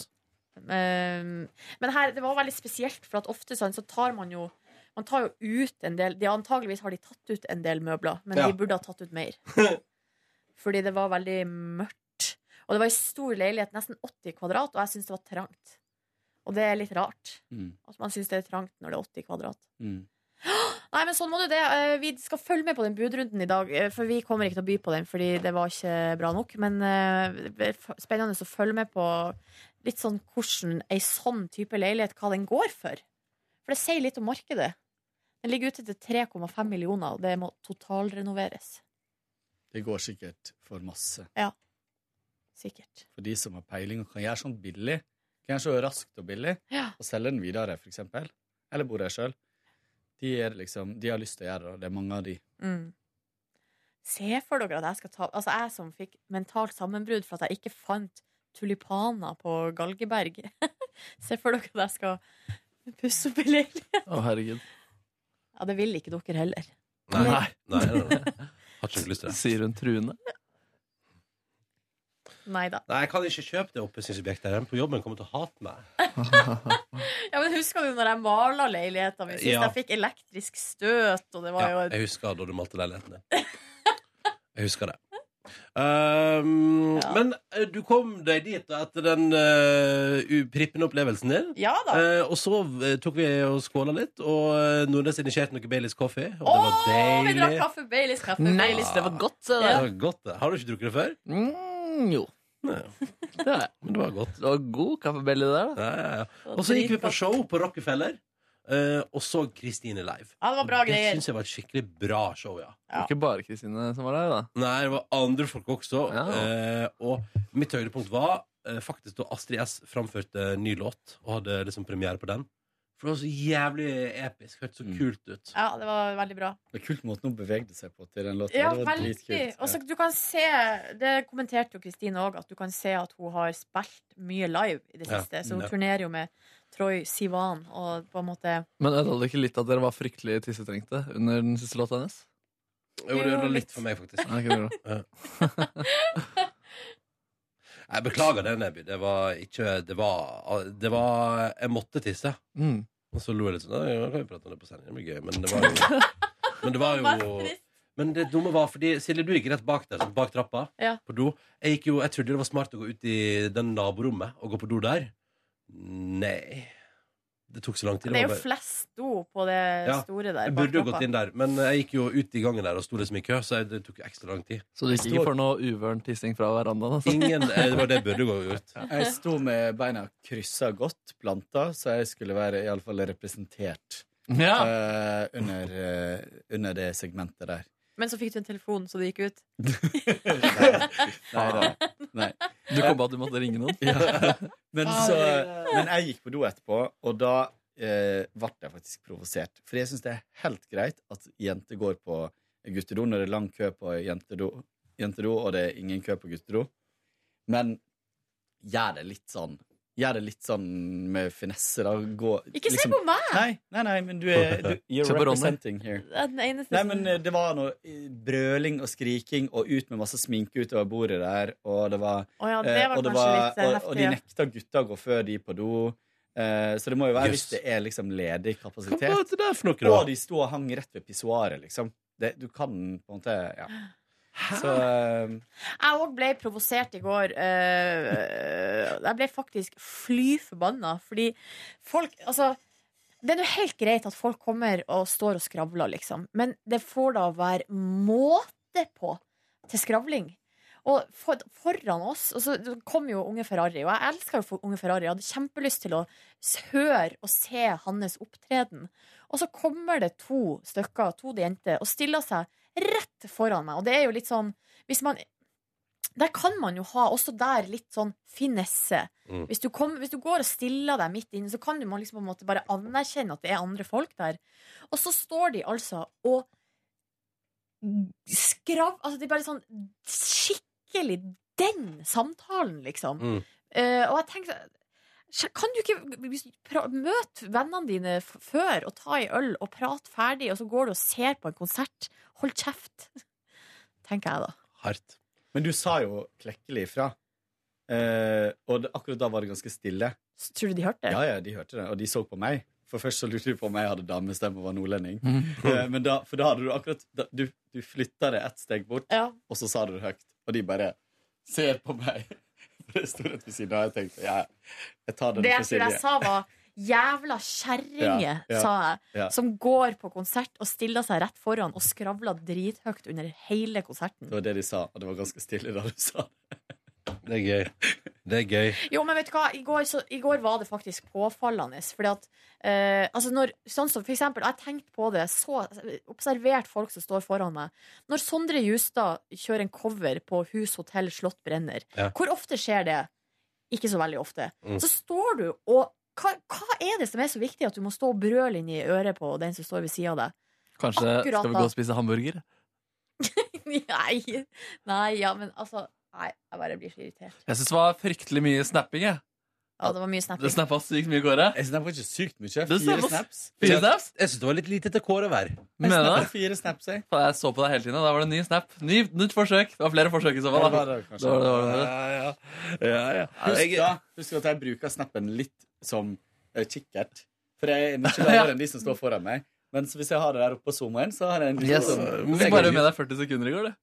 [SPEAKER 3] Um, men her, det var veldig spesielt, for at ofte sånn, så tar man jo Man tar jo ut en del de, Antageligvis har de tatt ut en del møbler, men
[SPEAKER 8] Ja.
[SPEAKER 3] de burde ha tatt ut mer. Fordi det var veldig mørkt. Og det var ei stor leilighet, nesten 80 kvadrat, og jeg syns det var trangt. Og det er litt rart.
[SPEAKER 14] Mm.
[SPEAKER 3] At man syns det er trangt når det er 80 kvadrat.
[SPEAKER 14] Mm.
[SPEAKER 3] Nei, men sånn må du det. Eh, Vi skal følge med på den budrunden i dag, eh, for vi kommer ikke til å by på den, fordi det var ikke bra nok. Men eh, det blir f- spennende å følge med på litt sånn hvordan ei sånn type leilighet, hva den går for. For det sier litt om markedet. Den ligger ute til 3,5 millioner, og det må totalrenoveres.
[SPEAKER 14] Det går sikkert for masse.
[SPEAKER 3] Ja. Sikkert.
[SPEAKER 14] For de som har peiling og kan gjøre sånt billig, kan gjøre så raskt og billig,
[SPEAKER 3] Ja.
[SPEAKER 14] og selge den videre, for eksempel. Eller bo der sjøl. De, er liksom, de har lyst til å gjøre det, og det er mange av de.
[SPEAKER 3] Mm. Se for dere at jeg skal ta Altså, jeg som fikk mentalt sammenbrudd for at jeg ikke fant tulipaner på Galgeberg. Se for dere at jeg skal pusse opp i leilighet.
[SPEAKER 4] Å, herregud.
[SPEAKER 3] Ja, det vil ikke dere heller.
[SPEAKER 2] Nei. Nei, nei, nei. Har ikke lyst til det.
[SPEAKER 4] Sier hun truende?
[SPEAKER 3] Nei da.
[SPEAKER 2] Nei, jeg kan ikke kjøpe det oppussingsobjektet. De på jobben kommer til å hate meg.
[SPEAKER 3] Ja, men husker du når jeg mala leiligheten min sist?
[SPEAKER 2] Ja.
[SPEAKER 3] Jeg fikk elektrisk støt, og det var
[SPEAKER 2] Ja,
[SPEAKER 3] jo
[SPEAKER 2] jeg husker da du malte leiligheten din. Jeg husker det. Um, Men eh, du kom deg dit da, etter den eh, uprippende opplevelsen din.
[SPEAKER 3] Ja da.
[SPEAKER 2] Eh, og så eh, tok vi og skåla litt, og eh, Nordnes initierte noe Baileys coffee. Og det var
[SPEAKER 3] Å, vi
[SPEAKER 2] deilig.
[SPEAKER 3] drakk kaffe, Baileys kaffe.
[SPEAKER 2] Nei,
[SPEAKER 3] Baileys.
[SPEAKER 2] det var
[SPEAKER 4] godt,
[SPEAKER 2] det.
[SPEAKER 3] Ja.
[SPEAKER 2] var godt, det. Har du ikke drukket det før?
[SPEAKER 4] Mm, jo.
[SPEAKER 2] Nei.
[SPEAKER 4] Det er
[SPEAKER 2] Men det var godt.
[SPEAKER 4] Det var god kaffebelle der,
[SPEAKER 2] da. Ja, ja, ja. Og så gikk vi på show på Rockefeller eh, og så Kristine live.
[SPEAKER 3] Ja, det var bra
[SPEAKER 2] og det
[SPEAKER 3] greier.
[SPEAKER 2] syns jeg var et skikkelig bra show, ja.
[SPEAKER 4] Det var Ikke bare Kristine som var der, da.
[SPEAKER 2] Nei, det var andre folk også. Eh, og mitt høydepunkt var eh, faktisk da Astrid S framførte ny låt og hadde liksom premiere på den. For det var så jævlig episk. Hørtes så kult ut.
[SPEAKER 3] Ja, det var veldig bra.
[SPEAKER 14] Det er kult måten hun bevegde seg på til den låta.
[SPEAKER 3] Ja,
[SPEAKER 14] det var
[SPEAKER 3] veldig.
[SPEAKER 14] dritkult.
[SPEAKER 3] Og så du kan se, det kommenterte jo Kristine òg, at du kan se at hun har spilt mye live i det
[SPEAKER 4] Ja,
[SPEAKER 3] siste. Så hun
[SPEAKER 4] ja.
[SPEAKER 3] turnerer jo med Troy Sivan og på en måte
[SPEAKER 4] Men ødela det ikke litt at dere var fryktelig tissetrengte under den siste låta hennes?
[SPEAKER 2] Jo, det ødela litt for meg, faktisk.
[SPEAKER 4] Ja, ikke bra.
[SPEAKER 2] Jeg beklager det, Neby. Det var ikke Det var, det var Jeg måtte tisse.
[SPEAKER 4] Mm.
[SPEAKER 2] Og så lo jeg litt sånn «Nei, Nå kan vi prate om det på sending, det blir gøy. Men det var jo Men det, var jo, men det dumme var fordi Silje, du gikk rett bak der, sånn bak trappa.
[SPEAKER 3] Ja.
[SPEAKER 2] På do. Jeg, gikk jo, jeg trodde det var smart å gå ut i den naborommet og gå på do der. Nei. det tok så lang tid.
[SPEAKER 3] Det er
[SPEAKER 2] var
[SPEAKER 3] jo
[SPEAKER 2] bare-
[SPEAKER 3] flest do på det
[SPEAKER 2] Ja,
[SPEAKER 3] store der.
[SPEAKER 2] Jeg
[SPEAKER 3] bak
[SPEAKER 2] burde jo
[SPEAKER 3] trappa.
[SPEAKER 2] gått inn der, men jeg gikk jo ut i gangen der og sto liksom i kø, så jeg, det tok jo ekstra lang tid.
[SPEAKER 4] Så du gikk ikke for noe uvøren tissing fra verandaen? Altså.
[SPEAKER 2] Ingen, eh, det var det jeg burde gå gjort.
[SPEAKER 14] Jeg sto med beina kryssa godt, planta, så jeg skulle være iallfall representert eh, under, eh, under det segmentet der.
[SPEAKER 3] Men så fikk du en telefon, så du gikk ut.
[SPEAKER 14] Nei da. Nei.
[SPEAKER 4] Du kom på at du måtte ringe noen?
[SPEAKER 14] Ja. Men, så, men jeg gikk på do etterpå, og da eh, ble jeg faktisk provosert. For jeg syns det er helt greit at jenter går på guttedo når det er lang kø på jentedo, jentedo og det er ingen kø på guttedo. Men gjør det litt sånn. Gjør det litt sånn med finesse, da. Gå,
[SPEAKER 3] Ikke se
[SPEAKER 14] liksom-
[SPEAKER 3] på meg!
[SPEAKER 14] Nei, nei, nei, men du er du, You're
[SPEAKER 4] Chaperone.
[SPEAKER 14] representing here.
[SPEAKER 3] Det er den eneste
[SPEAKER 14] Nei,
[SPEAKER 3] som-
[SPEAKER 14] men eh, det var noe eh, brøling og skriking og ut med masse sminke utover bordet der, og det var,
[SPEAKER 3] Å ja, det
[SPEAKER 14] eh,
[SPEAKER 3] var
[SPEAKER 14] og,
[SPEAKER 3] kanskje litt, eh,
[SPEAKER 14] og,
[SPEAKER 3] heftig,
[SPEAKER 14] og de
[SPEAKER 3] ja.
[SPEAKER 14] nekta gutta å gå før de på do. Eh, så det må jo være
[SPEAKER 2] Jøss.
[SPEAKER 14] hvis det er liksom ledig kapasitet.
[SPEAKER 2] Hva var det der for noe, da?
[SPEAKER 14] Og de sto og hang rett ved pissoaret, liksom. Det, du kan på en måte Ja. Så eh,
[SPEAKER 3] Jeg òg ble provosert i går. eh, jeg ble faktisk fly forbanna, fordi folk Altså, det er jo helt greit at folk kommer og står og skravler, liksom, men det får da være måte på til skravling. Og for, foran oss og så kom jo Unge Ferrari, og jeg elska jo Unge Ferrari. Jeg hadde kjempelyst til å s- høre og se hans opptreden. Og så kommer det to stykker, to jenter, og stiller seg rett foran meg. Og det er jo litt sånn hvis man, Der kan man jo ha også der litt sånn finesse.
[SPEAKER 13] Mm.
[SPEAKER 3] Hvis, du kom, hvis du går og stiller deg midt inne, så kan du man liksom på en måte bare anerkjenne at det er andre folk der. Og så står de altså og skrav... Altså, de bare sånn skikkelig den samtalen, liksom.
[SPEAKER 13] Mm.
[SPEAKER 3] Eh, og jeg tenkte Sj- Kan du ikke pra møte vennene dine f før og ta en øl og prate ferdig, og så går du og ser på en konsert? Hold kjeft, tenker jeg da.
[SPEAKER 2] hardt.
[SPEAKER 14] Men du sa jo klekkelig ifra. Eh, og det, akkurat da var det ganske stille.
[SPEAKER 3] Tror du de hørte det?
[SPEAKER 14] Ja, ja, de hørte det, og de så på meg. For først så lurte de på om jeg hadde damestemme og var nordlending.
[SPEAKER 4] Mhm.
[SPEAKER 14] Eh, men da, for da hadde du akkurat da, Du, du flytta det ett steg bort,
[SPEAKER 3] Ja.
[SPEAKER 14] og så sa du det høyt. Og de bare ser på meg. For det sto rett ved siden av. Jeg tenkte ja, jeg tar den
[SPEAKER 3] Det
[SPEAKER 14] for
[SPEAKER 3] jeg tror
[SPEAKER 14] Silje.
[SPEAKER 3] jeg sa var Jævla kjerringer,
[SPEAKER 14] Ja, ja,
[SPEAKER 3] sa jeg,
[SPEAKER 14] ja.
[SPEAKER 3] som går på konsert og stiller seg rett foran og skravler drithøyt under hele konserten.
[SPEAKER 14] Det var det de sa, og det var ganske stille da du sa det.
[SPEAKER 2] Det er gøy. Det er gøy.
[SPEAKER 3] Jo, men vet du hva, i går, så, i går var det faktisk påfallende. Fordi at eh, altså når, sånn som for eksempel, Jeg tenkte på det, så observert folk som står foran meg. Når Sondre Justad kjører en cover på Hus Hotell Slott Brenner,
[SPEAKER 13] Ja.
[SPEAKER 3] hvor ofte skjer det? Ikke så veldig ofte.
[SPEAKER 13] Mm.
[SPEAKER 3] Så står du og hva, hva er det som er så viktig at du må stå og brøle inn i øret på den som står ved sida av deg?
[SPEAKER 4] Kanskje
[SPEAKER 3] Akkurat
[SPEAKER 4] skal vi
[SPEAKER 3] da.
[SPEAKER 4] gå og spise hamburger?
[SPEAKER 3] Nei, nei, ja, men altså Nei, jeg bare blir så irritert.
[SPEAKER 4] Jeg syns det var fryktelig mye snapping. Jeg.
[SPEAKER 3] Ja, det var mye snapping.
[SPEAKER 4] Det snappa sykt mye, Kåre.
[SPEAKER 14] Jeg snappa ikke sykt mye.
[SPEAKER 4] Det
[SPEAKER 14] Fire
[SPEAKER 4] snappes.
[SPEAKER 14] snaps.
[SPEAKER 4] Fire snaps?
[SPEAKER 2] Jeg syns det var litt lite til Kåre hver.
[SPEAKER 4] Mener du
[SPEAKER 14] snappet
[SPEAKER 4] det?
[SPEAKER 14] fire snaps, jeg.
[SPEAKER 4] Faen, jeg så på deg hele tiden, og da var det en ny snap. Ny, nytt forsøk. Det var flere forsøk i så fall.
[SPEAKER 14] Det
[SPEAKER 4] da.
[SPEAKER 14] var det, kanskje.
[SPEAKER 4] Det var det, det var det.
[SPEAKER 14] Husk, da, husk at jeg bruker snappen litt som eh, kikkert. For jeg er mye lavere enn de som står foran meg. Mens hvis jeg har det der oppe på zoomen, så har jeg en
[SPEAKER 4] Yes.
[SPEAKER 14] sånn-
[SPEAKER 4] Du fikk bare med deg 40 sekunder i går, du.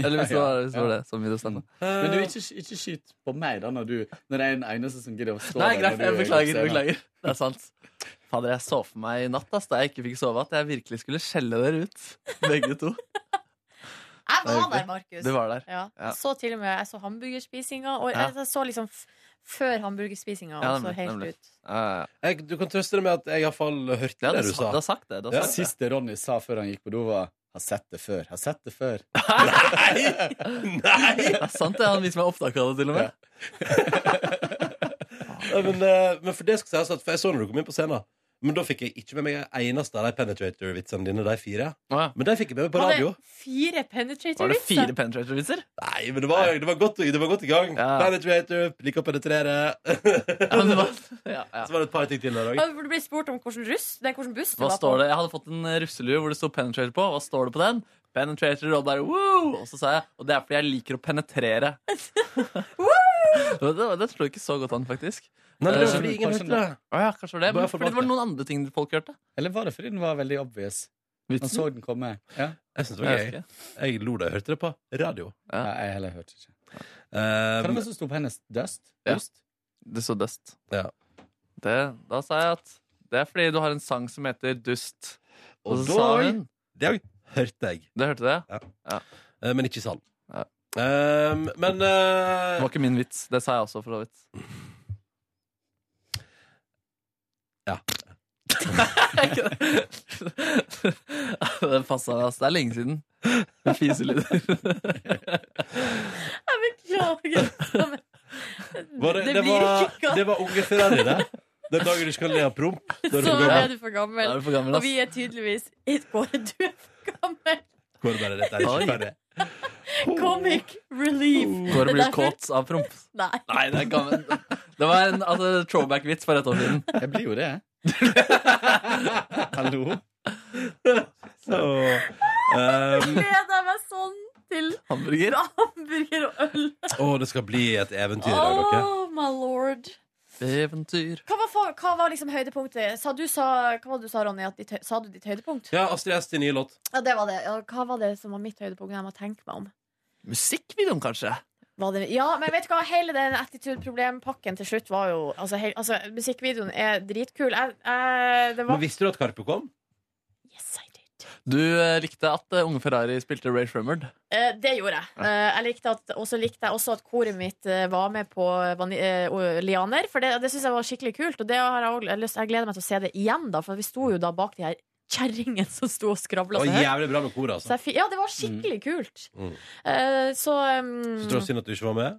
[SPEAKER 4] Eller hvis det var, hvis det, var det som videostemmer.
[SPEAKER 14] Men du, ikke, ikke skyt på meg da når, du, når jeg er den eneste som gidder å stå
[SPEAKER 4] Nei,
[SPEAKER 14] der
[SPEAKER 4] greit.
[SPEAKER 14] når du
[SPEAKER 4] Jeg
[SPEAKER 14] er
[SPEAKER 4] beklager.
[SPEAKER 14] på scenen.
[SPEAKER 4] beklager Det er sant. Fader, jeg så for meg i natt ass, da jeg ikke fikk sove, at jeg virkelig skulle skjelle dere ut. Begge to.
[SPEAKER 3] Jeg
[SPEAKER 4] Det er
[SPEAKER 3] var
[SPEAKER 4] hyggelig.
[SPEAKER 3] der, Markus.
[SPEAKER 4] Du var der.
[SPEAKER 3] Ja.
[SPEAKER 4] Ja.
[SPEAKER 3] Så til og med jeg så hamburgerspisinga. Og
[SPEAKER 2] Ja.
[SPEAKER 3] jeg så liksom f før hamburgerspisinga, og
[SPEAKER 2] Ja,
[SPEAKER 3] så
[SPEAKER 2] nemlig,
[SPEAKER 3] helt
[SPEAKER 2] nemlig.
[SPEAKER 3] ut.
[SPEAKER 2] Jeg, du kan trøste deg med at jeg iallfall hørte det, du sa.
[SPEAKER 14] det siste Ronny sa før han gikk på do, var 'Har sett det før'. Har sett det før.
[SPEAKER 4] Det er sant, det. Han viser meg opptak av det, til og med.
[SPEAKER 2] Ja, men, eh, men for det skal sies at For jeg så når du kom inn på scenen. Men da fikk jeg ikke med meg en eneste av de penetrator-vitsene dine, de fire. Men de fikk jeg med meg på
[SPEAKER 3] Var det
[SPEAKER 2] radio.
[SPEAKER 3] fire
[SPEAKER 4] fire
[SPEAKER 3] penetrator-vitser?
[SPEAKER 4] penetrator-vitser?
[SPEAKER 2] Nei, men det var, det var, godt, det var godt i gang. Penetrator, liker å penetrere. Så var det et par ting til der òg.
[SPEAKER 3] Ja, for Du ble spurt om hvilken russ Nei, hvilken buss du
[SPEAKER 4] Hva
[SPEAKER 3] var på.
[SPEAKER 4] står det? Jeg hadde fått en eh, russelue hvor det sto 'penetrator' på. Hva står det på den? Penetrator, og bare woo! Og så sa jeg Og det er fordi jeg liker å penetrere. det, det, det slo ikke så godt an, faktisk.
[SPEAKER 14] Nei, men det var
[SPEAKER 4] Eh,
[SPEAKER 14] fordi ingen
[SPEAKER 4] kanskje-
[SPEAKER 14] hørte det.
[SPEAKER 4] Å ja, kanskje var det.
[SPEAKER 14] Bare
[SPEAKER 4] Men
[SPEAKER 14] for
[SPEAKER 4] fordi det
[SPEAKER 14] bak
[SPEAKER 4] var noen andre ting folk hørte.
[SPEAKER 14] Eller var det fordi den var veldig obvious? Man så den komme. Ja.
[SPEAKER 2] Jeg syns det var gøy. Jeg lo da jeg hørte det på radio.
[SPEAKER 14] Ja, jeg heller hørte ikke.
[SPEAKER 2] Eh,
[SPEAKER 14] Hva var det som sto på hennes dust?
[SPEAKER 4] Ja.
[SPEAKER 14] Dust?
[SPEAKER 4] Det så dust.
[SPEAKER 2] Ja.
[SPEAKER 4] Det, da sa jeg at Det er fordi du har en sang som heter Dust.
[SPEAKER 2] Og
[SPEAKER 4] Og så
[SPEAKER 2] da-
[SPEAKER 4] sa hun
[SPEAKER 2] Det hørte jeg.
[SPEAKER 4] Det hørte det?
[SPEAKER 2] Ja. Eh, Men ikke i salen.
[SPEAKER 4] Ja.
[SPEAKER 2] Ehm, men eh,
[SPEAKER 4] Det var ikke min vits. Det sa jeg også, for så vidt.
[SPEAKER 2] Ja.
[SPEAKER 4] Den passa meg, ass. Det er lenge siden. Med fiselyder.
[SPEAKER 3] Jeg beklager.
[SPEAKER 2] var det, det,
[SPEAKER 3] blir
[SPEAKER 2] var,
[SPEAKER 3] ikke godt.
[SPEAKER 2] det var unge Ferrari, det. Den dagen du skal le av promp. da er du
[SPEAKER 3] Så
[SPEAKER 2] for gammel.
[SPEAKER 3] er du for gammel.
[SPEAKER 2] Da er du for gammel, ass.
[SPEAKER 3] og vi er tydeligvis Kåre, du er for gammel.
[SPEAKER 2] Går det bare rett der,
[SPEAKER 4] Oi.
[SPEAKER 2] ikke ferdig.
[SPEAKER 3] Comic relief.
[SPEAKER 4] Går det blir
[SPEAKER 3] Derfor-
[SPEAKER 4] kåt av promp?
[SPEAKER 3] Nei.
[SPEAKER 4] Nei, det, kan, det var en altså, throwback-vits for et år siden.
[SPEAKER 14] Jeg blir jo det, jeg. Hallo?
[SPEAKER 2] Så,
[SPEAKER 3] Jeg
[SPEAKER 2] ehm,
[SPEAKER 3] gleder meg sånn til
[SPEAKER 4] Hamburger.
[SPEAKER 3] hamburger og øl.
[SPEAKER 2] Å, det skal bli et eventyr i dag, dere.
[SPEAKER 3] Oh, my lord.
[SPEAKER 4] Eventyr.
[SPEAKER 3] Hva var, fa- hva var liksom høydepunktet? Sa du, sa, hva var det du sa, Ronny? At ditt, hø- sa du ditt høydepunkt?
[SPEAKER 2] Ja, Astrid S til ny låt.
[SPEAKER 3] Ja, det var det. Ja, hva var det som var mitt høydepunkt? Jeg må tenke meg om.
[SPEAKER 4] Musikkvideoen, kanskje?
[SPEAKER 3] Var det, ja, men vet du hva? Hele den attitude-problempakken til slutt var jo altså, hel, altså, musikkvideoen er dritkul. Jeg, jeg, det
[SPEAKER 2] Men
[SPEAKER 3] var
[SPEAKER 2] visste du at Karpe kom?
[SPEAKER 4] Du eh, likte at eh, Unge Ferrari spilte Ray Fremmard.
[SPEAKER 3] Eh, det gjorde jeg. Eh, jeg likte at, og så likte jeg også at koret mitt eh, var med på vani, eh, og Lianer, for det, det syns jeg var skikkelig kult. Og det har jeg, også, jeg, har lyst, jeg gleder meg til å se det igjen, da, for vi sto jo da bak de her kjerringene som sto og skravla
[SPEAKER 2] Og
[SPEAKER 3] så høyt.
[SPEAKER 2] jævlig bra med kor,
[SPEAKER 3] Så
[SPEAKER 2] altså.
[SPEAKER 3] jeg, fi- ja, det var skikkelig kult.
[SPEAKER 2] Mm.
[SPEAKER 3] Eh, så
[SPEAKER 2] Så
[SPEAKER 3] um,
[SPEAKER 2] tror jeg synd at du ikke var med.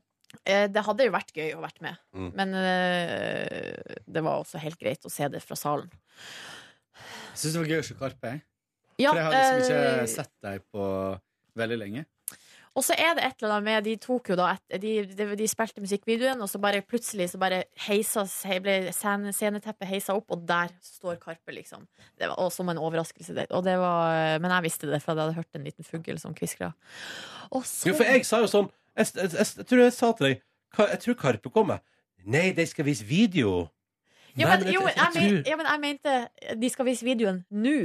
[SPEAKER 3] eh, det hadde jo vært gøy å vært med,
[SPEAKER 2] Mm.
[SPEAKER 3] men eh, det var også helt greit å se det fra salen.
[SPEAKER 14] Jeg syns det var gøy å se Karpe. jeg.
[SPEAKER 3] Ja,
[SPEAKER 14] For jeg har liksom
[SPEAKER 3] eh,
[SPEAKER 14] ikke sett deg på veldig lenge.
[SPEAKER 3] Og så er det et eller annet med De tok jo da et, de, de, de spilte musikkvideoen, og så bare plutselig så bare heisa, he, ble scene, sceneteppet heisa opp, og der står Karpe, liksom. Det var, og som en overraskelse. Det, og det var, men jeg visste det, for jeg hadde hørt en liten fugl som kviskra. Og så
[SPEAKER 2] Jo, for jeg sa jo sånn Jeg, jeg, jeg, jeg tror jeg sa til deg "Ka- Jeg tror Karpe kommer. Nei, de skal vise video.
[SPEAKER 3] ja,
[SPEAKER 2] Nei,
[SPEAKER 3] men,
[SPEAKER 2] vet
[SPEAKER 3] jo,
[SPEAKER 2] du,
[SPEAKER 3] men jeg, men,
[SPEAKER 2] tror-
[SPEAKER 3] ja, men jeg mente de skal vise videoen nå.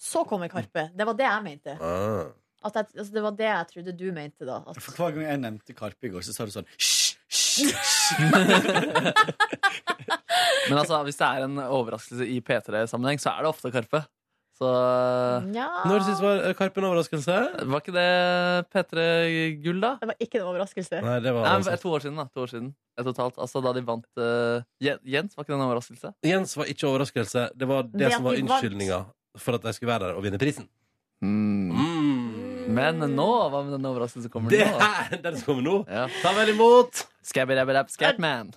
[SPEAKER 3] Så kommer Karpe. Det var det jeg mente.
[SPEAKER 2] Ah.
[SPEAKER 3] At jeg, altså, det var det jeg trodde du mente, da. At,
[SPEAKER 14] For hver gang jeg nevnte Karpe i går, så sa du sånn Hysj! hysj, hysj."
[SPEAKER 4] Men altså, hvis det er en overraskelse i P3-sammenheng, så er det ofte Karpe. Så eh,
[SPEAKER 3] Nja.
[SPEAKER 2] Når syns var eh, Karpe en overraskelse?
[SPEAKER 4] Var ikke det P3-gull, da?
[SPEAKER 3] det var ikke en overraskelse.
[SPEAKER 2] Nei, det var
[SPEAKER 4] Nei,
[SPEAKER 2] altså-
[SPEAKER 4] men to år siden, da. To år siden. Et og et halvt. Altså, da de vant eh, Jen- Jens, var ikke det en overraskelse?
[SPEAKER 2] Jens var ikke overraskelse. Det var det,
[SPEAKER 4] Det at
[SPEAKER 2] som var
[SPEAKER 4] de vant.
[SPEAKER 2] unnskyldninga for at de skulle være der og vinne prisen.
[SPEAKER 4] Men nå, hva med den overraskelsen som kommer
[SPEAKER 2] Mm. Det
[SPEAKER 4] nå?
[SPEAKER 2] her, den som kommer nå.
[SPEAKER 4] Ta
[SPEAKER 2] vel imot
[SPEAKER 4] Scabby-dabby-dab-scatman.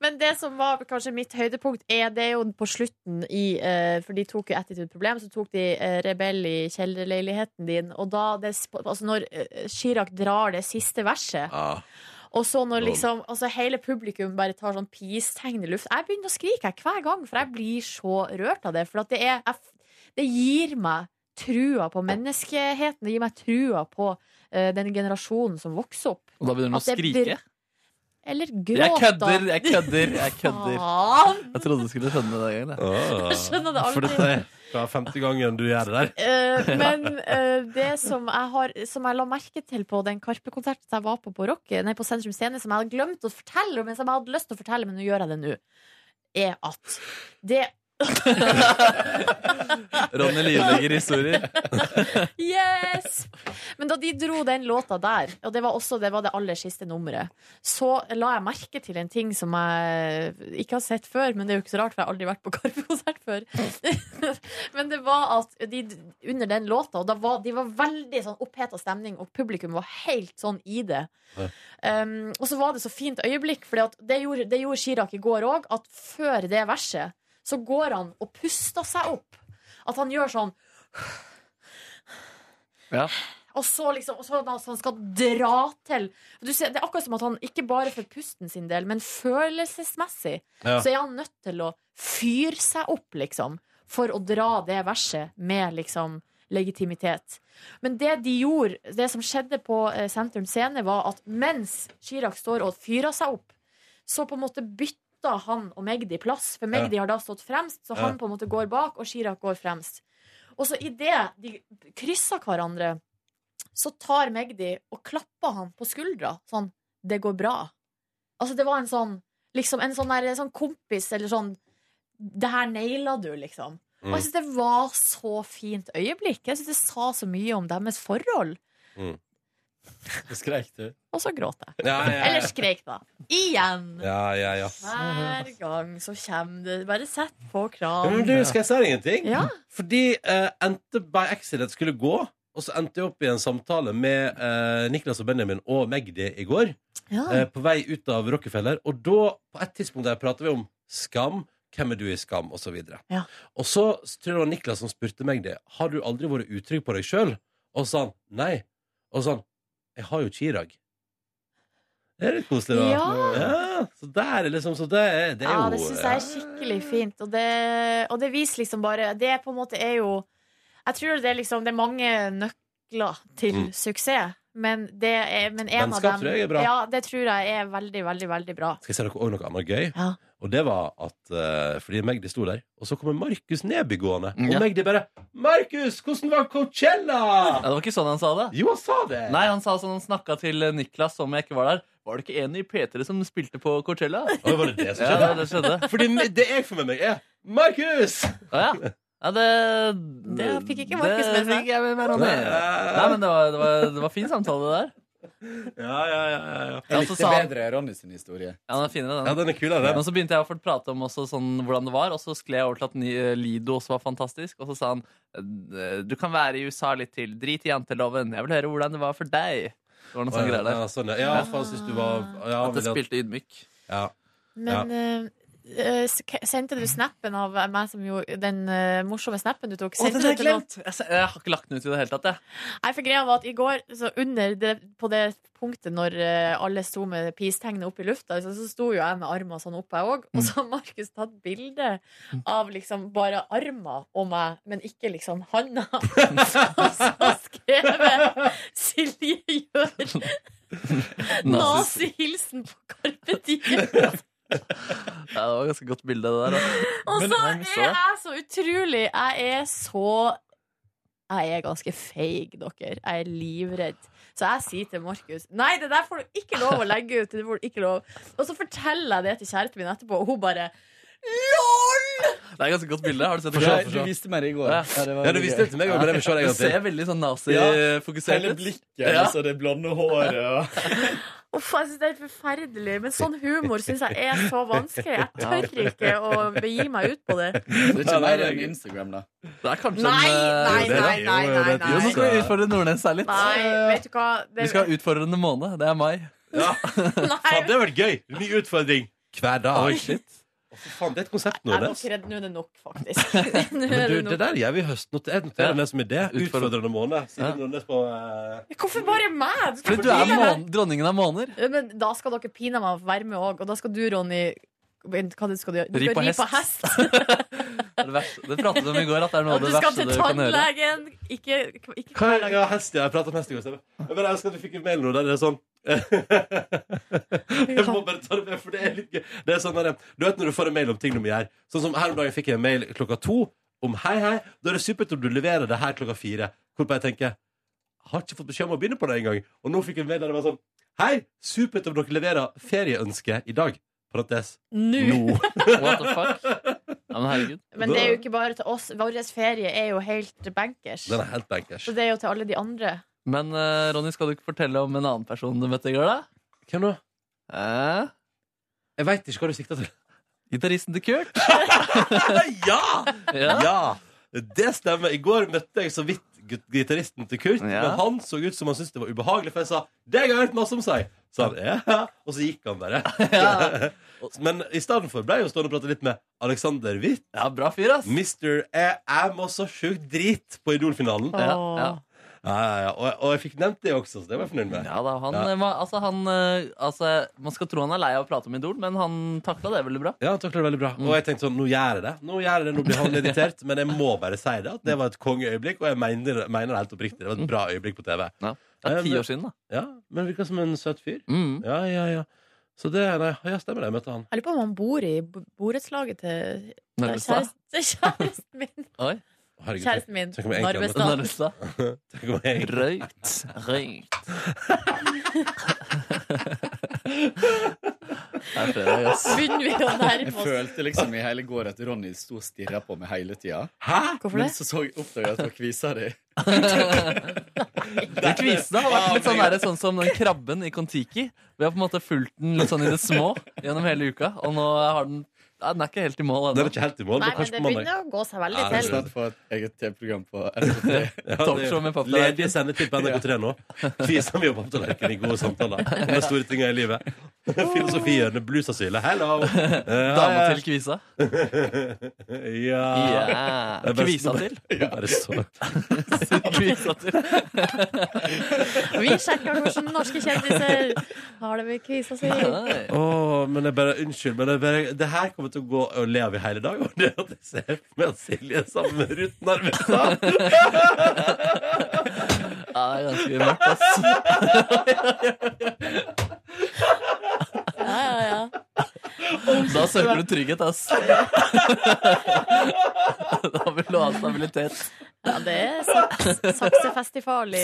[SPEAKER 3] Men det som var kanskje mitt høydepunkt, er det er jo på slutten i eh, For de tok jo Attitude Problem, så tok de eh, Rebell i kjellerleiligheten din. Og da det, sp- altså når eh, Chirag drar det siste verset
[SPEAKER 2] Ah.
[SPEAKER 3] Og så når
[SPEAKER 15] Lol.
[SPEAKER 3] liksom altså hele publikum bare tar sånn peace-tegn i luft Jeg begynner å skrike jeg, hver gang, for jeg blir så rørt av det. For at det, er, jeg, f- det gir meg trua på menneskeheten. Det gir meg trua på eh, den generasjonen som vokser opp.
[SPEAKER 4] Og da begynner han å
[SPEAKER 3] At det
[SPEAKER 4] skrike?
[SPEAKER 3] br- Eller gråte.
[SPEAKER 4] Jeg kødder, jeg kødder, jeg kødder.
[SPEAKER 3] Faen!
[SPEAKER 4] Jeg trodde du skulle skjønne det den gangen.
[SPEAKER 2] Ah.
[SPEAKER 3] Jeg skjønner det
[SPEAKER 2] For
[SPEAKER 3] aldri.
[SPEAKER 2] dette er fra femte gangen du gjør det der.
[SPEAKER 3] Eh, men eh, det som jeg, har, som jeg la merke til på den Karpe-konserten jeg var på på, rock, nei, på Sentrum Scene, som jeg hadde glemt å fortelle, men som jeg hadde lyst til å fortelle, men nå gjør jeg det nå, er at det
[SPEAKER 4] Ronny livlegger historier.
[SPEAKER 3] Yes! Men da de dro den låta der, og det var også det, var det aller siste nummeret, så la jeg merke til en ting som jeg ikke har sett før, men det er jo ikke så rart, for jeg har aldri vært på Karpe-konsert før. men det var at de, under den låta, og da var, de var veldig sånn oppheta stemning, og publikum var helt sånn i det. Um, og så var det så fint øyeblikk, for det, gjorde- det gjorde Chirag i går òg, at før det verset så går han og puster seg opp. At han gjør sånn
[SPEAKER 4] Ja.
[SPEAKER 3] Og så liksom og så at han skal dra til du ser, Det er akkurat som at han ikke bare for pusten sin del, men følelsesmessig
[SPEAKER 15] Ja.
[SPEAKER 3] så er han nødt til å fyre seg opp, liksom, for å dra det verset med liksom legitimitet. Men det de gjorde, det som skjedde på eh, Sentrum Scene, var at mens Chirag står og fyrer seg opp, så på en måte bytta han og Magdi plass, for Magdi
[SPEAKER 15] Ja.
[SPEAKER 3] har da stått fremst, så
[SPEAKER 15] Ja.
[SPEAKER 3] han på en måte går bak, og Chirag går fremst. Og så idet de krysser hverandre, så tar Magdi og klapper han på skuldra, sånn 'det går bra'. Altså, det var en sånn liksom en sånn, der, sånn kompis eller sånn Det her naila du, liksom.
[SPEAKER 2] Mm.
[SPEAKER 3] Og jeg syns det var så fint øyeblikk. Jeg syns det sa så mye om deres forhold.
[SPEAKER 2] Mm.
[SPEAKER 14] Skreik du?
[SPEAKER 3] Og så gråt jeg.
[SPEAKER 2] Ja, ja, ja.
[SPEAKER 3] Eller skreik, da. Igjen!
[SPEAKER 2] Ja, ja, ja.
[SPEAKER 3] Hver gang så kommer det Bare sett på
[SPEAKER 2] Ja,
[SPEAKER 3] kranen.
[SPEAKER 2] men du, skal jeg si deg ingenting?
[SPEAKER 3] Ja.
[SPEAKER 2] Fordi eh, endte by accident skulle gå, og så endte jeg opp i en samtale med eh, Niklas og Benjamin og Magdi i går.
[SPEAKER 3] Ja.
[SPEAKER 2] eh, på vei ut av Rockefeller. Og da, på et tidspunkt der prater vi om skam. Hvem er du i Skam? Og så videre.
[SPEAKER 3] Ja.
[SPEAKER 2] Og så tror jeg det var Niklas som spurte meg det. Har du aldri vært utrygg på deg sjøl? Og så sa han nei. Og så sa han jeg har jo Chirag. Det er litt koselig, da.
[SPEAKER 3] Ja.
[SPEAKER 2] så der er liksom, så det, er- det er jo eh,
[SPEAKER 3] ja, det syns jeg er skikkelig fint. Og det, og det viser liksom bare Det er på en måte er jo Jeg tror det er liksom Det er mange nøkler til
[SPEAKER 2] Mm.
[SPEAKER 3] suksess, men, det er, men en
[SPEAKER 2] Vennskap
[SPEAKER 3] av dem
[SPEAKER 2] tror jeg er bra.
[SPEAKER 3] Ja, det tror jeg er veldig, veldig, veldig bra.
[SPEAKER 2] Skal jeg si dere også noe annet gøy? Og det var at eh, Fordi Magdi sto der, og så kommer Markus Neby gående. Og
[SPEAKER 4] Ja.
[SPEAKER 2] Magdi bare 'Markus, hvordan var Coachella?'
[SPEAKER 4] Ja, det var ikke sånn han sa det.
[SPEAKER 2] Jo, han sa det.
[SPEAKER 4] Nei, han sa sånn han snakka til Niklas som jeg ikke var der. Var det ikke en i P3 som spilte på Coachella?
[SPEAKER 2] Oi, var det det som
[SPEAKER 4] Ja,
[SPEAKER 2] skjedde?
[SPEAKER 4] det var det som skjedde.
[SPEAKER 2] Fordi me- det jeg får med meg, er Markus!
[SPEAKER 4] Ja, ja. ja det,
[SPEAKER 3] Det fikk ikke Markus
[SPEAKER 4] det
[SPEAKER 3] med seg.
[SPEAKER 4] fikk jeg med meg, Ronny. Nei, men det var, det, var, det var fin samtale, det der.
[SPEAKER 2] Ja, ja, ja, ja.
[SPEAKER 14] Jeg
[SPEAKER 4] så
[SPEAKER 14] likte
[SPEAKER 4] sa han-
[SPEAKER 14] bedre Ronny sin historie.
[SPEAKER 4] Ja, den er finere, den.
[SPEAKER 2] Ja, den er kulere, den.
[SPEAKER 4] Men så begynte jeg å få prate om også sånn hvordan det var, og så skled jeg over til at ni- Lido også var fantastisk. Og så sa han "Eh, du kan være i USA litt til, drit i janteloven, jeg vil høre hvordan det var for deg. Det var noen
[SPEAKER 2] Å,
[SPEAKER 4] sånne
[SPEAKER 2] ja,
[SPEAKER 4] greier der.
[SPEAKER 2] ja, sånn, ja. Ja, for han synes du var- ja,
[SPEAKER 4] At jeg
[SPEAKER 2] veldig-
[SPEAKER 4] spilte ydmyk.
[SPEAKER 2] Ja.
[SPEAKER 3] Men eh, eh, sk- sendte du snappen av meg som jo Den eh, morsomme snappen du tok?
[SPEAKER 4] Å, den
[SPEAKER 3] Sendte
[SPEAKER 4] har
[SPEAKER 3] du
[SPEAKER 4] jeg
[SPEAKER 3] til noen?
[SPEAKER 4] glemt! Jeg, jeg har ikke lagt den ut i det hele tatt, jeg.
[SPEAKER 3] Nei, for greia var at i går, så under det, på det punktet når eh, alle sto med peace-tegnet opp i lufta, så, så sto jo jeg med armer sånn oppe, jeg
[SPEAKER 4] Mm.
[SPEAKER 3] òg. Og så har Markus tatt bilde av liksom bare armer og meg, men ikke liksom handa. og så skrevet Silje gjør nazihilsen på Carpe Diem.
[SPEAKER 4] Ja, det var et ganske godt bilde, det der. da.
[SPEAKER 3] Og
[SPEAKER 4] Men-
[SPEAKER 3] så
[SPEAKER 4] Nei,
[SPEAKER 3] er
[SPEAKER 4] men
[SPEAKER 3] jeg så utrolig Jeg er så Jeg er ganske feig, dere. Jeg er livredd. Så jeg sier til Markus Nei, det der får du ikke lov å legge ut. Det får du ikke lov. Og så forteller jeg det til kjæresten min etterpå, og hun bare LOL!
[SPEAKER 4] Det er et ganske godt bilde. Har du sett
[SPEAKER 14] Ja,
[SPEAKER 4] det?
[SPEAKER 14] du viste meg det i går. Ja,
[SPEAKER 4] Ja,
[SPEAKER 14] det var veldig
[SPEAKER 4] Ja, du viste
[SPEAKER 14] gøy.
[SPEAKER 4] det til meg, men jeg vil se det en gang til. Det ser veldig sånn nazifokusert
[SPEAKER 14] Hele
[SPEAKER 4] ut.
[SPEAKER 14] blikket,
[SPEAKER 4] Ja.
[SPEAKER 14] altså det blonde håret. og-
[SPEAKER 3] Uff, jeg syns det er helt forferdelig. Men sånn humor syns jeg er så vanskelig. Jeg tør ikke å begi meg ut på det.
[SPEAKER 14] Det er
[SPEAKER 4] Ja,
[SPEAKER 14] ikke
[SPEAKER 4] nei,
[SPEAKER 14] mer
[SPEAKER 4] det er
[SPEAKER 14] enn
[SPEAKER 4] gøy.
[SPEAKER 14] Instagram, da.
[SPEAKER 4] Det er kanskje
[SPEAKER 3] Nei, nei,
[SPEAKER 4] en eh,
[SPEAKER 3] nei, nei, nei, nei.
[SPEAKER 4] Jo, nå skal vi utfordre Nordnes her litt.
[SPEAKER 3] Nei, vet du hva
[SPEAKER 4] Vi skal ha utfordrende måned. Det er mai.
[SPEAKER 2] Faen, det har vært gøy! Ny utfordring hver dag.
[SPEAKER 4] Oi, shit.
[SPEAKER 2] Å, for faen, det er et konsept nå,
[SPEAKER 3] Jeg er
[SPEAKER 2] det.
[SPEAKER 3] nok redd. Nå er det nok, faktisk.
[SPEAKER 2] Men
[SPEAKER 3] Nå er
[SPEAKER 2] du,
[SPEAKER 3] det
[SPEAKER 2] det
[SPEAKER 3] nok.
[SPEAKER 2] der gjør vi i høst. Jeg noterer det som idé. Utfordrende måned. Silje Nordnes på eh,
[SPEAKER 3] Hvorfor bare meg?
[SPEAKER 4] For du er mån dronningen av måneder.
[SPEAKER 3] Ja, Men da skal dere pina meg være med òg, og da skal du, Ronny Vent, Hva er det du skal gjøre? Du
[SPEAKER 4] Ri
[SPEAKER 3] skal
[SPEAKER 4] på
[SPEAKER 3] ri
[SPEAKER 4] hest.
[SPEAKER 3] på hest.
[SPEAKER 4] Det, er det, verste. det pratet vi om i går, at det er noe
[SPEAKER 3] Og
[SPEAKER 4] av
[SPEAKER 3] du
[SPEAKER 4] det
[SPEAKER 3] skal
[SPEAKER 4] verste
[SPEAKER 3] til
[SPEAKER 4] du kan gjøre.
[SPEAKER 3] tannlegen. Ikke, ikke
[SPEAKER 2] Hva er ja, hest? Ja, jeg pratet om hest i går. stemmer. Jeg bare elsker at vi fikk en mail nå der det er sånn Jeg må bare ta det med, for det er litt gøy. Det er sånn der, du vet når du får en mail om ting du må gjøre. Sånn som Her om dagen fikk jeg en mail klokka to om hei, hei. Da er det supert om du leverer det her klokka fire. Hvorpå jeg tenker har ikke fått beskjed om å begynne på det engang. Og nå fikk jeg en mail der det var sånn Hei, supert om dere leverer ferieønske i dag. Parentes.
[SPEAKER 3] Nå.
[SPEAKER 4] What the fuck? Ja, men herregud.
[SPEAKER 3] Men det er jo ikke bare til oss. Vår ferie er jo helt bankers.
[SPEAKER 4] Den er helt bankers.
[SPEAKER 3] Så det er jo til alle de andre.
[SPEAKER 4] Men eh, Ronny, skal du ikke fortelle om en annen person du møtte i går, da?
[SPEAKER 2] Hvem da?
[SPEAKER 4] Eh?
[SPEAKER 2] Jeg veit ikke hva du sikta til.
[SPEAKER 4] Gitaristen til Kurt.
[SPEAKER 2] Ah, ja!
[SPEAKER 4] Ja.
[SPEAKER 2] ja! Det stemmer. I går møtte jeg så vidt gut- gitaristen til Kurt, men han så ut som han syntes det var ubehagelig, for jeg sa 'det har jeg hørt masse om seg'. Så han, ja. Og så gikk han bare. Men i stedet for ble jeg jo stående og prate litt med Alexander Witt.
[SPEAKER 4] Ja, bra fyr, ass
[SPEAKER 2] Mister Jeg jeg må så sjukt drit på Idol-finalen.
[SPEAKER 4] Ja, ja.
[SPEAKER 2] Ja, ja, ja. Og, og jeg fikk nevnt det også, så det var jeg fornøyd med.
[SPEAKER 4] Ja da, Han, eh, ma- Altså, han eh, altså, Man skal tro han er lei av å prate om Idol, men han takla det veldig bra.
[SPEAKER 2] Ja, han takler det veldig bra. Og jeg tenkte sånn, nå gjør jeg det. Nå gjør jeg det, nå blir han irritert. Men jeg må bare si det, at det var et kongeøyeblikk, og jeg mener, mener det helt oppriktig. Det var et bra øyeblikk på TV.
[SPEAKER 4] Det Mm. er ti
[SPEAKER 2] Eh,
[SPEAKER 4] år siden, da.
[SPEAKER 2] Ja, men virka som en søt fyr. Ja, ja, ja. Så det nei, ja, stemmer det. Jeg møtte han.
[SPEAKER 3] Jeg lurer på om han bor i b- borettslaget til
[SPEAKER 2] Narvestad?
[SPEAKER 3] kjæresten, til kjæresten min.
[SPEAKER 4] Oi.
[SPEAKER 2] Herregud,
[SPEAKER 3] Kjæresten min,
[SPEAKER 2] tenk om jeg egentlig hadde-
[SPEAKER 4] Narvestad.
[SPEAKER 2] Tenk om jeg egentlig-
[SPEAKER 4] Røykt. Røykt.
[SPEAKER 14] Her er fredag, ass.
[SPEAKER 8] Begynner vi å nærme
[SPEAKER 14] Jeg
[SPEAKER 8] oss.
[SPEAKER 14] følte liksom i hele går at Ronny sto og stirra på meg hele tida.
[SPEAKER 8] Hvorfor
[SPEAKER 14] Men
[SPEAKER 8] det?
[SPEAKER 14] så, så jeg- oppdaga jeg at det var kvisa di.
[SPEAKER 4] De kvisene har vært litt sånn, der, sånn som den krabben i Kon-Tiki. Vi har på en måte fulgt den litt sånn i det små gjennom hele uka, og nå har den Nei, Den er ikke helt i mål ennå.
[SPEAKER 2] Den er ikke helt i mål,
[SPEAKER 3] Nei, men det begynner å gå seg veldig
[SPEAKER 14] Jeg
[SPEAKER 3] til.
[SPEAKER 14] snart få et eget TV-program på NRK3.
[SPEAKER 2] Talkshow med papptallerken. Ledige sendetid på NRK3 nå. Kviser vi jo papptallerken i gode samtaler om de store tinga i livet. Filosofihjørnet, bluesasylet, hello! Eh,
[SPEAKER 4] Dama til kvisa.
[SPEAKER 2] Ja
[SPEAKER 4] Ja.
[SPEAKER 2] Det er best-
[SPEAKER 4] Kvisa til.
[SPEAKER 2] Ja, Bare så
[SPEAKER 4] Kvisa til.
[SPEAKER 3] Vi sjekker hvordan norske kjendiser har det med kvisa si.
[SPEAKER 2] Åh, men jeg bare, unnskyld, men jeg bare, det her kommer til å gå og le av i hele dag. Og det at jeg ser for meg at Silje er sammen med Ruth Narvestad.
[SPEAKER 4] Ja, det er ganske mørkt, ass.
[SPEAKER 3] Ja, ja, ja.
[SPEAKER 4] Da søker du trygghet, ass. Da vil du ha stabilitet.
[SPEAKER 3] Ja, det er saks, saksefestival i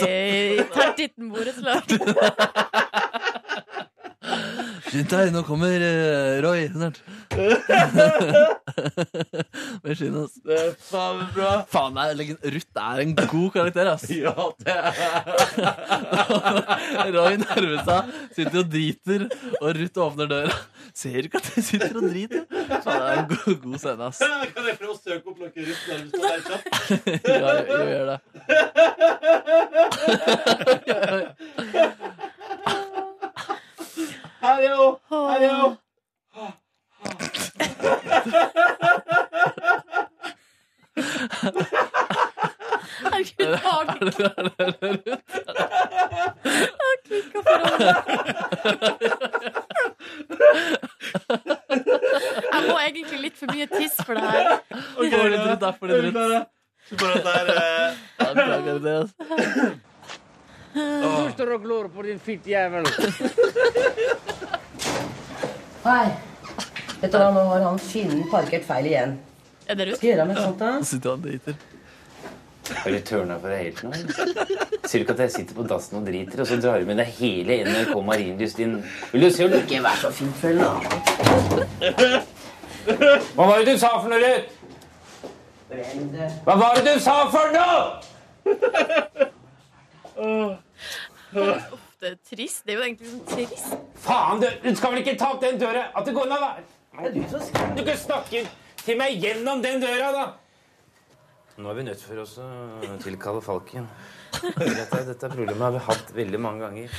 [SPEAKER 3] Tertitten borettslag.
[SPEAKER 4] Skynd deg, nå kommer eh, Roy snart. Men skynd oss.
[SPEAKER 2] Det er faen bra.
[SPEAKER 4] Faen, det er legend- Ruth er en god karakter, ass.
[SPEAKER 2] Ja, det
[SPEAKER 4] er Roy Narvestad sitter og driter, og Ruth åpner døra. Ser du ikke at jeg sitter og driter? Faen, det er en god, god scene, ass.
[SPEAKER 2] Kan jeg prøve å søke opp noe Ruth Narvestad der kjapt?
[SPEAKER 4] Ja, jo, gjør det.
[SPEAKER 2] Hallo! Hallo!
[SPEAKER 3] Herregud, har du
[SPEAKER 4] Er det- er det Ruth?
[SPEAKER 3] klikka for hånda? Jeg må egentlig litt for mye tiss for det her.
[SPEAKER 4] Ok, det er litt dritt, derfor det er dritt. Ja, bra, Gaute, ass.
[SPEAKER 15] Du står og glor på din fittjævel.
[SPEAKER 16] Hei. Vet du hva, nå har han finnen parkert feil igjen.
[SPEAKER 3] Er det
[SPEAKER 16] Skal jeg gjøre med sånt, da?
[SPEAKER 4] Nå sitter han og driter.
[SPEAKER 17] Er du tørna for deg helt nå? eller? Ser du ikke at jeg sitter på dassen og driter, og så drar du med deg hele NRK Marienlyst inn? Vil du se om du ikke er så fin før nå? Hva var det du sa for noe, Ruth? Hva var det du sa for noe?!
[SPEAKER 3] Uff, Det er trist. Det er jo egentlig sånn trist.
[SPEAKER 17] Faen, du, du skal vel ikke ta opp den døra? At det går an å være Hva er det du som skriver? Du ikke snakker til meg gjennom den døra, da! Nå er vi nødt for oss å tilkalle Falken. Dette, dette problemet har vi hatt veldig mange ganger.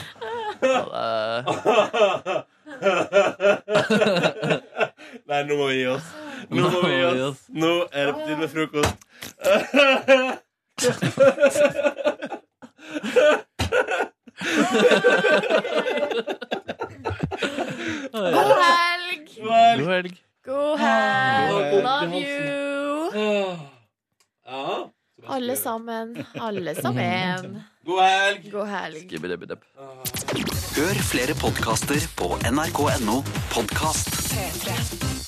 [SPEAKER 2] Nei, nå må vi gi oss. Nå må vi gi oss. Nå er det på tide med frokost.
[SPEAKER 3] God helg!
[SPEAKER 4] God helg.
[SPEAKER 3] God Ah. helg. Love you. Alle sammen. Alle sammen.
[SPEAKER 2] God helg.
[SPEAKER 3] God helg.
[SPEAKER 18] Hør flere podkaster på nrk.no podkast.
[SPEAKER 12] P3.